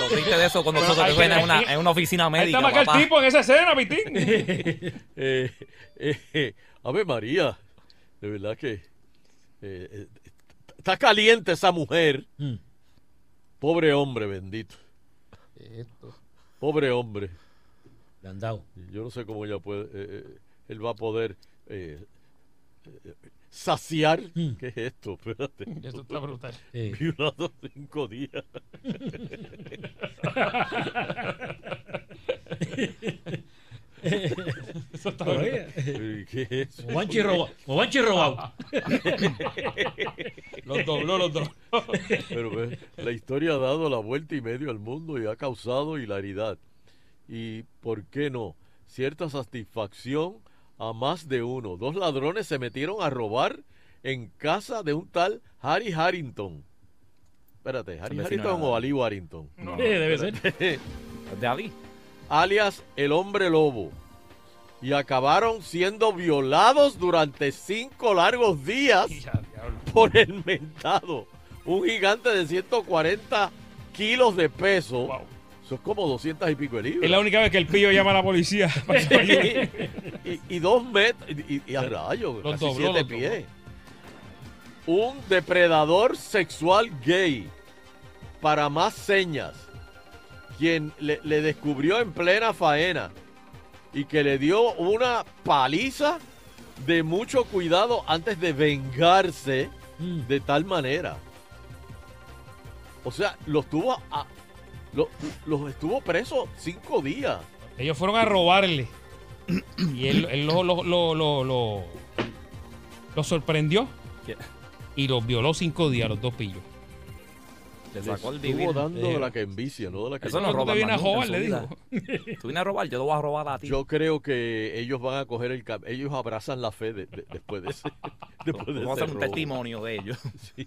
[SPEAKER 6] Lo triste de eso cuando
[SPEAKER 8] Pero
[SPEAKER 6] nosotros
[SPEAKER 8] hay
[SPEAKER 6] que suena
[SPEAKER 8] que-
[SPEAKER 6] en una, en una oficina
[SPEAKER 3] Ahí
[SPEAKER 6] médica.
[SPEAKER 3] está más que el
[SPEAKER 6] papá.
[SPEAKER 3] tipo en esa escena, Pitín.
[SPEAKER 8] Eh, eh, eh, Ave María, de verdad que eh, eh, está caliente esa mujer.
[SPEAKER 14] Mm.
[SPEAKER 8] Pobre hombre, bendito. Pobre hombre. Yo no sé cómo ella puede, eh, eh, él va a poder eh, eh, saciar. ¿Qué es esto? Espérate.
[SPEAKER 11] Esto está brutal.
[SPEAKER 14] Mm. Sí.
[SPEAKER 8] Violado cinco días.
[SPEAKER 14] Eso está bien.
[SPEAKER 8] Eh, ¿Qué es eso?
[SPEAKER 14] Mobanchi roba- Mobanchi robado. Los dobló, los dobló.
[SPEAKER 8] Pero ve, la historia ha dado la vuelta y medio al mundo y ha causado hilaridad. Y, ¿por qué no? Cierta satisfacción a más de uno. Dos ladrones se metieron a robar en casa de un tal Harry Harrington. Espérate, ¿Harry
[SPEAKER 6] vecino
[SPEAKER 8] Harrington
[SPEAKER 6] era-
[SPEAKER 8] o Ali Warrington?
[SPEAKER 6] No. Sí, debe ser.
[SPEAKER 8] Espérate.
[SPEAKER 6] De Ali.
[SPEAKER 8] alias el hombre lobo, y acabaron siendo violados durante cinco largos días por el mentado, un gigante de 140 kilos de peso. Eso es como 200 y pico de libras.
[SPEAKER 3] Es la única vez que el pillo llama a la policía. para que ayude.
[SPEAKER 8] y, y dos metros, y, y- y a rayos,
[SPEAKER 3] Los
[SPEAKER 8] casi
[SPEAKER 3] dobló,
[SPEAKER 8] siete
[SPEAKER 3] los
[SPEAKER 8] pies. Un depredador sexual gay, para más señas, quien le, le descubrió en plena faena y que le dio una paliza de mucho cuidado antes de vengarse de tal manera. O sea, los tuvo a- lo- los estuvo presos cinco días.
[SPEAKER 3] Ellos fueron a robarle. Y él, él lo, lo- lo- lo- lo- lo sorprendió. Y los violó cinco días, los dos pillos.
[SPEAKER 6] Le sacó el
[SPEAKER 8] Estuvo
[SPEAKER 6] divino.
[SPEAKER 8] dando
[SPEAKER 6] Sí.
[SPEAKER 8] de la que envicia, no de la que
[SPEAKER 6] Eh, Eso no
[SPEAKER 3] Tú te
[SPEAKER 6] roba.
[SPEAKER 3] vienes a
[SPEAKER 6] manito,
[SPEAKER 3] joder,
[SPEAKER 6] en
[SPEAKER 3] le
[SPEAKER 6] su
[SPEAKER 3] dijo.
[SPEAKER 6] vida. Tú vienes a robar, yo te voy a robar a ti.
[SPEAKER 8] Yo creo que ellos van a coger el cam- ellos abrazan la fe de- de- después de ese después de
[SPEAKER 6] Vamos a
[SPEAKER 8] ese
[SPEAKER 6] hacer un
[SPEAKER 8] robo.
[SPEAKER 6] testimonio de ellos.
[SPEAKER 8] Sí.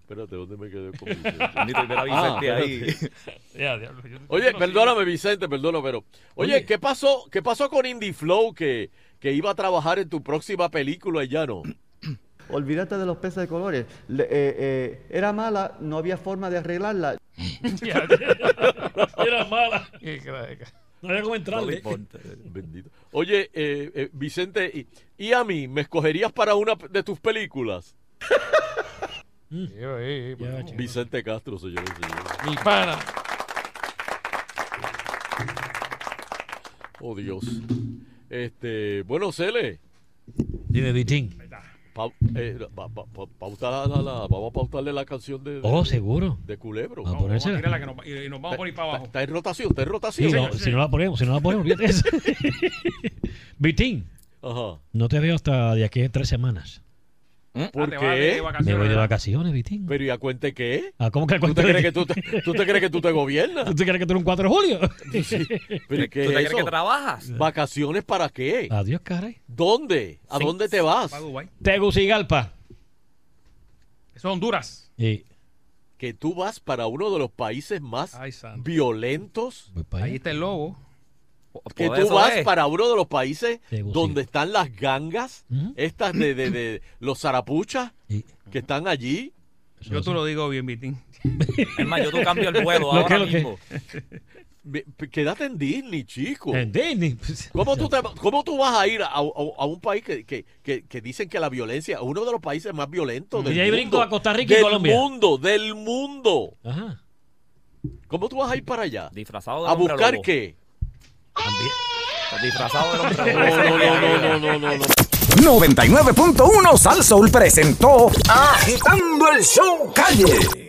[SPEAKER 8] Espérate, ¿dónde me quedé con Vicente? Ah,
[SPEAKER 6] Bendito, y ver a Vicente ahí.
[SPEAKER 8] espérate.
[SPEAKER 6] Ya, diablo, yo-
[SPEAKER 8] Oye, perdóname Vicente, perdóname, pero oye,
[SPEAKER 6] Oye.
[SPEAKER 8] ¿qué pasó? ¿Qué pasó con Indie Flow que, que iba a trabajar en tu próxima película y ya no?
[SPEAKER 15] Olvídate de los peces de colores. Le- eh, eh, era mala, no había forma de arreglarla.
[SPEAKER 14] Era mala. No había cómo entrarle.
[SPEAKER 8] Bendito. Oye, eh, eh, Vicente, y, y a mí, ¿me escogerías para una de tus películas? Vicente Castro, señores y señores.
[SPEAKER 3] Mi pana.
[SPEAKER 8] Oh, Dios. Este, bueno, Cele.
[SPEAKER 16] Dime, Vitín.
[SPEAKER 8] Pau- eh, pa- pa- pa- pauta la- la- la- vamos a pautarle la canción de, de-
[SPEAKER 16] Oh, seguro.
[SPEAKER 8] de Culebro.
[SPEAKER 16] Vamos a ponérsela.
[SPEAKER 3] Tírala que nos- y, y nos vamos por ahí para abajo.
[SPEAKER 8] Está en rotación, está en rotación.
[SPEAKER 16] Sí, no, Si no la ponemos, si no la ponemos, fíjate eso. Vitín,
[SPEAKER 8] Ajá.
[SPEAKER 16] no te veo hasta de aquí a tres semanas.
[SPEAKER 14] Ah,
[SPEAKER 8] ¿Por
[SPEAKER 16] te vas de
[SPEAKER 8] qué?
[SPEAKER 16] vacaciones, Me voy de ¿verdad? vacaciones, Vitín.
[SPEAKER 8] Pero ¿y a cuente qué?
[SPEAKER 16] Ah, ¿cómo que a
[SPEAKER 8] ¿Tú
[SPEAKER 16] cuenta
[SPEAKER 8] te
[SPEAKER 16] de
[SPEAKER 8] crees que
[SPEAKER 16] qué?
[SPEAKER 8] tú te, tú te crees que tú te gobiernas?
[SPEAKER 16] ¿Tú te crees que tú eres un 4 de julio?
[SPEAKER 8] Sí, ¿Pero ¿y qué es
[SPEAKER 6] ¿Tú te crees
[SPEAKER 8] eso?
[SPEAKER 6] que trabajas?
[SPEAKER 8] ¿Vacaciones para qué?
[SPEAKER 16] Adiós, caray.
[SPEAKER 8] ¿Dónde? ¿A
[SPEAKER 16] Sí.
[SPEAKER 8] dónde te vas?
[SPEAKER 3] Para Dubái.
[SPEAKER 16] Tegucigalpa.
[SPEAKER 3] Eso es Honduras.
[SPEAKER 16] Y
[SPEAKER 8] Que tú vas para uno de los países más
[SPEAKER 3] Ay, santo.
[SPEAKER 8] violentos.
[SPEAKER 3] Ahí está el lobo.
[SPEAKER 8] Que
[SPEAKER 3] por
[SPEAKER 8] tú
[SPEAKER 3] eso
[SPEAKER 8] vas
[SPEAKER 3] es.
[SPEAKER 8] para uno de los países
[SPEAKER 3] Tegucigalpa.
[SPEAKER 8] donde están las gangas,
[SPEAKER 3] Ujú.
[SPEAKER 8] estas de, de- de los zarapuchas, que están allí.
[SPEAKER 3] Yo te lo digo bien, Vitín.
[SPEAKER 6] Es más, yo tú cambio el vuelo
[SPEAKER 8] Lo que,
[SPEAKER 6] ahora
[SPEAKER 8] lo que.
[SPEAKER 6] mismo.
[SPEAKER 8] Ve- pe- Quédate en Disney, chico.
[SPEAKER 16] En Disney.
[SPEAKER 8] ¿Cómo tú, te va- cómo tú vas a ir a, a- a un país que, que- que- que dicen que la violencia, uno de los países más violentos del
[SPEAKER 16] Y ahí
[SPEAKER 8] mundo?
[SPEAKER 16] brinco a Costa Rica y
[SPEAKER 8] del
[SPEAKER 16] Colombia.
[SPEAKER 8] mundo, del mundo.
[SPEAKER 16] Ajá.
[SPEAKER 8] ¿Cómo tú vas a ir para allá?
[SPEAKER 6] Disfrazado de
[SPEAKER 8] ¿A
[SPEAKER 6] hombre
[SPEAKER 8] buscar
[SPEAKER 6] lobo.
[SPEAKER 8] qué?
[SPEAKER 6] Disfrazado de hombre
[SPEAKER 8] No,
[SPEAKER 6] lobo.
[SPEAKER 8] no, no, no, no, no, no.
[SPEAKER 1] 99.1 Sal Soul presentó Agitando el Show Calle.